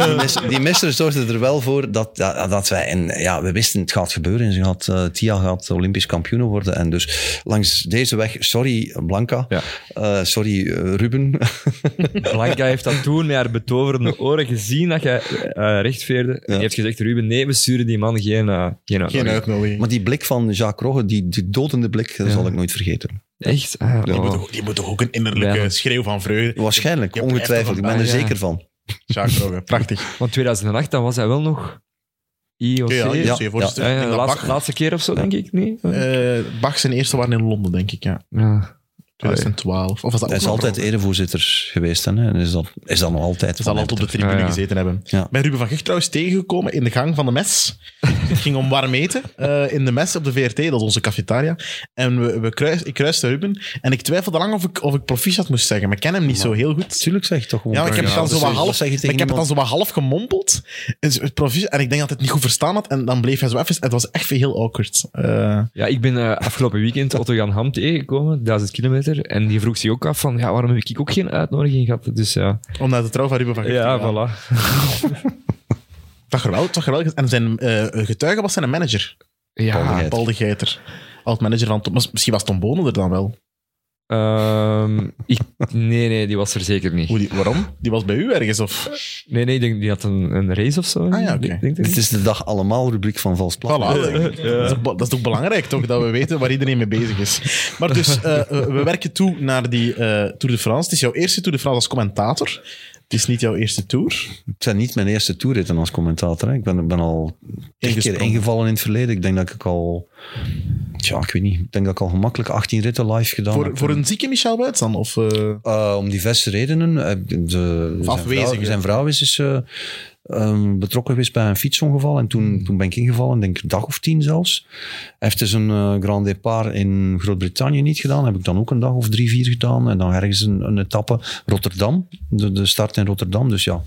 [SPEAKER 4] die, mister, die mister zorgde er wel voor dat, ja, dat wij... En ja, we wisten het gaat gebeuren. Ze gaat, eh, Tia gaat Olympisch kampioen worden. En dus langs deze weg... Sorry, Blanca.
[SPEAKER 3] Ja.
[SPEAKER 4] Eh, sorry, eh, Ruben.
[SPEAKER 3] Blanca heeft dat toen met haar betoverende oren gezien dat jij eh, rechtveerde. En die heeft gezegd, Ruben, nee, we sturen die man geen... eh, geen
[SPEAKER 2] Geen
[SPEAKER 3] uitnodiging.
[SPEAKER 2] uitnodiging.
[SPEAKER 4] maar die blik van Jacques Rogge, die, die dodende blik, dat zal ik nooit vergeten.
[SPEAKER 3] Echt? Ah,
[SPEAKER 2] Die moet,
[SPEAKER 3] wow.
[SPEAKER 2] toch, die moet toch ook een innerlijke
[SPEAKER 3] Ja.
[SPEAKER 2] schreeuw van vreugde.
[SPEAKER 4] Waarschijnlijk,
[SPEAKER 2] Je hebt er echt Ah,
[SPEAKER 4] ongetwijfeld. Ik
[SPEAKER 2] nog
[SPEAKER 4] ben er
[SPEAKER 3] bij, ja.
[SPEAKER 4] zeker van.
[SPEAKER 2] Jacques Rogge, prachtig.
[SPEAKER 3] Want 2008, dan was hij wel nog IOC.
[SPEAKER 2] Ja,
[SPEAKER 3] Ja,
[SPEAKER 2] ja,
[SPEAKER 4] ja.
[SPEAKER 2] voorzitter.
[SPEAKER 3] Ah ja,
[SPEAKER 2] Ik denk dat
[SPEAKER 3] de laatste,
[SPEAKER 2] Bach,
[SPEAKER 3] laatste keer of zo, denk ik. Nee?
[SPEAKER 2] eh, Bach zijn eerste waren in Londen, denk ik, ja.
[SPEAKER 3] Ja.
[SPEAKER 2] 2012. Of was dat
[SPEAKER 4] Hij
[SPEAKER 2] ook
[SPEAKER 4] is
[SPEAKER 2] nog
[SPEAKER 4] altijd
[SPEAKER 2] Rogge?
[SPEAKER 4] erevoorzitter geweest. Hè? En is dat, is dat nog altijd.
[SPEAKER 2] Ze
[SPEAKER 4] van
[SPEAKER 2] zal
[SPEAKER 4] hem
[SPEAKER 2] altijd op de tribune
[SPEAKER 3] Ja, ja.
[SPEAKER 2] gezeten hebben.
[SPEAKER 4] Ja.
[SPEAKER 2] Ben Ruben van Gicht trouwens tegengekomen in de gang van de mes. Het ging om warm eten eh, in de mes op de VRT, dat is onze cafetaria. En we, we kruis, ik kruiste Ruben en ik twijfelde lang of ik, of ik proficiat moest zeggen. Maar ik ken hem niet zo heel goed.
[SPEAKER 4] Tuurlijk zeg ik toch gewoon.
[SPEAKER 2] Ja, maar ik heb, het dan
[SPEAKER 4] dat
[SPEAKER 2] zo
[SPEAKER 4] zeg-
[SPEAKER 2] wat
[SPEAKER 4] dat
[SPEAKER 2] half,
[SPEAKER 4] zeg je
[SPEAKER 2] maar
[SPEAKER 4] tegen
[SPEAKER 2] ik heb het dan
[SPEAKER 4] niemand.
[SPEAKER 2] zo wat half gemompeld. En, zo- proficiat, en ik denk dat hij het niet goed verstaan had. En dan bleef hij zo even. Het was echt heel awkward. Eh,
[SPEAKER 3] ja, ik ben eh, afgelopen weekend Otto Jan Ham tegengekomen, 1000 kilometer. En die vroeg zich ook af van, ja, waarom heb ik ook geen uitnodiging gehad? Dus ja,
[SPEAKER 2] omdat de trouw van Ruben van Gicht.
[SPEAKER 3] ja,
[SPEAKER 2] dat
[SPEAKER 3] voilà.
[SPEAKER 2] Toch geweldig. Toch geweldig. En zijn eh, getuige was zijn manager,
[SPEAKER 4] Paul de
[SPEAKER 3] Ja,
[SPEAKER 4] Geiter.
[SPEAKER 2] Paul de Geiter. Als manager van Tom. Misschien was Tom Bonen er dan wel.
[SPEAKER 3] ehm, ik, nee, nee, die was er zeker niet.
[SPEAKER 2] Hoe die- waarom? Die was bij u ergens? Of?
[SPEAKER 3] Nee, nee, ik denk, die had een, een race of zo.
[SPEAKER 2] Ah ja, oké.
[SPEAKER 3] Ik denk dat
[SPEAKER 4] Dit is de dag allemaal rubriek van Vals Plat.
[SPEAKER 2] Voilà. Dat, is, be- dat is toch belangrijk, toch? Dat we weten waar iedereen mee bezig is. Maar dus, eh, eh, we werken toe naar die eh, Tour de France. Het is jouw eerste Tour de France als commentator. Het is niet jouw eerste Tour.
[SPEAKER 4] Het zijn niet mijn eerste toeritten als commentator. Hè. Ik ben, ben al een keer
[SPEAKER 2] Ingesprongen.
[SPEAKER 4] ingevallen in het verleden. Ik denk dat ik al... Ja, ik weet niet. Ik denk dat ik al gemakkelijk 18 ritten live gedaan
[SPEAKER 2] Voor,
[SPEAKER 4] heb.
[SPEAKER 2] voor een zieke Michel Buits dan? Of, eh,
[SPEAKER 4] Eh, om diverse redenen. Eh, de- zijn vrouw-
[SPEAKER 2] afwezige.
[SPEAKER 4] Zijn vrouw is dus, eh, ehm, betrokken geweest bij een fietsongeval. En
[SPEAKER 2] Hmm.
[SPEAKER 4] toen, toen ben ik ingevallen, denk ik een dag of tien zelfs. Hij heeft dus een eh, Grand Départ in Groot-Brittannië niet gedaan. Heb ik dan ook een dag of drie, vier gedaan. En dan ergens een, een etappe Rotterdam. De, de start in Rotterdam, dus ja.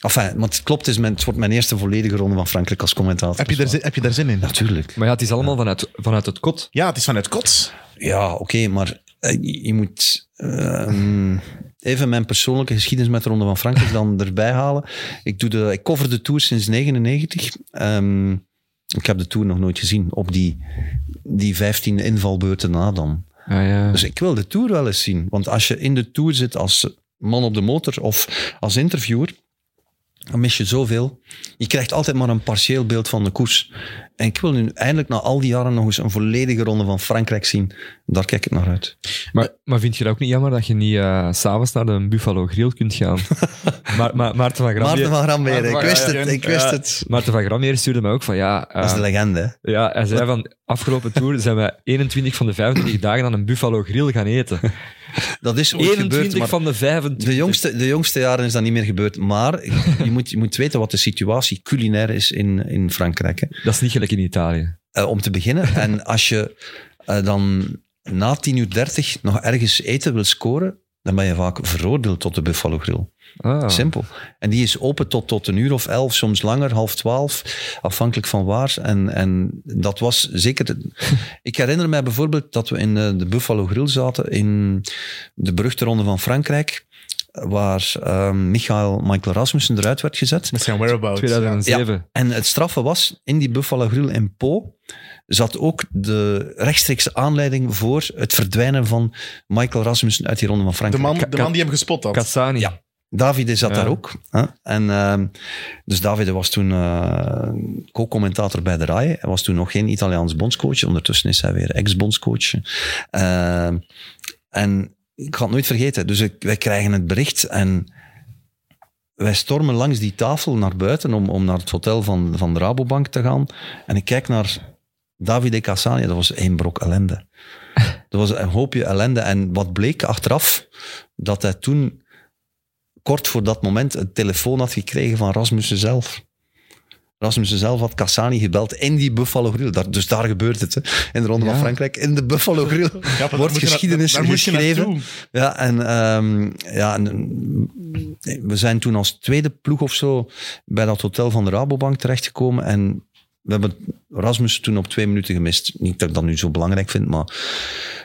[SPEAKER 4] Enfin, maar het klopt, het, is mijn, het wordt mijn eerste volledige ronde van Frankrijk als commentator.
[SPEAKER 2] heb, je daar zin, heb je daar zin in?
[SPEAKER 4] Natuurlijk.
[SPEAKER 3] Maar ja, het is allemaal vanuit, vanuit het kot.
[SPEAKER 2] Ja, het is vanuit Kots.
[SPEAKER 4] Ja, oké, maar eh, je je moet ehm, even mijn persoonlijke geschiedenis met de Ronde van Frankrijk dan erbij halen. Ik, doe de, ik cover de Tour sinds 1999. Ehm, ik heb de Tour nog nooit gezien op die, die 15 invalbeurten na dan.
[SPEAKER 3] Ja, ja.
[SPEAKER 4] Dus ik wil de Tour wel eens zien. Want als je in de Tour zit als man op de motor of als interviewer, Dan mis je zoveel. Je krijgt altijd maar een partieel beeld van de koers. En ik wil nu eindelijk na al die jaren nog eens een volledige ronde van Frankrijk zien. Daar kijk ik naar uit.
[SPEAKER 3] Maar, maar vind je dat ook niet jammer dat je niet eh, s s'avonds naar de Buffalo Grill kunt gaan? maar, maar, Maarten van Grammeer...
[SPEAKER 4] Maarten van Grambeer, ik
[SPEAKER 3] Maarten van
[SPEAKER 4] wist het,
[SPEAKER 3] Grammeer.
[SPEAKER 4] ik wist
[SPEAKER 3] Ja,
[SPEAKER 4] het.
[SPEAKER 3] Maarten van Grammeer stuurde mij ook van ja... eh,
[SPEAKER 4] Dat is de legende. hè.
[SPEAKER 3] ja, hij zei van, afgelopen tour zijn we 21 van de 25 dagen aan een Buffalo Grill gaan eten.
[SPEAKER 4] Dat is ooit
[SPEAKER 3] 21
[SPEAKER 4] gebeurd, maar
[SPEAKER 3] van de 25.
[SPEAKER 4] de jongste, de jongste jaren is dat niet meer gebeurd. Maar je moet, je moet weten wat de situatie culinair is in, in Frankrijk. hè.
[SPEAKER 3] Dat is niet gelijk in Italië.
[SPEAKER 4] Eh, om te beginnen. En als je eh, dan na 10.30 uur nog ergens eten wil scoren, dan ben je vaak veroordeeld tot de Buffalo Grill.
[SPEAKER 3] Ah.
[SPEAKER 4] Simpel. En die is open tot, tot een uur of elf, soms langer, half twaalf, afhankelijk van waar. En, en dat was zeker... de- Ik herinner mij bijvoorbeeld dat we in eh, de Buffalo Grill zaten in de beruchte ronde van Frankrijk, waar eh, Michael, Michael Rasmussen eruit werd gezet.
[SPEAKER 2] Met zijn whereabouts.
[SPEAKER 3] 2007.
[SPEAKER 4] En het straffe was, in die Buffalo Grill in Po zat ook de rechtstreekse aanleiding voor het verdwijnen van Michael Rasmussen uit die ronde van
[SPEAKER 2] De
[SPEAKER 4] Frankrijk.
[SPEAKER 2] man, de man die hem gespot had.
[SPEAKER 3] Cassani.
[SPEAKER 4] Ja. Davide zat
[SPEAKER 3] Ja.
[SPEAKER 4] daar ook. Hè? En, ehm, dus Davide was toen eh, co-commentator bij de RAI. Hij was toen nog geen Italiaans bondscoach. Ondertussen is hij weer ex-bondscoach. Ehm, en ik ga het nooit vergeten. Dus ik- wij krijgen het bericht en wij stormen langs die tafel naar buiten om, om naar het hotel van, van de Rabobank te gaan. En ik kijk naar Davide Cassani. Dat was één brok ellende. Dat was een hoopje ellende. En wat bleek achteraf? Dat hij toen kort voor dat moment een telefoon had gekregen van Rasmussen zelf. Rasmussen zelf had Cassani gebeld in die Buffalo Grill. Daar, dus daar gebeurt het. Hè. In de Ronde
[SPEAKER 3] Ja.
[SPEAKER 4] van Frankrijk, in de Buffalo Grill
[SPEAKER 2] Ja, maar daar
[SPEAKER 4] wordt
[SPEAKER 2] moet je na-
[SPEAKER 4] geschiedenis
[SPEAKER 2] daar moet je
[SPEAKER 4] geschreven.
[SPEAKER 2] naartoe.
[SPEAKER 4] Ja, en, ehm, ja, en, eh, we zijn toen als tweede ploeg of zo bij dat hotel van de Rabobank terechtgekomen. En we hebben Rasmus toen op twee minuten gemist. Niet dat ik dat nu zo belangrijk vind, maar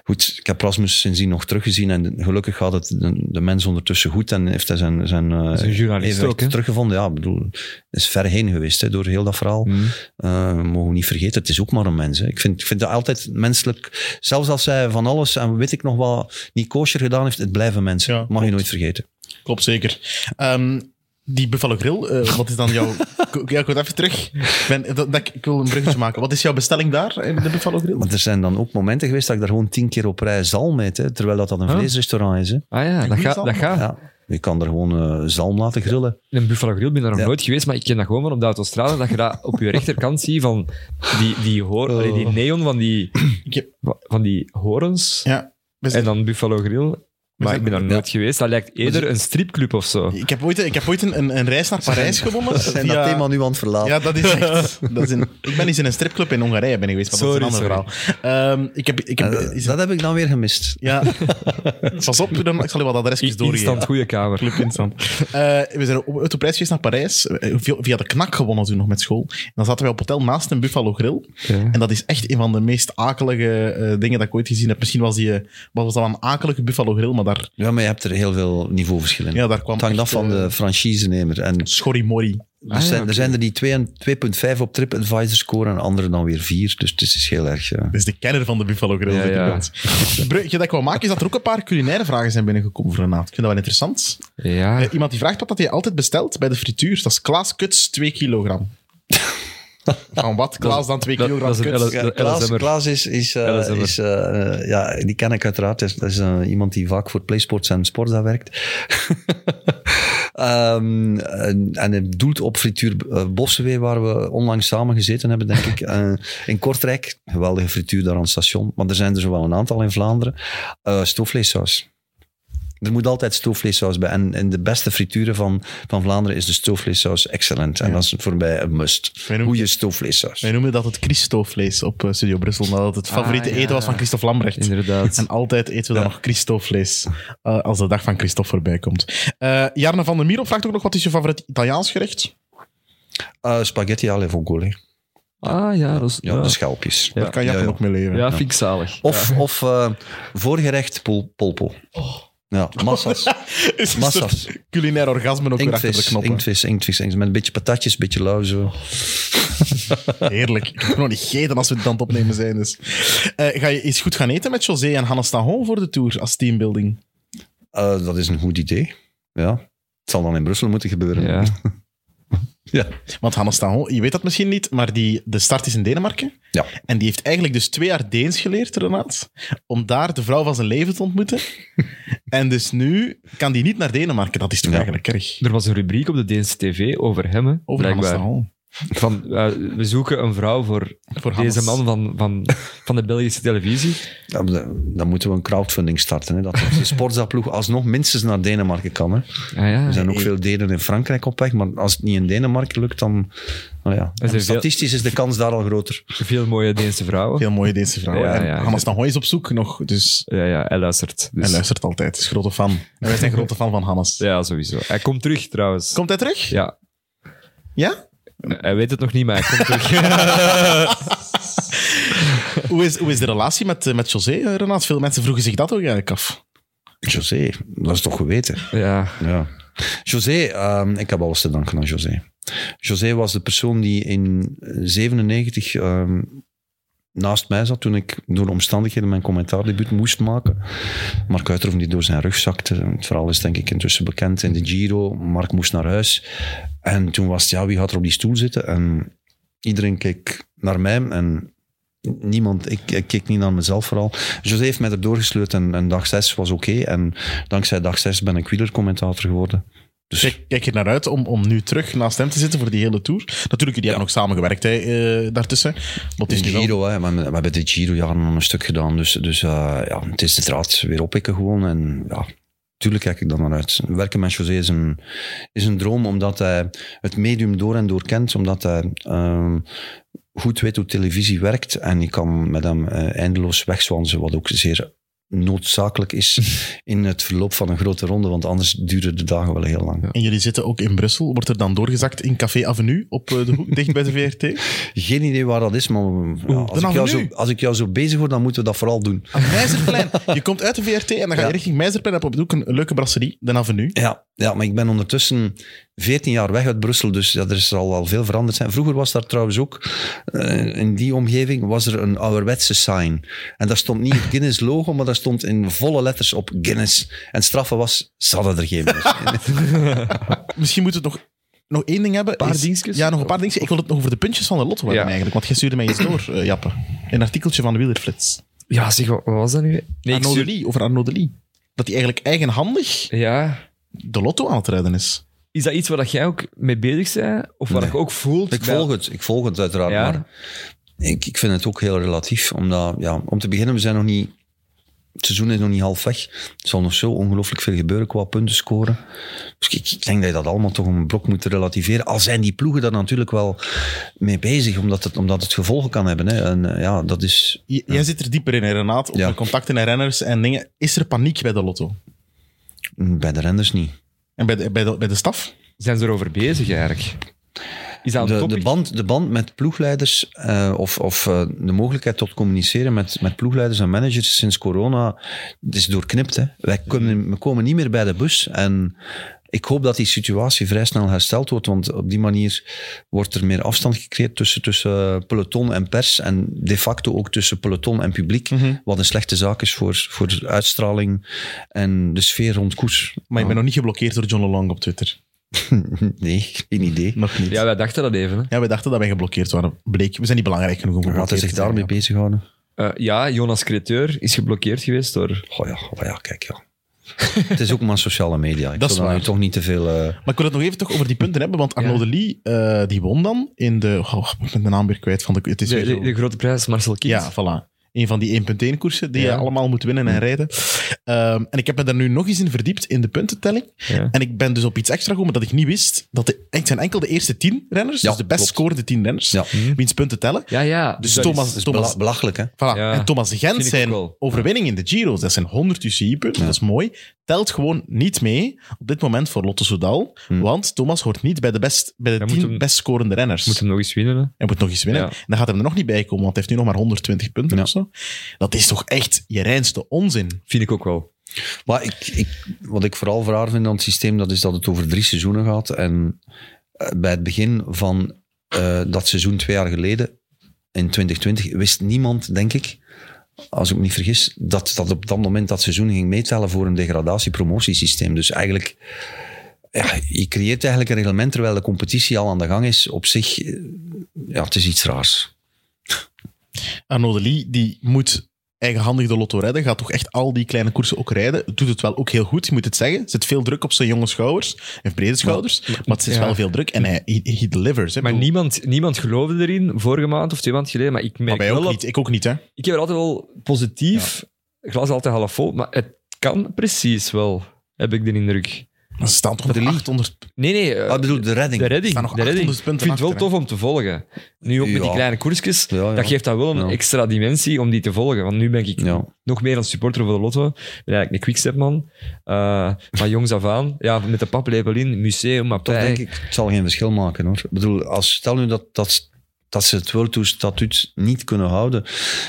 [SPEAKER 4] goed, ik heb Rasmus sindsdien nog teruggezien. En gelukkig gaat het de, de mens ondertussen goed en heeft hij zijn, zijn, eh,
[SPEAKER 3] Zijn journalist
[SPEAKER 4] evenwicht
[SPEAKER 3] ook, hè?
[SPEAKER 4] teruggevonden. Ja, ik bedoel, is ver heen geweest hè, door heel dat verhaal.
[SPEAKER 3] Hmm.
[SPEAKER 4] Eh, we mogen niet vergeten, het is ook maar een mens. Hè. Ik vind, ik vind dat altijd menselijk. Zelfs als zij van alles, en weet ik nog wel, niet kosher gedaan heeft, het blijven mensen.
[SPEAKER 2] Ja,
[SPEAKER 4] Mag je
[SPEAKER 2] klopt.
[SPEAKER 4] nooit vergeten.
[SPEAKER 2] Klopt, zeker. Ehm, die Buffalo Grill, eh, wat is dan jouw... K- ja, ik word even terug. Ik Ben, dat, dat- ik wil een bruggetje maken. Wat is jouw bestelling daar, in de Buffalo Grill?
[SPEAKER 4] Want er zijn dan ook momenten geweest dat ik daar gewoon tien keer op rij zalm eet, hè, terwijl dat, dat een
[SPEAKER 3] Huh?
[SPEAKER 4] vleesrestaurant is. Hè.
[SPEAKER 3] Ah ja, dat
[SPEAKER 2] Goeie
[SPEAKER 3] gaat.
[SPEAKER 2] zaal.
[SPEAKER 3] Dat gaat.
[SPEAKER 4] Ja. Je kan er gewoon eh, zalm laten grillen.
[SPEAKER 3] In een Buffalo Grill ben ik daar nog
[SPEAKER 4] Ja.
[SPEAKER 3] nooit geweest, maar ik ken dat gewoon van op de autostrade, dat je dat op je rechterkant ziet van die, die, hoor,
[SPEAKER 4] Oh.
[SPEAKER 3] allee, die neon van die,
[SPEAKER 2] Ik heb-
[SPEAKER 3] van die horens.
[SPEAKER 2] Ja. we
[SPEAKER 3] En
[SPEAKER 2] zijn-
[SPEAKER 3] dan Buffalo Grill. Maar
[SPEAKER 2] zijn-
[SPEAKER 3] ik ben daar nooit geweest. Dat lijkt eerder een stripclub of zo.
[SPEAKER 2] Ik heb ooit, ik heb ooit een, een, een reis naar Parijs gewonnen.
[SPEAKER 4] We zijn
[SPEAKER 2] via-
[SPEAKER 4] dat thema nu aan het verlaten.
[SPEAKER 2] Ja, dat is echt... Dat is een, ik ben eens in een stripclub in Hongarije ben geweest, maar dat is een
[SPEAKER 3] Sorry,
[SPEAKER 2] ander verhaal. Ehm, ik heb... Ik heb
[SPEAKER 4] Eh,
[SPEAKER 2] is-
[SPEAKER 4] dat heb ik dan weer gemist.
[SPEAKER 2] ja. Pas op, dan, ik zal je wat adresjes doorgeven.
[SPEAKER 3] Instant goede kamer.
[SPEAKER 2] Club Instant. Eh, we zijn op, uit op reis geweest naar Parijs. eh, via- Via de knak gewonnen toen nog met school. En dan zaten wij op hotel naast een Buffalo Grill.
[SPEAKER 3] Ja.
[SPEAKER 2] En dat is echt een van de meest akelige eh, dingen dat ik ooit gezien heb. Misschien was, die, eh, was dat wel een akelige Buffalo Grill, maar daar,
[SPEAKER 4] Ja, maar je hebt er heel veel niveauverschillen.
[SPEAKER 2] ja, daar kwam
[SPEAKER 4] het hangt
[SPEAKER 2] echt,
[SPEAKER 4] af van
[SPEAKER 2] eh,
[SPEAKER 4] de franchisenemer. En er,
[SPEAKER 2] schorrimorrie.
[SPEAKER 3] Ah, ja,
[SPEAKER 4] zijn,
[SPEAKER 3] oké.
[SPEAKER 4] er zijn er die twee en- 2,5 op TripAdvisor scoren en anderen dan weer 4. Dus het is heel erg... eh,
[SPEAKER 2] Dat is de kenner van de Buffalo Grill.
[SPEAKER 3] Ja,
[SPEAKER 2] vind ik
[SPEAKER 3] ja.
[SPEAKER 2] wel. Het bruggetje dat ik wil maken is dat er ook een paar culinaire vragen zijn binnengekomen voor vanavond. Ik vind dat wel interessant.
[SPEAKER 3] Ja.
[SPEAKER 2] Eh, iemand die vraagt wat dat hij altijd bestelt bij de frituur. Dat is Klaas Kuts 2 kilogram. Van wat? Klaas dan 2
[SPEAKER 3] dat-
[SPEAKER 2] kilogram
[SPEAKER 3] dat is een
[SPEAKER 2] Kuts?
[SPEAKER 3] LS
[SPEAKER 4] Ja,
[SPEAKER 3] De
[SPEAKER 4] Klaas,
[SPEAKER 3] LSM'er.
[SPEAKER 4] Klaas is, is, eh,
[SPEAKER 3] LSM'er.
[SPEAKER 4] is eh, eh, ja, die ken ik uiteraard. Dat is, dat is, eh, iemand die vaak voor PlaySports en Sportza werkt. Ehm, en, en hij doelt op frituur eh, Bossenwee, waar we onlangs samen gezeten hebben, denk ik. Eh, in Kortrijk, geweldige frituur daar aan het station. Maar er zijn er zo wel een aantal in Vlaanderen. Eh stoofvleessaus. Er moet altijd stoofvleessaus bij. En, en de beste frituren van, van Vlaanderen is de stoofvleessaus excellent. En dat is voor mij een must.
[SPEAKER 2] Wij noemen-
[SPEAKER 4] Goeie stoofvleessaus.
[SPEAKER 2] Wij noemen dat het Christo-vlees op eh, Studio Brussel, omdat het het favoriete
[SPEAKER 3] ja.
[SPEAKER 2] eten was van Christophe Lambrecht.
[SPEAKER 3] Inderdaad.
[SPEAKER 2] En altijd eten we dan nog Christophe-vlees, eh, als de dag van Christophe voorbij komt. Eh, Jarne van der Mierop vraagt ook nog, wat is je favoriet Italiaans gerecht?
[SPEAKER 4] Eh, spaghetti alle vongole.
[SPEAKER 3] Ah ja, dat is...
[SPEAKER 4] Ja, de schelpjes.
[SPEAKER 3] Ja.
[SPEAKER 2] Daar kan Jappen
[SPEAKER 4] Ja, ja.
[SPEAKER 2] ook mee leven.
[SPEAKER 3] Ja, Oh, vind ik zalig.
[SPEAKER 4] Of, of eh, voorgerecht pol, polpo. Ja, massas.
[SPEAKER 2] Is een
[SPEAKER 4] Massa's.
[SPEAKER 2] soort culinair orgasme ook weer achter de
[SPEAKER 4] Inktvis,
[SPEAKER 2] knoppen.
[SPEAKER 4] inktvis, inktvis, inktvis. Met een beetje patatjes, een beetje lauzen.
[SPEAKER 2] Heerlijk. Ik heb nog niet gegeten als we het aan het opnemen zijn. Dus. Eh, ga je eens goed gaan eten met José en Hannes Tahon voor de Tour als teambuilding?
[SPEAKER 4] Eh, dat is een goed idee. Ja. Het zal dan in Brussel moeten gebeuren.
[SPEAKER 3] Ja.
[SPEAKER 4] Ja.
[SPEAKER 2] Want Hannes Tango, je weet dat misschien niet, maar die, de start is in Denemarken.
[SPEAKER 4] Ja.
[SPEAKER 2] En die heeft eigenlijk dus twee jaar Deens geleerd, Renaat, om daar de vrouw van zijn leven te ontmoeten. en dus nu kan die niet naar Denemarken. Dat is toch
[SPEAKER 4] Ja.
[SPEAKER 2] eigenlijk erg.
[SPEAKER 3] Er was een rubriek op de Deense tv over hem, hè,
[SPEAKER 2] Over Hannes
[SPEAKER 3] blijkbaar.
[SPEAKER 2] Tango.
[SPEAKER 3] Van, eh, we zoeken een vrouw voor,
[SPEAKER 2] Voor
[SPEAKER 3] deze
[SPEAKER 2] Hannes.
[SPEAKER 3] man van, van, van de Belgische televisie.
[SPEAKER 4] Dan, dan moeten we een crowdfunding starten. Hè, dat onze sportploeg alsnog minstens naar Denemarken kan. Hè.
[SPEAKER 3] Ah, ja.
[SPEAKER 4] Er zijn ook veel delen in Frankrijk op weg, maar als het niet in Denemarken lukt, dan... Nou ja.
[SPEAKER 3] Er zijn veel-
[SPEAKER 4] Statistisch is de kans daar al groter.
[SPEAKER 3] Veel mooie Deense vrouwen.
[SPEAKER 2] Veel mooie Deense vrouwen.
[SPEAKER 3] Ja,
[SPEAKER 2] En
[SPEAKER 3] ja,
[SPEAKER 2] Hannes Tango is op zoek nog, dus...
[SPEAKER 3] Ja, ja, hij luistert. Dus-
[SPEAKER 2] Hij luistert altijd, is grote fan. En wij zijn grote fan van Hannes.
[SPEAKER 3] Ja, sowieso. Hij komt terug trouwens.
[SPEAKER 2] Komt hij terug?
[SPEAKER 3] Ja,
[SPEAKER 2] Ja?
[SPEAKER 3] hij weet het nog niet, maar hij komt terug.
[SPEAKER 2] Hoe is, hoe is de relatie met, eh, met José, eh, Renaat? Veel mensen vroegen zich dat ook eigenlijk af.
[SPEAKER 4] José, dat is toch geweten?
[SPEAKER 3] ja.
[SPEAKER 4] Ja. José, ehm, ik heb alles te danken aan José. José was de persoon die in 97 ehm, naast mij zat toen ik door omstandigheden mijn commentaardebuut moest maken. Mark Uiterhoff die door zijn rug zakte. Het verhaal is denk ik intussen bekend in de Giro. Mark moest naar huis. En toen was het, ja, wie gaat er op die stoel zitten? En iedereen keek naar mij en niemand, ik, ik keek niet naar mezelf vooral. José heeft mij erdoor gesleurd en, en dag 6 was oké. En dankzij dag 6 ben ik wielercommentator geworden. Dus
[SPEAKER 2] Kijk, kijk je naar uit om, om nu terug naast hem te zitten voor die hele tour? Natuurlijk, jullie hebben nog samengewerkt hè, eh, daartussen. Maar het is
[SPEAKER 4] de
[SPEAKER 2] nu wel...
[SPEAKER 4] Giro, hè, we, hebben- we hebben de Giro jaren een stuk gedaan. Dus, dus eh, ja, het is de draad weer oppikken gewoon. En ja, tuurlijk kijk ik dan naar uit. Werken met José is een, is een droom, omdat hij het medium door en door kent. Omdat hij ehm, goed weet hoe televisie werkt. En ik kan met hem eh, eindeloos wegzwansen, wat ook zeer noodzakelijk is in het verloop van een grote ronde, want anders duren de dagen wel heel lang.
[SPEAKER 2] En jullie zitten ook in Brussel. Wordt er dan doorgezakt in Café Avenue op eh, de hoek, dicht bij de VRT?
[SPEAKER 4] Geen idee waar dat is, maar ja, als,
[SPEAKER 2] dan
[SPEAKER 4] ik jou zo,
[SPEAKER 2] avenue.
[SPEAKER 4] als ik jou zo bezig hoor, dan moeten we dat vooral doen.
[SPEAKER 2] Aan Meizerplein. Je komt uit de VRT en dan ga je
[SPEAKER 4] Ja.
[SPEAKER 2] richting Meizerplein. Dan heb je ook een leuke brasserie, de Avenue.
[SPEAKER 4] Ja, ja, maar ik ben ondertussen 14 jaar weg uit Brussel, dus ja, er zal al veel veranderd zijn. Vroeger was daar trouwens ook, eh, in die omgeving, was er een ouderwetse sign. En daar stond niet het Guinness logo, maar daar stond in volle letters op Guinness. En straffen was, ze hadden er geen meer.
[SPEAKER 2] Misschien moeten we het nog, nog één ding hebben.
[SPEAKER 3] Paar
[SPEAKER 2] Is-
[SPEAKER 3] dingetjes?
[SPEAKER 2] Ja, nog een paar dingetjes. Ik wil het nog over de puntjes van de lotto hebben
[SPEAKER 3] Ja.
[SPEAKER 2] eigenlijk. Want jij stuurde mij eens door, eh, Jappe. Een artikeltje van Wielerflits.
[SPEAKER 3] ja, zeg, wat, wat was dat nu? Nee, ik
[SPEAKER 2] Arnaud
[SPEAKER 3] stuur-
[SPEAKER 2] de Lee, over Arnaud de Lee. Dat hij eigenlijk eigenhandig
[SPEAKER 3] Ja.
[SPEAKER 2] de lotto aan het rijden is.
[SPEAKER 3] Is dat iets waar dat jij ook mee bezig bent? Of waar
[SPEAKER 4] Nee.
[SPEAKER 3] je ook voelt?
[SPEAKER 4] Ik
[SPEAKER 3] bij-
[SPEAKER 4] volg het, ik volg het uiteraard.
[SPEAKER 3] Ja.
[SPEAKER 4] Maar ik, ik vind het ook heel relatief. Omdat, ja, om te beginnen, we zijn nog niet. Het seizoen is nog niet half weg. Er zal nog zo ongelooflijk veel gebeuren qua punten scoren. Dus ik, ik denk dat je dat allemaal toch een blok moet relativeren. Al zijn die ploegen daar natuurlijk wel mee bezig, omdat het, omdat het gevolgen kan hebben. Hè. En eh, ja, dat is.
[SPEAKER 2] J- Jij zit er dieper in, hè, Renaat, op
[SPEAKER 4] Ja.
[SPEAKER 2] de contacten en renners en dingen. Is er paniek bij de lotto?
[SPEAKER 4] Bij de renders niet.
[SPEAKER 2] En bij de, bij de, bij de staf?
[SPEAKER 3] Zijn ze erover bezig eigenlijk? Is dat een
[SPEAKER 4] De,
[SPEAKER 3] topic?
[SPEAKER 4] de, band, de band met ploegleiders eh, of, of eh, de mogelijkheid tot communiceren met, met ploegleiders en managers sinds corona het is doorknipt. Hè. Wij kunnen, we komen niet meer bij de bus. En ik hoop dat die situatie vrij snel hersteld wordt, want op die manier wordt er meer afstand gecreëerd tussen, tussen peloton en pers en de facto ook tussen peloton en publiek,
[SPEAKER 2] Mhm.
[SPEAKER 4] wat een slechte zaak is voor, voor de uitstraling en de sfeer rond koers.
[SPEAKER 2] Maar
[SPEAKER 3] Oh.
[SPEAKER 2] je bent nog niet geblokkeerd door John Long op Twitter.
[SPEAKER 4] Nee, geen idee.
[SPEAKER 2] Nog niet.
[SPEAKER 3] Ja,
[SPEAKER 2] Ja,
[SPEAKER 3] wij dachten dat even. Hè.
[SPEAKER 2] we dachten dat wij geblokkeerd waren. Bleek, we zijn niet belangrijk genoeg om
[SPEAKER 4] Gaat
[SPEAKER 2] geblokkeerd
[SPEAKER 4] hij zich
[SPEAKER 2] te zijn,
[SPEAKER 4] daarmee
[SPEAKER 2] ja.
[SPEAKER 4] bezighouden?
[SPEAKER 3] Eh, ja, Jonas Creteur is geblokkeerd geweest door...
[SPEAKER 4] Goh ja, goh ja, kijk ja. het is ook maar sociale media. Ik
[SPEAKER 2] Dat is
[SPEAKER 4] wil daar
[SPEAKER 2] waar.
[SPEAKER 4] nu toch niet te veel... eh,
[SPEAKER 2] Maar ik wil het nog even toch over die punten hebben, want Arnaud de Lee, eh, die won dan in de... Oh, ik ben de naam weer kwijt van de... Het is
[SPEAKER 3] De,
[SPEAKER 2] weer
[SPEAKER 3] de,
[SPEAKER 2] zo-
[SPEAKER 3] de grote prijs Marcel Kind.
[SPEAKER 2] Ja, voilà. Een van die 1.1-koersen die
[SPEAKER 3] Ja.
[SPEAKER 2] je allemaal moet winnen en rijden. Ehm, en ik heb me daar nu nog eens in verdiept, in de puntentelling.
[SPEAKER 3] Ja.
[SPEAKER 2] En ik ben dus op iets extra gekomen dat ik niet wist. Dat de, het zijn enkel de eerste tien renners,
[SPEAKER 4] Ja,
[SPEAKER 2] dus de best
[SPEAKER 4] klopt.
[SPEAKER 2] scorende tien renners,
[SPEAKER 4] ja,
[SPEAKER 2] wiens punten tellen.
[SPEAKER 3] ja, ja.
[SPEAKER 2] Dus
[SPEAKER 3] dat
[SPEAKER 2] Thomas,
[SPEAKER 3] is-
[SPEAKER 4] het is
[SPEAKER 2] Thomas,
[SPEAKER 4] bela- belachelijk, hè?
[SPEAKER 2] voilà.
[SPEAKER 3] Ja.
[SPEAKER 2] en Thomas Gent
[SPEAKER 3] Vind ik ook
[SPEAKER 2] zijn
[SPEAKER 3] wel.
[SPEAKER 2] overwinning in de Giro's, dat zijn 100 UCI-punten, dat is mooi, telt gewoon niet mee op dit moment voor Lotto Soudal,
[SPEAKER 3] Hm.
[SPEAKER 2] want Thomas hoort niet bij de, best, bij de
[SPEAKER 3] Hij moet
[SPEAKER 2] tien
[SPEAKER 3] hem-
[SPEAKER 2] best scorende renners.
[SPEAKER 3] Moet hem nog eens winnen, hè.
[SPEAKER 2] Hij moet nog eens winnen.
[SPEAKER 3] Ja.
[SPEAKER 2] En dan gaat hem er nog niet bij komen, want hij heeft nu nog maar 120 punten
[SPEAKER 4] Ja.
[SPEAKER 2] of zo. Dat is toch echt je reinste onzin.
[SPEAKER 3] Vind ik ook wel.
[SPEAKER 4] Maar ik, ik, wat ik vooral raar vind aan het systeem, dat is dat het over drie seizoenen gaat. En eh, bij het begin van eh, dat seizoen twee jaar geleden, in 2020, wist niemand, denk ik, als ik me niet vergis, dat, dat op dat moment dat seizoen ging meetellen voor een degradatiepromotiesysteem. Dus eigenlijk ja, je creëert eigenlijk een reglement terwijl de competitie al aan de gang is. Op zich, eh, ja, het is iets raars.
[SPEAKER 2] Arnaud de Lee, die moet eigenhandig de lotto redden, gaat toch echt al die kleine koersen ook rijden. Doet het wel ook heel goed, je moet het zeggen. Er zit veel druk op zijn jonge schouders, en brede schouders, maar, het is
[SPEAKER 3] ja.
[SPEAKER 2] wel veel druk en hij he, he delivers. Hè.
[SPEAKER 3] Maar
[SPEAKER 2] Ik bedoel,
[SPEAKER 3] niemand, niemand geloofde erin vorige maand of twee maanden geleden. Maar ik merk
[SPEAKER 2] maar wij
[SPEAKER 3] wel
[SPEAKER 2] ook
[SPEAKER 3] dat-
[SPEAKER 2] niet, ik ook niet, hè.
[SPEAKER 3] Ik heb er altijd wel positief, glas altijd half vol, maar het kan precies wel, heb ik de indruk.
[SPEAKER 2] Ze staan toch op
[SPEAKER 4] de Lee.
[SPEAKER 2] 800,
[SPEAKER 3] Nee, nee, eh,
[SPEAKER 4] Ah, ik bedoel, de redding.
[SPEAKER 3] de redding.
[SPEAKER 2] staan nog
[SPEAKER 3] de redding.
[SPEAKER 2] 800 punten
[SPEAKER 3] Ik vind het wel
[SPEAKER 2] achter,
[SPEAKER 3] tof om te volgen. Nu ook met die
[SPEAKER 4] Ja.
[SPEAKER 3] kleine koersjes,
[SPEAKER 4] Ja, ja.
[SPEAKER 3] dat geeft dat wel een
[SPEAKER 4] Ja.
[SPEAKER 3] extra dimensie om die te volgen. Want nu ben ik
[SPEAKER 4] Ja.
[SPEAKER 3] nog meer een supporter voor de Lotto. Ik ben eigenlijk een quickstepman. Eh maar jongs af aan, ja, met de paplepel in, museum, maar
[SPEAKER 4] Toch
[SPEAKER 3] pij.
[SPEAKER 4] denk ik, het zal geen verschil maken hoor. Ik bedoel, als, stel nu dat, dat, dat ze het World Tour statuut niet kunnen houden,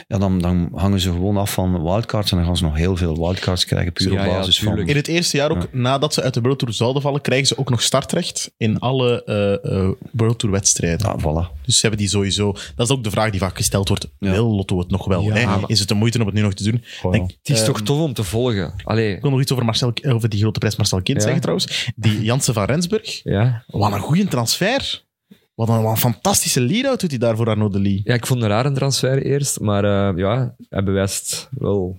[SPEAKER 4] ja, dan, dan hangen ze gewoon af van wildcards en dan gaan ze nog heel veel wildcards krijgen, puur
[SPEAKER 3] Ja,
[SPEAKER 4] op
[SPEAKER 3] ja,
[SPEAKER 4] basis van...
[SPEAKER 3] tuurlijk.
[SPEAKER 2] In het eerste jaar ook, nadat ze uit de World Tour zouden vallen, krijgen ze ook nog startrecht in alle eh, eh, World Tour
[SPEAKER 3] Ah.
[SPEAKER 2] wedstrijden.
[SPEAKER 4] Ja, voilà.
[SPEAKER 2] Dus ze hebben die sowieso... Dat is ook de vraag die vaak gesteld wordt.
[SPEAKER 4] Ja.
[SPEAKER 2] Wil Lotto het nog wel?
[SPEAKER 3] Ja,
[SPEAKER 2] hè?
[SPEAKER 3] maar- Oh,
[SPEAKER 2] Is het de moeite om het nu nog te doen?
[SPEAKER 4] Goh,
[SPEAKER 2] Denk-
[SPEAKER 3] Het is toch tof om te volgen. Allee,
[SPEAKER 2] Ik wil nog iets over, Marcel, eh, over die grote prijs Marcel Kind
[SPEAKER 3] Ja.
[SPEAKER 2] zeggen trouwens. Die Jansen van Rensburg.
[SPEAKER 3] ja.
[SPEAKER 2] Wat een goede transfer. Wat een, wat een fantastische lead-out doet hij daar voor Arnaud de Lee.
[SPEAKER 3] Ja, ik vond een rare transfer eerst, maar eh, ja, hij bewijst wel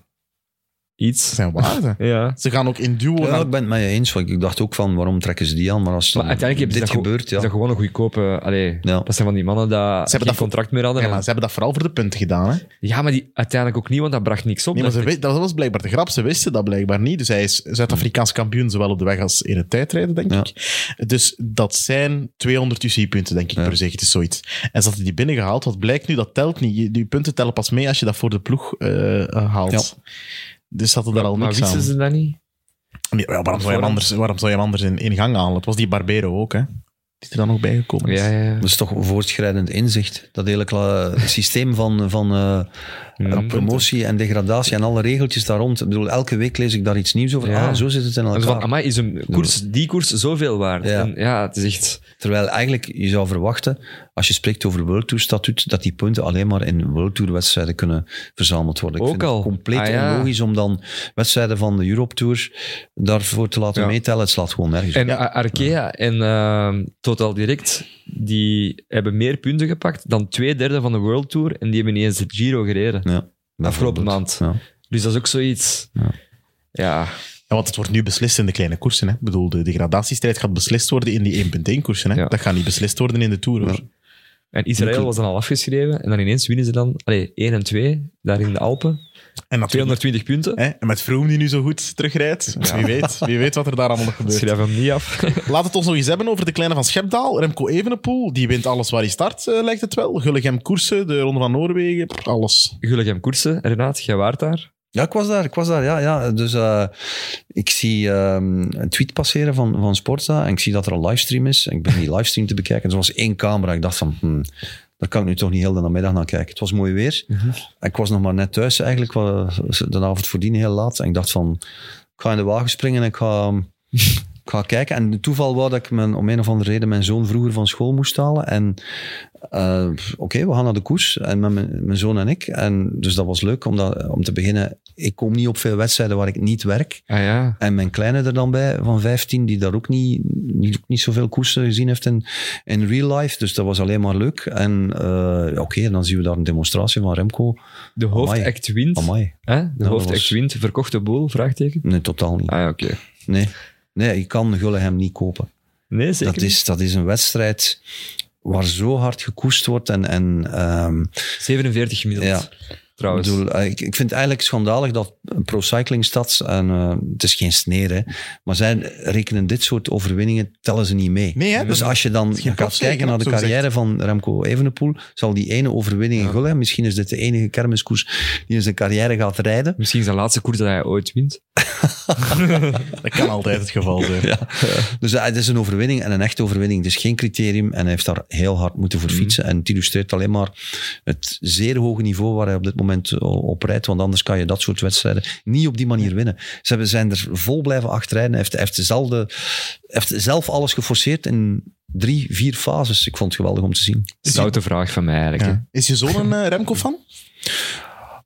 [SPEAKER 2] Dat
[SPEAKER 3] iets.
[SPEAKER 2] zijn waarden.
[SPEAKER 3] Ja.
[SPEAKER 2] Ze gaan ook in duo
[SPEAKER 4] Ja,
[SPEAKER 2] naar...
[SPEAKER 4] ik ben het met je eens, want ik dacht ook van, waarom trekken ze die aan? Maar als dan
[SPEAKER 3] Maar uiteindelijk
[SPEAKER 4] dit
[SPEAKER 3] hebben ze dat
[SPEAKER 4] gebeurt, ja.
[SPEAKER 3] Is dat gewoon een goedkope... Allee,
[SPEAKER 4] Ja.
[SPEAKER 3] Dat zijn van die mannen dat
[SPEAKER 2] hebben
[SPEAKER 3] geen
[SPEAKER 2] dat voor-
[SPEAKER 3] contract meer hadden.
[SPEAKER 2] Ja,
[SPEAKER 3] en-
[SPEAKER 2] maar ze hebben dat vooral voor de punten gedaan. Hè?
[SPEAKER 3] Ja, maar die uiteindelijk ook niet, want dat bracht niks op.
[SPEAKER 2] Nee, maar ze
[SPEAKER 3] dacht ik.
[SPEAKER 2] wist- dat was blijkbaar de grap. Ze wisten dat blijkbaar niet. Dus hij is Zuid-Afrikaans kampioen, zowel op de weg als in het tijdrijden, denk
[SPEAKER 4] Ja.
[SPEAKER 2] ik. Dus dat zijn 200 UCI-punten, denk ik,
[SPEAKER 4] Ja.
[SPEAKER 2] per se. Het is zoiets. En ze hadden die binnengehaald. Wat blijkt nu, dat telt niet. Je- Die punten tellen pas mee als je dat voor de ploeg eh, eh, haalt. Dus ze hadden daar al
[SPEAKER 3] maar
[SPEAKER 2] niks
[SPEAKER 3] wisten
[SPEAKER 2] aan.
[SPEAKER 3] ze dat niet?
[SPEAKER 2] Ja, waarom, zou je hem anders, waarom zou je hem anders in, in gang halen? Het was die Barbero ook, hè? Die er dan nog bijgekomen is.
[SPEAKER 3] Ja, ja, ja.
[SPEAKER 4] Dat is toch voortschrijdend inzicht. Dat hele kla- systeem van, van eh, promotie en degradatie en alle regeltjes daar rond. Ik bedoel, elke week lees ik daar iets nieuws over.
[SPEAKER 3] Ja.
[SPEAKER 4] Ah, zo zit het in
[SPEAKER 3] En zo Dus van,
[SPEAKER 4] elkaar.
[SPEAKER 3] amai, is een koers, die koers zoveel waard?
[SPEAKER 4] Ja.
[SPEAKER 3] En ja het is echt...
[SPEAKER 4] Terwijl eigenlijk je zou verwachten, als je spreekt over World Tour statuut, dat die punten alleen maar in World Tour wedstrijden kunnen verzameld worden.
[SPEAKER 3] Ook
[SPEAKER 4] ik vind
[SPEAKER 3] al.
[SPEAKER 4] het compleet
[SPEAKER 3] Ah, ja.
[SPEAKER 4] onlogisch om dan wedstrijden van de Europe Tour daarvoor te laten
[SPEAKER 3] Ja.
[SPEAKER 4] meetellen. Het slaat gewoon nergens op.
[SPEAKER 3] En A- Arkea en ehm, Total Direct, die hebben meer punten gepakt dan twee derde van de World Tour en die hebben niet eens de Giro gereden.
[SPEAKER 4] Ja,
[SPEAKER 3] Afgelopen maand.
[SPEAKER 4] bijvoorbeeld. Ja.
[SPEAKER 3] Dus dat is ook zoiets...
[SPEAKER 4] Ja.
[SPEAKER 3] Ja,
[SPEAKER 2] Ja, want het wordt nu beslist in de kleine koersen. Hè? Ik bedoel, de degradatiestrijd gaat beslist worden in die 1.1-koersen. hè
[SPEAKER 3] Ja.
[SPEAKER 2] Dat gaat niet beslist worden in de Tour. hoor.
[SPEAKER 3] En Israël was dan al afgeschreven. En dan ineens winnen ze dan allee, 1 en 2 daar in de Alpen.
[SPEAKER 2] En natuurlijk
[SPEAKER 3] 220 punten.
[SPEAKER 2] Hè? En met Froome die nu zo goed terugrijdt. Wie, weet, wie weet wat er daar allemaal nog gebeurt.
[SPEAKER 3] Schrijf hem niet af.
[SPEAKER 2] Laat het ons nog eens hebben over de kleine van Schepdaal. Remco Evenepoel, die wint alles waar hij start, eh, lijkt het wel. Gullegem koersen, de Ronde van Noorwegen, pff, alles.
[SPEAKER 3] Gullegem koersen. Renaat, jij waart daar.
[SPEAKER 4] Ja, ik was daar. Ik was daar ja, ja. Dus eh, ik zie ehm, een tweet passeren van, van Sportza en ik zie dat er een livestream is. En ik ben die livestream te bekijken. Er was één camera. Ik dacht van, hmm, daar kan ik nu toch niet heel de namiddag naar kijken. Het was mooi weer. En Ik was nog maar net thuis eigenlijk. wa- De avond voordien heel laat. En ik dacht van, ik ga in de wagen springen en ik ga, ik ga kijken. En het toeval wou dat ik mijn, om een of andere reden mijn zoon vroeger van school moest halen. En eh, oké, we gaan naar de koers. En met mijn, mijn zoon en ik. En dus dat was leuk om, dat, om te beginnen. Ik kom niet op veel wedstrijden waar ik niet werk.
[SPEAKER 3] Ah ja.
[SPEAKER 4] En mijn kleine er dan bij, van 15, die daar ook niet, niet, ook niet zoveel koersen gezien heeft in, in real life. Dus dat was alleen maar leuk. En eh, ja, oké, en dan zien we daar een demonstratie van Remco.
[SPEAKER 3] De hoofdact wint.
[SPEAKER 4] Amai. Nou,
[SPEAKER 3] Hè? De
[SPEAKER 4] dat
[SPEAKER 3] hoofdact
[SPEAKER 4] was-
[SPEAKER 3] wint. Verkochte boel? Vraagteken.
[SPEAKER 4] Nee, totaal niet.
[SPEAKER 3] Ah ja, oké.
[SPEAKER 4] Nee, nee je kan Gullegem niet kopen.
[SPEAKER 3] Nee, zeker
[SPEAKER 4] Dat is, dat is een wedstrijd waar zo hard gekoest wordt. En, en ehm,
[SPEAKER 3] niet. 47 gemiddeld.
[SPEAKER 4] Ja. ik,
[SPEAKER 3] Trouwens.
[SPEAKER 4] bedoel, eh, ik, ik vind het eigenlijk schandalig dat Pro Cycling Stats, en, eh, het is geen sneer, hè, maar zij rekenen dit soort overwinningen, tellen ze niet mee.
[SPEAKER 2] Nee, hè?
[SPEAKER 4] Dus als je dan
[SPEAKER 2] is geen
[SPEAKER 4] gaat
[SPEAKER 2] profzegen,
[SPEAKER 4] kijken naar de
[SPEAKER 2] zo gezegd.
[SPEAKER 4] carrière van Remco Evenepoel, zal die ene overwinning in Gullegem, misschien is dit de enige kermiskoers die in zijn carrière gaat rijden,
[SPEAKER 3] Misschien is dat de laatste koers dat hij ooit wint.
[SPEAKER 2] Dat kan altijd het geval zijn.
[SPEAKER 4] Dus eh, het is een overwinning en een echte overwinning. Het is geen criterium en hij heeft daar heel hard moeten voor fietsen. En het illustreert alleen maar het zeer hoge niveau waar hij op dit moment eh, op rijdt. Want anders kan je dat soort wedstrijden niet op die manier winnen. Ze hebben, zijn er vol blijven achterrijden. Hij heeft, hij heeft, dezelfde, hij heeft zelf alles geforceerd in drie, vier fases. Ik vond het geweldig om te zien.
[SPEAKER 3] Zoute nou vraag van mij
[SPEAKER 2] eh,
[SPEAKER 3] eigenlijk. hè.
[SPEAKER 2] Ja. Is je zoon een Remco-fan?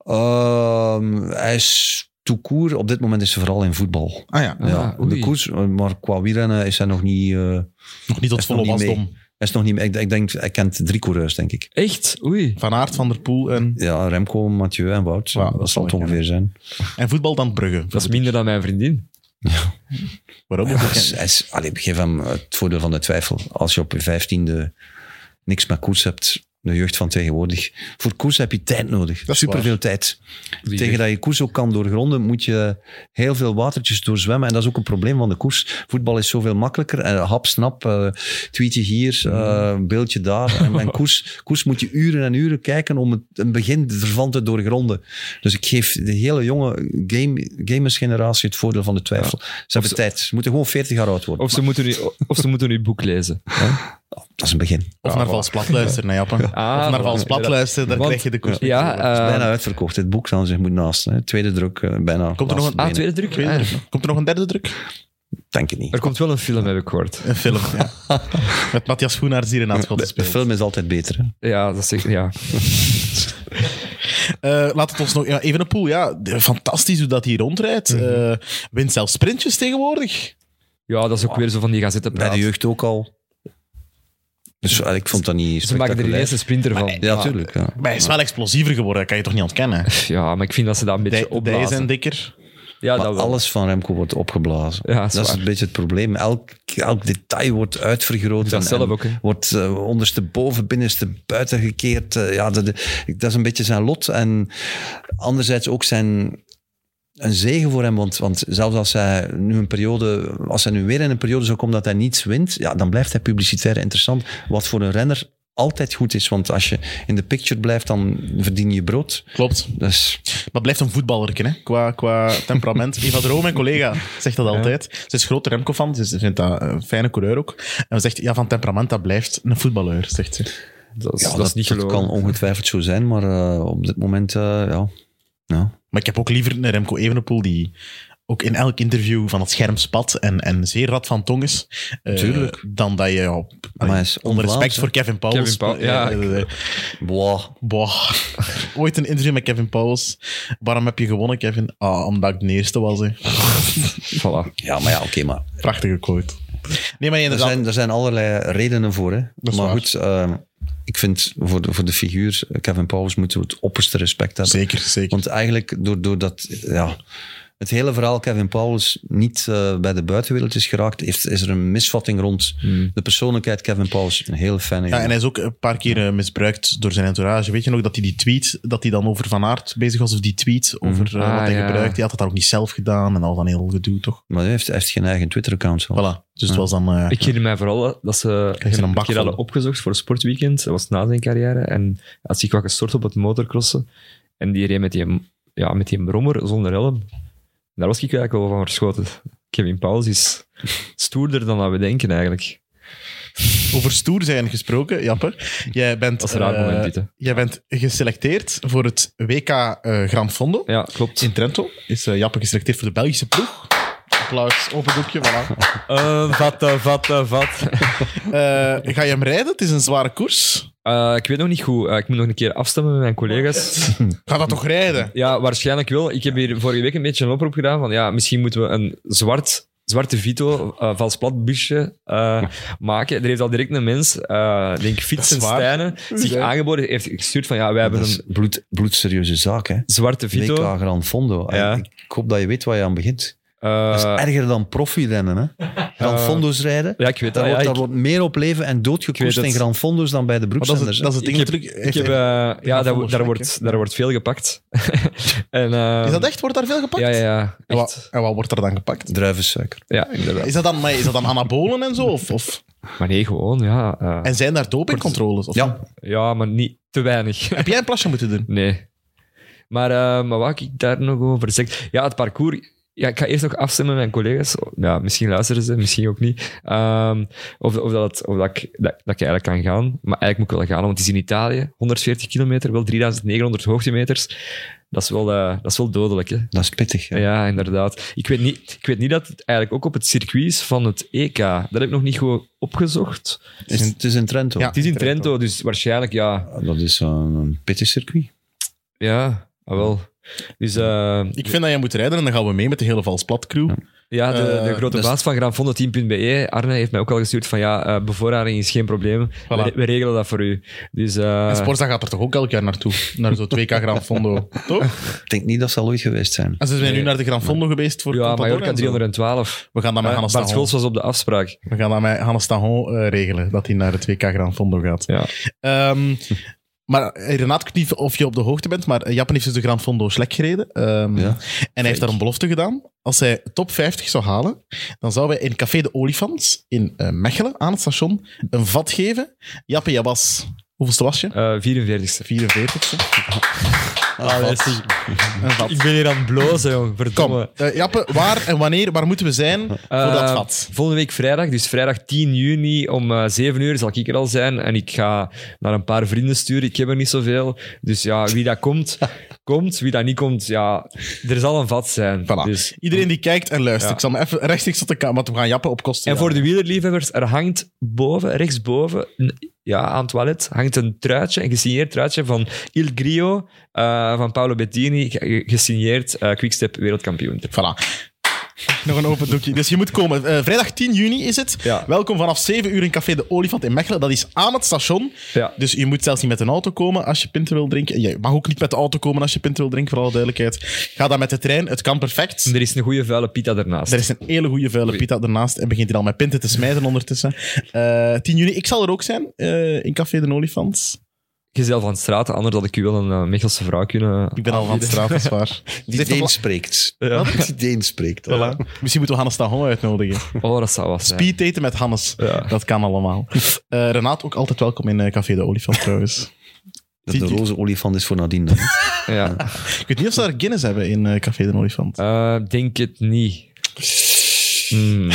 [SPEAKER 4] Ehm, hij is tout court, op dit moment is ze vooral in voetbal.
[SPEAKER 2] Ah ja,
[SPEAKER 4] Ja,
[SPEAKER 3] oei.
[SPEAKER 4] de koers, eh, maar qua wielrennen is hij nog niet... eh, hij
[SPEAKER 2] nog niet tot
[SPEAKER 4] is nog
[SPEAKER 2] volle
[SPEAKER 4] niet mee.
[SPEAKER 2] wasdom.
[SPEAKER 4] Hij is nog niet mee. Ik, ik denk, hij kent drie coureurs, denk ik.
[SPEAKER 3] Echt? Oei.
[SPEAKER 2] Van Aert, Van der Poel en,
[SPEAKER 4] Ja, Remco, Mathieu en Wout.
[SPEAKER 2] Ja, dat zal
[SPEAKER 4] dat zal het
[SPEAKER 2] ik
[SPEAKER 4] ongeveer zijn.
[SPEAKER 2] en voetbal dan Brugge.
[SPEAKER 3] Dat is minder dan mijn vriendin.
[SPEAKER 2] Waarom?
[SPEAKER 4] Ja, hij is- hij is- allee, geef hem het voordeel van de twijfel. Als je op je vijftiende niks met koers hebt, de jeugd van tegenwoordig. Voor koers heb je tijd nodig.
[SPEAKER 2] is
[SPEAKER 4] Superveel tijd. Tegen dat je koers ook kan doorgronden, moet je heel veel watertjes doorzwemmen. En dat is ook een probleem van de koers. Voetbal is zoveel makkelijker. En hap, snap, eh, tweetje hier, eh,
[SPEAKER 2] Mm.
[SPEAKER 4] beeldje daar. En, en koers, koers moet je uren en uren kijken om het een begin ervan te doorgronden. Dus ik geef de hele jonge game, gamersgeneratie het voordeel van de twijfel. Ze hebben tijd. Ze moeten gewoon 40 jaar oud
[SPEAKER 2] Oh.
[SPEAKER 4] worden.
[SPEAKER 3] Of ze, moeten nu, of ze moeten nu boek lezen.
[SPEAKER 4] Dat is een begin.
[SPEAKER 2] Of naar Vals Plat luisteren, hè, Jappe.
[SPEAKER 3] Ah,
[SPEAKER 2] of naar Vals
[SPEAKER 3] voilà.
[SPEAKER 2] Plat luisteren, daar
[SPEAKER 3] Want-
[SPEAKER 2] krijg je de koers.
[SPEAKER 3] Ja,
[SPEAKER 4] Het is
[SPEAKER 3] eh,
[SPEAKER 4] bijna uitverkocht. Het boek zal zich moeten naast. Hè. Tweede druk, eh, bijna.
[SPEAKER 2] Ehm. Komt er nog een-
[SPEAKER 3] ah, tweede druk?
[SPEAKER 2] Tweede
[SPEAKER 3] Ah.
[SPEAKER 2] druk
[SPEAKER 4] eh.
[SPEAKER 2] nog. Komt er nog een derde druk?
[SPEAKER 4] Denk het niet.
[SPEAKER 3] Er komt wel een film, heb ik gehoord.
[SPEAKER 2] Een film, ja. Met Matthias Schoenaerts hier in aan het schot
[SPEAKER 4] De, de
[SPEAKER 2] gespeeld.
[SPEAKER 4] film is altijd beter. hè.
[SPEAKER 3] Ja, dat zeg ja.
[SPEAKER 2] Eh, laat het ons nog... Ja, even een poel, ja. de- Fantastisch hoe dat hier rondrijdt.
[SPEAKER 3] Mhm.
[SPEAKER 2] Eh, wint zelfs sprintjes tegenwoordig.
[SPEAKER 3] ja, dat is ook weer zo van die
[SPEAKER 4] Bij
[SPEAKER 3] gazettenpraat.
[SPEAKER 4] de jeugd ook al. Dus eh, ik vond dat niet
[SPEAKER 3] Ze maken er
[SPEAKER 4] spectaculair.
[SPEAKER 3] ineens een sprinter van.
[SPEAKER 4] Ja, natuurlijk. Ja.
[SPEAKER 2] Maar hij is wel explosiever geworden, dat kan je toch niet ontkennen?
[SPEAKER 3] Ja, maar ik vind dat ze dat een beetje
[SPEAKER 2] Dij- Dijen zijn
[SPEAKER 3] opblazen.
[SPEAKER 2] dikker.
[SPEAKER 3] Ja,
[SPEAKER 4] Maar
[SPEAKER 3] dat wel.
[SPEAKER 4] alles van Remco wordt opgeblazen.
[SPEAKER 3] Ja, dat is
[SPEAKER 4] dat is
[SPEAKER 3] waar.
[SPEAKER 4] een beetje het probleem. Elk, elk detail wordt uitvergroot.
[SPEAKER 3] dat
[SPEAKER 4] en-
[SPEAKER 3] zelf
[SPEAKER 4] en
[SPEAKER 3] ook, hè.
[SPEAKER 4] Wordt eh, ondersteboven, binnenste buiten gekeerd. Eh, ja, dat, dat is een beetje zijn lot. En anderzijds ook zijn, een zegen voor hem. Want, want zelfs als hij nu een periode, als hij nu weer in een periode zou komen dat hij niets wint, ja, dan blijft hij publicitair interessant. Wat voor een renner altijd goed is. Want als je in de picture blijft, dan verdien je brood.
[SPEAKER 2] Klopt.
[SPEAKER 4] Dus
[SPEAKER 2] Maar blijft een voetballerken, hè? Qua, qua temperament. Eva Droom, mijn collega, zegt dat altijd. Ze is grote Remco-fan, ze vindt dat een fijne coureur ook. En ze zegt, ja, van temperament, dat blijft een voetballer, zegt ze.
[SPEAKER 3] Dat is,
[SPEAKER 4] ja,
[SPEAKER 3] dat is niet gelogen.
[SPEAKER 4] Dus kan ongetwijfeld zo zijn, maar eh, op dit moment, eh, ja. ja.
[SPEAKER 2] Maar ik heb ook liever een Remco Evenepoel die ook in elk interview van het scherm spat en, en zeer rad van tong is. eh,
[SPEAKER 4] Tuurlijk.
[SPEAKER 2] Dan dat je op...
[SPEAKER 4] Maar hij is
[SPEAKER 2] onder respect
[SPEAKER 4] onvlaams,
[SPEAKER 2] voor Kevin Powels.
[SPEAKER 3] Kevin Powell, ja,
[SPEAKER 2] eh, eh, eh,
[SPEAKER 4] Boah.
[SPEAKER 2] boah. Ooit een interview met Kevin Powels. Waarom heb je gewonnen, Kevin? Ah, omdat ik de eerste was, hè.
[SPEAKER 3] Voilà.
[SPEAKER 4] Ja, maar ja, oké, maar
[SPEAKER 2] Prachtige quote. Nee, maar
[SPEAKER 4] er
[SPEAKER 2] inderdaad...
[SPEAKER 4] zijn, er zijn allerlei redenen voor. Hè.
[SPEAKER 2] is
[SPEAKER 4] Maar
[SPEAKER 2] waar.
[SPEAKER 4] goed, eh, ik vind voor de, voor de figuur eh, Kevin Powers moeten we het opperste respect hebben.
[SPEAKER 2] Zeker, zeker.
[SPEAKER 4] Want eigenlijk door, door dat, ja, het hele verhaal Kevin Powers niet eh, bij de buitenwereld is geraakt, heeft, is er een misvatting rond de persoonlijkheid Kevin Powers. Een heel fijne
[SPEAKER 2] Ja,
[SPEAKER 4] jongen.
[SPEAKER 2] en hij is ook een paar keer eh, misbruikt door zijn entourage. Weet je nog dat hij die tweet, dat hij dan over Van Aert bezig was, of die tweet over eh,
[SPEAKER 3] Ah,
[SPEAKER 2] wat hij
[SPEAKER 3] ja.
[SPEAKER 2] gebruikt. Die had dat dan ook niet zelf gedaan en al dan heel gedoe, toch?
[SPEAKER 4] Maar hij heeft, hij heeft geen eigen Twitter-account. wel.
[SPEAKER 2] Voilà. Dus het was dan... eh,
[SPEAKER 3] Ik herinner mij vooral dat ze
[SPEAKER 2] Krijg je een
[SPEAKER 3] een
[SPEAKER 2] bak
[SPEAKER 3] keer
[SPEAKER 2] vol.
[SPEAKER 3] hadden opgezocht voor sportweekend. Dat was na zijn carrière. En hij had zich wat gestort op het motocrossen. En die reed met die, ja, met die brommer zonder helm. Daar was ik eigenlijk wel van verschoten. Kevin Pauls is stoerder dan dat we denken eigenlijk.
[SPEAKER 2] Over stoer zijn gesproken, Jappe. Jij bent,
[SPEAKER 3] Dat is een raar
[SPEAKER 2] eh,
[SPEAKER 3] moment, dit, hè.
[SPEAKER 2] jij bent geselecteerd voor het WK eh Gran Fondo.
[SPEAKER 3] Ja, klopt.
[SPEAKER 2] In Trento is eh, Jappe geselecteerd voor de Belgische ploeg. Applaus, open doekje, voilà.
[SPEAKER 3] vat, vat, vat.
[SPEAKER 2] Eh, ga je hem rijden? Het is een zware koers.
[SPEAKER 3] ik weet nog niet goed. Eh, ik moet nog een keer afstemmen met mijn collega's.
[SPEAKER 2] Ga dat toch rijden?
[SPEAKER 3] Ja, waarschijnlijk wel. Ik heb hier vorige week een beetje een oproep gedaan van ja, misschien moeten we een zwart, zwarte Vito, eh vals plat busje eh, maken. Er heeft al direct een mens, eh denk ik, Fiets
[SPEAKER 2] Dat
[SPEAKER 3] en
[SPEAKER 2] is waar.
[SPEAKER 3] Stijnen, zich aangeboden. heeft gestuurd van ja, wij hebben
[SPEAKER 4] Dat is
[SPEAKER 3] een
[SPEAKER 4] een bloed, bloedserieuze zaak, hè.
[SPEAKER 3] zwarte Vito.
[SPEAKER 4] WK Gran Fondo. En
[SPEAKER 3] Ja.
[SPEAKER 4] Ik hoop dat je weet waar je aan begint.
[SPEAKER 3] Eh,
[SPEAKER 4] Dat is erger dan profirennen, hè. Gran Fondo's rijden.
[SPEAKER 3] ja, ik weet
[SPEAKER 4] daar
[SPEAKER 3] dat. ja,
[SPEAKER 4] wordt,
[SPEAKER 3] ik-
[SPEAKER 4] daar wordt meer op leven en dood
[SPEAKER 3] Ik
[SPEAKER 4] gekoest
[SPEAKER 3] weet
[SPEAKER 4] in
[SPEAKER 3] het.
[SPEAKER 4] Gran Fondo's dan bij de
[SPEAKER 2] Maar dat is
[SPEAKER 4] beroepszenders.
[SPEAKER 2] het, dat is het ding
[SPEAKER 3] Ik
[SPEAKER 2] natuurlijk.
[SPEAKER 3] ik heb, eh, ja, daar, wo- daar, wordt, daar wordt veel gepakt. en, eh,
[SPEAKER 2] Is dat echt? Wordt daar veel gepakt?
[SPEAKER 3] Ja, ja, ja.
[SPEAKER 2] En
[SPEAKER 3] Echt.
[SPEAKER 2] wat, en wat wordt er dan gepakt?
[SPEAKER 4] hè. Druivensuiker.
[SPEAKER 3] Ja, inderdaad.
[SPEAKER 2] Is dat dan, maar is dat dan anabolen en zo? Of, of,
[SPEAKER 3] Maar nee, gewoon, ja. eh,
[SPEAKER 2] en zijn daar dopingcontroles? Of,
[SPEAKER 4] Ja,
[SPEAKER 3] ja, maar niet te weinig.
[SPEAKER 2] Heb jij een plasje moeten doen?
[SPEAKER 3] Nee. Maar, eh, maar wat heb ik daar nog over zeg? Ja, het parcours. Ja, ik ga eerst nog afstemmen met mijn collega's. Ja, misschien luisteren ze, misschien ook niet. Ehm, of of, dat, het- of dat, ik, dat, dat ik eigenlijk kan gaan. Maar eigenlijk moet ik wel gaan, want het is in Italië. 140 kilometer, wel 3900 hoogtemeters. Dat is wel, eh, dat is wel dodelijk, hè?
[SPEAKER 4] dat is pittig. hè.
[SPEAKER 3] Ja, inderdaad. Ik weet, niet, ik weet niet dat het eigenlijk ook op het circuit is van het EK. Dat heb ik nog niet goed opgezocht.
[SPEAKER 4] Het is- het is in Trento.
[SPEAKER 2] Ja.
[SPEAKER 3] Het is in Trento, dus waarschijnlijk ja.
[SPEAKER 4] Dat is een, een pittig circuit.
[SPEAKER 3] Ja, ah, wel. Dus eh,
[SPEAKER 2] Ik vind dat jij moet rijden en dan gaan we mee met de hele Valsplat crew.
[SPEAKER 3] ja, de,
[SPEAKER 2] Eh,
[SPEAKER 3] de grote
[SPEAKER 2] dus-
[SPEAKER 3] baas van graanfonden10.be, Arne, heeft mij ook al gestuurd van ja, eh, bevoorrading is geen probleem. We, we regelen dat voor u. Dus eh,
[SPEAKER 2] En Sporza gaat er toch ook elk jaar naartoe? Naar zo'n 2K Gran Fondo, toch?
[SPEAKER 4] Ik denk niet dat ze al ooit geweest zijn.
[SPEAKER 2] En ze zijn nu naar de Gran Fondo geweest voor
[SPEAKER 3] ja,
[SPEAKER 2] Contador
[SPEAKER 3] Mallorca
[SPEAKER 2] en zo.
[SPEAKER 3] 312.
[SPEAKER 2] We gaan dat met
[SPEAKER 3] Eh,
[SPEAKER 2] Hannes
[SPEAKER 3] Bart
[SPEAKER 2] Tahon.
[SPEAKER 3] Scholz was op de afspraak.
[SPEAKER 2] We gaan dat met Hannes Tahon eh, regelen, dat hij naar de 2K Gran Fondo gaat.
[SPEAKER 3] Ja.
[SPEAKER 2] Ehm, maar eh, Renaat, ik weet niet of je op de hoogte bent, maar eh, Japan heeft dus de Gran Fondo Slek gereden. Ehm,
[SPEAKER 4] Ja.
[SPEAKER 2] En hij heeft daar een belofte gedaan. Als hij top 50 zou halen, dan zouden wij in Café de Olifant in eh, Mechelen, aan het station, een vat geven. Jappe Jabas, hoeveelste was je?
[SPEAKER 3] Eh 44ste.
[SPEAKER 2] 44ste. Ah, Een vat.
[SPEAKER 3] Ik ben hier aan het blozen, jong.
[SPEAKER 2] Kom,
[SPEAKER 3] Verdomme.
[SPEAKER 2] Eh, Jappe, waar en wanneer, waar moeten we zijn voor dat
[SPEAKER 3] Eh,
[SPEAKER 2] vat?
[SPEAKER 3] Volgende week vrijdag, dus vrijdag 10 juni om eh 7 uur zal ik er al zijn. En ik ga naar een paar vrienden sturen. Ik heb er niet zoveel. Dus ja, wie dat komt, komt. Wie dat niet komt, ja, er zal een vat zijn.
[SPEAKER 2] Voilà.
[SPEAKER 3] Dus.
[SPEAKER 2] Iedereen die kijkt en luistert.
[SPEAKER 3] Ja.
[SPEAKER 2] Ik zal me even rechtstreeks tot de kamer, want we gaan Jappe op kosten.
[SPEAKER 3] En voor de wielerliefhebbers, er hangt boven, rechtsboven, een- ja, aan het toilet, hangt een truitje, een gesigneerd truitje van Il Grio, eh, van Paolo Bettini, ge- ge- gesigneerd eh, Quickstep wereldkampioen.
[SPEAKER 2] Voilà. Nog een open doekje. Dus je moet komen. Eh, vrijdag 10 juni is het.
[SPEAKER 3] Ja.
[SPEAKER 2] Welkom vanaf 7 uur in Café de Olifant in Mechelen. Dat is aan het station.
[SPEAKER 3] Ja.
[SPEAKER 2] Dus je moet zelfs niet met een auto komen als je pinten wil drinken. En Je mag ook niet met de auto komen als je pinten wil drinken, voor alle duidelijkheid. Ga dan met de trein. Het kan perfect.
[SPEAKER 3] Er is een goede vuile pita daarnaast.
[SPEAKER 2] Er is een hele goede vuile pita ernaast en begint hier al met pinten te smijten ondertussen. Eh, 10 juni, ik zal er ook zijn eh, in Café de Olifant.
[SPEAKER 3] Gezel van straat, anders had ik u wel een eh, Mechelse vrouw kunnen...
[SPEAKER 2] Ik ben al van de straat, dat is waar. heeft
[SPEAKER 4] Die
[SPEAKER 2] toch la-
[SPEAKER 4] Deen spreekt. Die Deen spreekt.
[SPEAKER 2] Voilà. Misschien moeten we Hannes Tahon uitnodigen.
[SPEAKER 3] Oh, dat zou wat zijn.
[SPEAKER 2] Speed daten met Hannes.
[SPEAKER 3] Ja.
[SPEAKER 2] Dat kan allemaal. Eh Renaat, ook altijd welkom in eh, Café de Olifant trouwens.
[SPEAKER 4] Dat de roze olifant is voor nadien dan.
[SPEAKER 3] Ja.
[SPEAKER 2] Ik weet niet of ze daar Guinness hebben in eh, Café de Olifant.
[SPEAKER 3] Eh, denk het niet. Hmm.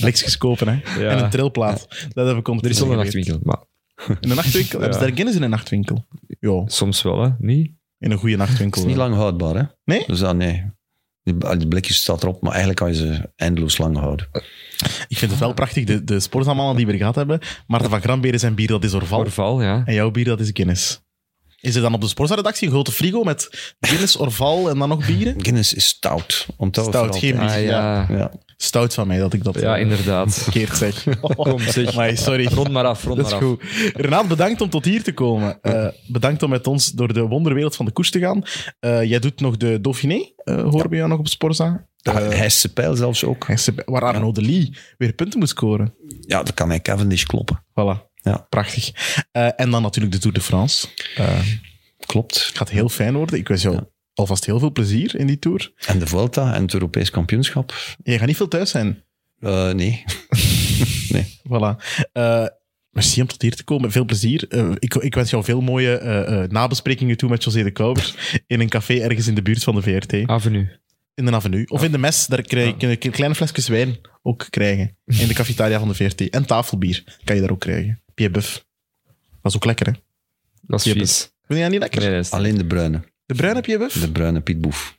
[SPEAKER 2] Blikjes kopen, hè.
[SPEAKER 3] Ja.
[SPEAKER 2] En een trilplaat. Dat heb ik
[SPEAKER 3] Er is
[SPEAKER 2] ondertussen
[SPEAKER 3] wel een
[SPEAKER 2] geleerd.
[SPEAKER 3] nachtwinkel, maar
[SPEAKER 2] In een nachtwinkel? Hebben ze daar Guinness in een nachtwinkel? Ja,
[SPEAKER 3] soms wel, hè? Niet?
[SPEAKER 2] in een goede
[SPEAKER 4] Het is
[SPEAKER 2] nachtwinkel.
[SPEAKER 4] niet lang houdbaar, hè?
[SPEAKER 2] Nee?
[SPEAKER 4] Dus dan, nee. Die die blikjes staat erop, maar eigenlijk kan je ze eindeloos lang houden.
[SPEAKER 2] Ik vind het wel prachtig, de, de sportamannen die we gehad hebben. Maarten van Gramberen zijn bier, dat is Orval.
[SPEAKER 3] Orval, ja.
[SPEAKER 2] En jouw bier, dat is Guinness. Is er dan op de sportredactie een grote frigo met Guinness, Orval en dan nog bieren?
[SPEAKER 4] Guinness is stout. Onthoud het
[SPEAKER 2] Stout, geen
[SPEAKER 4] vooral.
[SPEAKER 2] bier.
[SPEAKER 3] Ah, ja.
[SPEAKER 4] Ja.
[SPEAKER 2] Stout van mij dat ik dat
[SPEAKER 3] Ja,
[SPEAKER 2] eh,
[SPEAKER 3] inderdaad.
[SPEAKER 2] verkeerd zeg.
[SPEAKER 3] Kom, zeg.
[SPEAKER 2] Amai, sorry.
[SPEAKER 3] Rond maar af, rond
[SPEAKER 2] Dat is
[SPEAKER 3] maar af.
[SPEAKER 2] goed. Renaat, bedankt om tot hier te komen. Eh, bedankt om met ons door de wonderwereld van de koers te gaan. Eh, jij doet nog de Dauphiné, eh, horen we jou nog op Sporza.
[SPEAKER 4] De Ah, Hesse pijl zelfs ook.
[SPEAKER 2] En ze- Waar Arno de Lee weer punten moet scoren.
[SPEAKER 4] Ja, dan kan hij Cavendish kloppen.
[SPEAKER 2] Voilà.
[SPEAKER 4] Ja.
[SPEAKER 2] Prachtig. Eh, en dan natuurlijk de Tour de France. Eh,
[SPEAKER 4] Klopt.
[SPEAKER 2] gaat heel fijn worden. Ik wens jou alvast heel veel plezier in die Tour.
[SPEAKER 4] En de Vuelta en het Europees kampioenschap?
[SPEAKER 2] Jij gaat niet veel thuis zijn.
[SPEAKER 4] Eh, nee.
[SPEAKER 2] Voilà. Eh, merci om tot hier te komen. Veel plezier. Eh, ik, ik wens jou veel mooie eh, eh, nabesprekingen toe met José de Kouwer in een café ergens in de buurt van de VRT.
[SPEAKER 3] Avenue.
[SPEAKER 2] In de avenue. Of in de mes. Daar krijg je kun je kleine flesjes wijn ook krijgen. In de cafetaria van de VRT. En tafelbier kan je daar ook krijgen. Piebuff. Dat is ook lekker, hè?
[SPEAKER 3] Dat is
[SPEAKER 2] Jeppe.
[SPEAKER 3] vies.
[SPEAKER 2] Vind je dat niet lekker?
[SPEAKER 3] Nee, dat is
[SPEAKER 4] Alleen de bruine.
[SPEAKER 2] De bruine Piebuff?
[SPEAKER 4] De bruine Pietboef.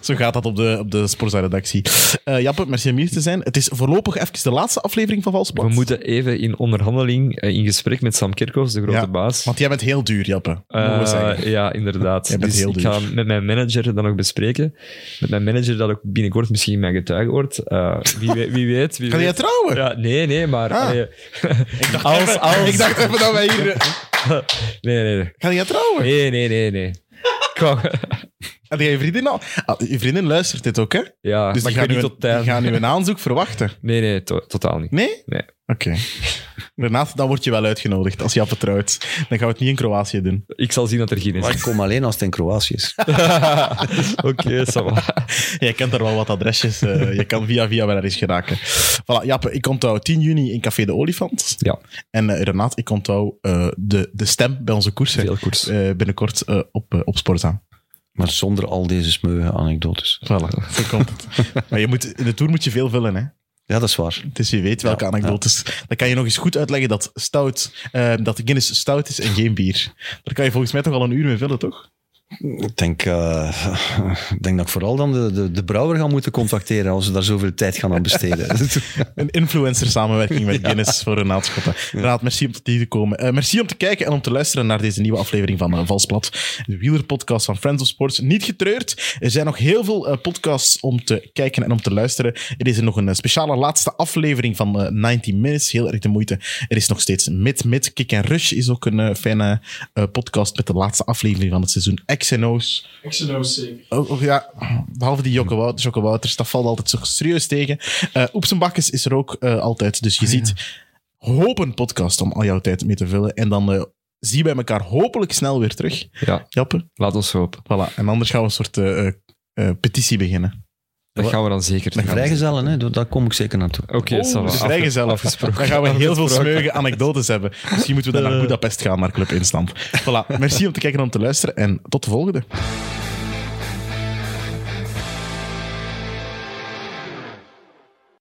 [SPEAKER 2] Zo gaat dat op de, op de Sporza-redactie. Eh, Jappe, merci om hier te zijn. Het is voorlopig even de laatste aflevering van Valsplat.
[SPEAKER 3] We moeten even in onderhandeling, eh, in gesprek met Sam Kerkhoffs, de grote
[SPEAKER 2] Ja,
[SPEAKER 3] baas.
[SPEAKER 2] Want jij bent heel duur, Jappe. mogen we
[SPEAKER 3] Eh,
[SPEAKER 2] zeggen.
[SPEAKER 3] ja, inderdaad.
[SPEAKER 2] Jij bent
[SPEAKER 3] dus
[SPEAKER 2] heel
[SPEAKER 3] ik
[SPEAKER 2] duur.
[SPEAKER 3] ga met mijn manager dan nog bespreken. Met mijn manager dat ook binnenkort misschien mijn getuige wordt. Eh, wie, weet- wie weet. Wie
[SPEAKER 2] Kan jij
[SPEAKER 3] weet.
[SPEAKER 2] trouwen?
[SPEAKER 3] Ja, nee, nee, maar...
[SPEAKER 2] Ah.
[SPEAKER 3] allee,
[SPEAKER 2] Ik dacht,
[SPEAKER 3] Als-
[SPEAKER 2] even,
[SPEAKER 3] als-
[SPEAKER 2] ik dacht even dat wij hier...
[SPEAKER 3] nee, nee, nee.
[SPEAKER 2] Ga jij trouwen?
[SPEAKER 3] Nee, nee, nee, nee. Kom.
[SPEAKER 2] Had jij je vriendin al? Ah, je vriendin luistert dit ook, hè? Dus
[SPEAKER 3] Ja, maar
[SPEAKER 2] die
[SPEAKER 3] ik weet
[SPEAKER 2] gaan,
[SPEAKER 3] niet
[SPEAKER 2] nu,
[SPEAKER 3] tot
[SPEAKER 2] die
[SPEAKER 3] tijd.
[SPEAKER 2] gaan nu een aanzoek verwachten.
[SPEAKER 3] Nee, nee, to- totaal niet.
[SPEAKER 2] Nee?
[SPEAKER 3] Nee.
[SPEAKER 2] Oké. Renate, dan word je wel uitgenodigd als Jappe trouwt. Dan gaan we het niet in Kroatië doen.
[SPEAKER 3] Ik zal zien dat er geen
[SPEAKER 4] Maar
[SPEAKER 3] is.
[SPEAKER 4] ik kom alleen als het in Kroatië is.
[SPEAKER 3] Oké, ça va.
[SPEAKER 2] Jij kent daar wel wat adresjes. eh, je kan via via wel ergens geraken. Voilà, Jappe, ik onthoud 10 juni in Café de Olifant.
[SPEAKER 3] Ja,
[SPEAKER 2] En eh Renate, ik onthoud eh, de, de stem bij onze koersen.
[SPEAKER 3] veel koers.
[SPEAKER 2] Eh, binnenkort eh, op, eh, op Sporza.
[SPEAKER 4] Maar zonder al deze smeuïge anekdotes.
[SPEAKER 2] Voilà, zo komt het. maar je moet, in de Tour moet je veel vullen, hè.
[SPEAKER 4] Ja, dat is waar.
[SPEAKER 2] Dus je weet welke
[SPEAKER 4] Ja,
[SPEAKER 2] anekdotes. Dan kan je nog eens goed uitleggen dat, stout, eh, dat Guinness stout is en geen bier. Daar kan je volgens mij toch al een uur mee vullen, toch?
[SPEAKER 4] Ik denk, eh, ik denk dat ik vooral dan de, de, de brouwer ga moeten contacteren als ze daar zoveel tijd gaan aan besteden.
[SPEAKER 2] Een influencer-samenwerking met Guinness voor een aanschotten. Raad, merci om tot hier te komen. Eh, merci om te kijken en om te luisteren naar deze nieuwe aflevering van eh, Valsplat. De wielerpodcast van Friends of Sports. Niet getreurd. Er zijn nog heel veel eh, podcasts om te kijken en om te luisteren. Er is er nog een eh, speciale laatste aflevering van eh, 90 Minutes. Heel erg de moeite. Er is nog steeds Mid Mid. Kick and Rush is ook een eh, fijne eh, podcast met de laatste aflevering van het seizoen. XNO's.
[SPEAKER 5] Exynos zeker.
[SPEAKER 2] Oh, oh, ja, behalve die Jokke Wouters, Jokke Wouters, dat valt altijd zo serieus tegen. Eh Oeps en Bakkes is er ook eh, altijd, dus je
[SPEAKER 3] Ah,
[SPEAKER 2] ziet hopen podcast om al jouw tijd mee te vullen. En dan eh, zien wij elkaar hopelijk snel weer terug.
[SPEAKER 3] Ja,
[SPEAKER 2] Jappe,
[SPEAKER 3] laat ons hopen.
[SPEAKER 2] voilà. En anders gaan we een soort eh, eh, eh, petitie beginnen.
[SPEAKER 3] Dat gaan we dan zeker doen.
[SPEAKER 4] Vrijgezellen, hè? daar kom ik zeker naartoe.
[SPEAKER 3] Oké, ça va.
[SPEAKER 2] dus
[SPEAKER 3] Afge-
[SPEAKER 2] vrijgezellig.
[SPEAKER 3] afgesproken.
[SPEAKER 2] Dan gaan we heel veel
[SPEAKER 3] Afgesproken. Eh.
[SPEAKER 2] smeuïge anekdotes hebben. Misschien moeten we dan naar Budapest gaan, naar Club Instant. Voilà, merci om te kijken en om te luisteren en tot de volgende.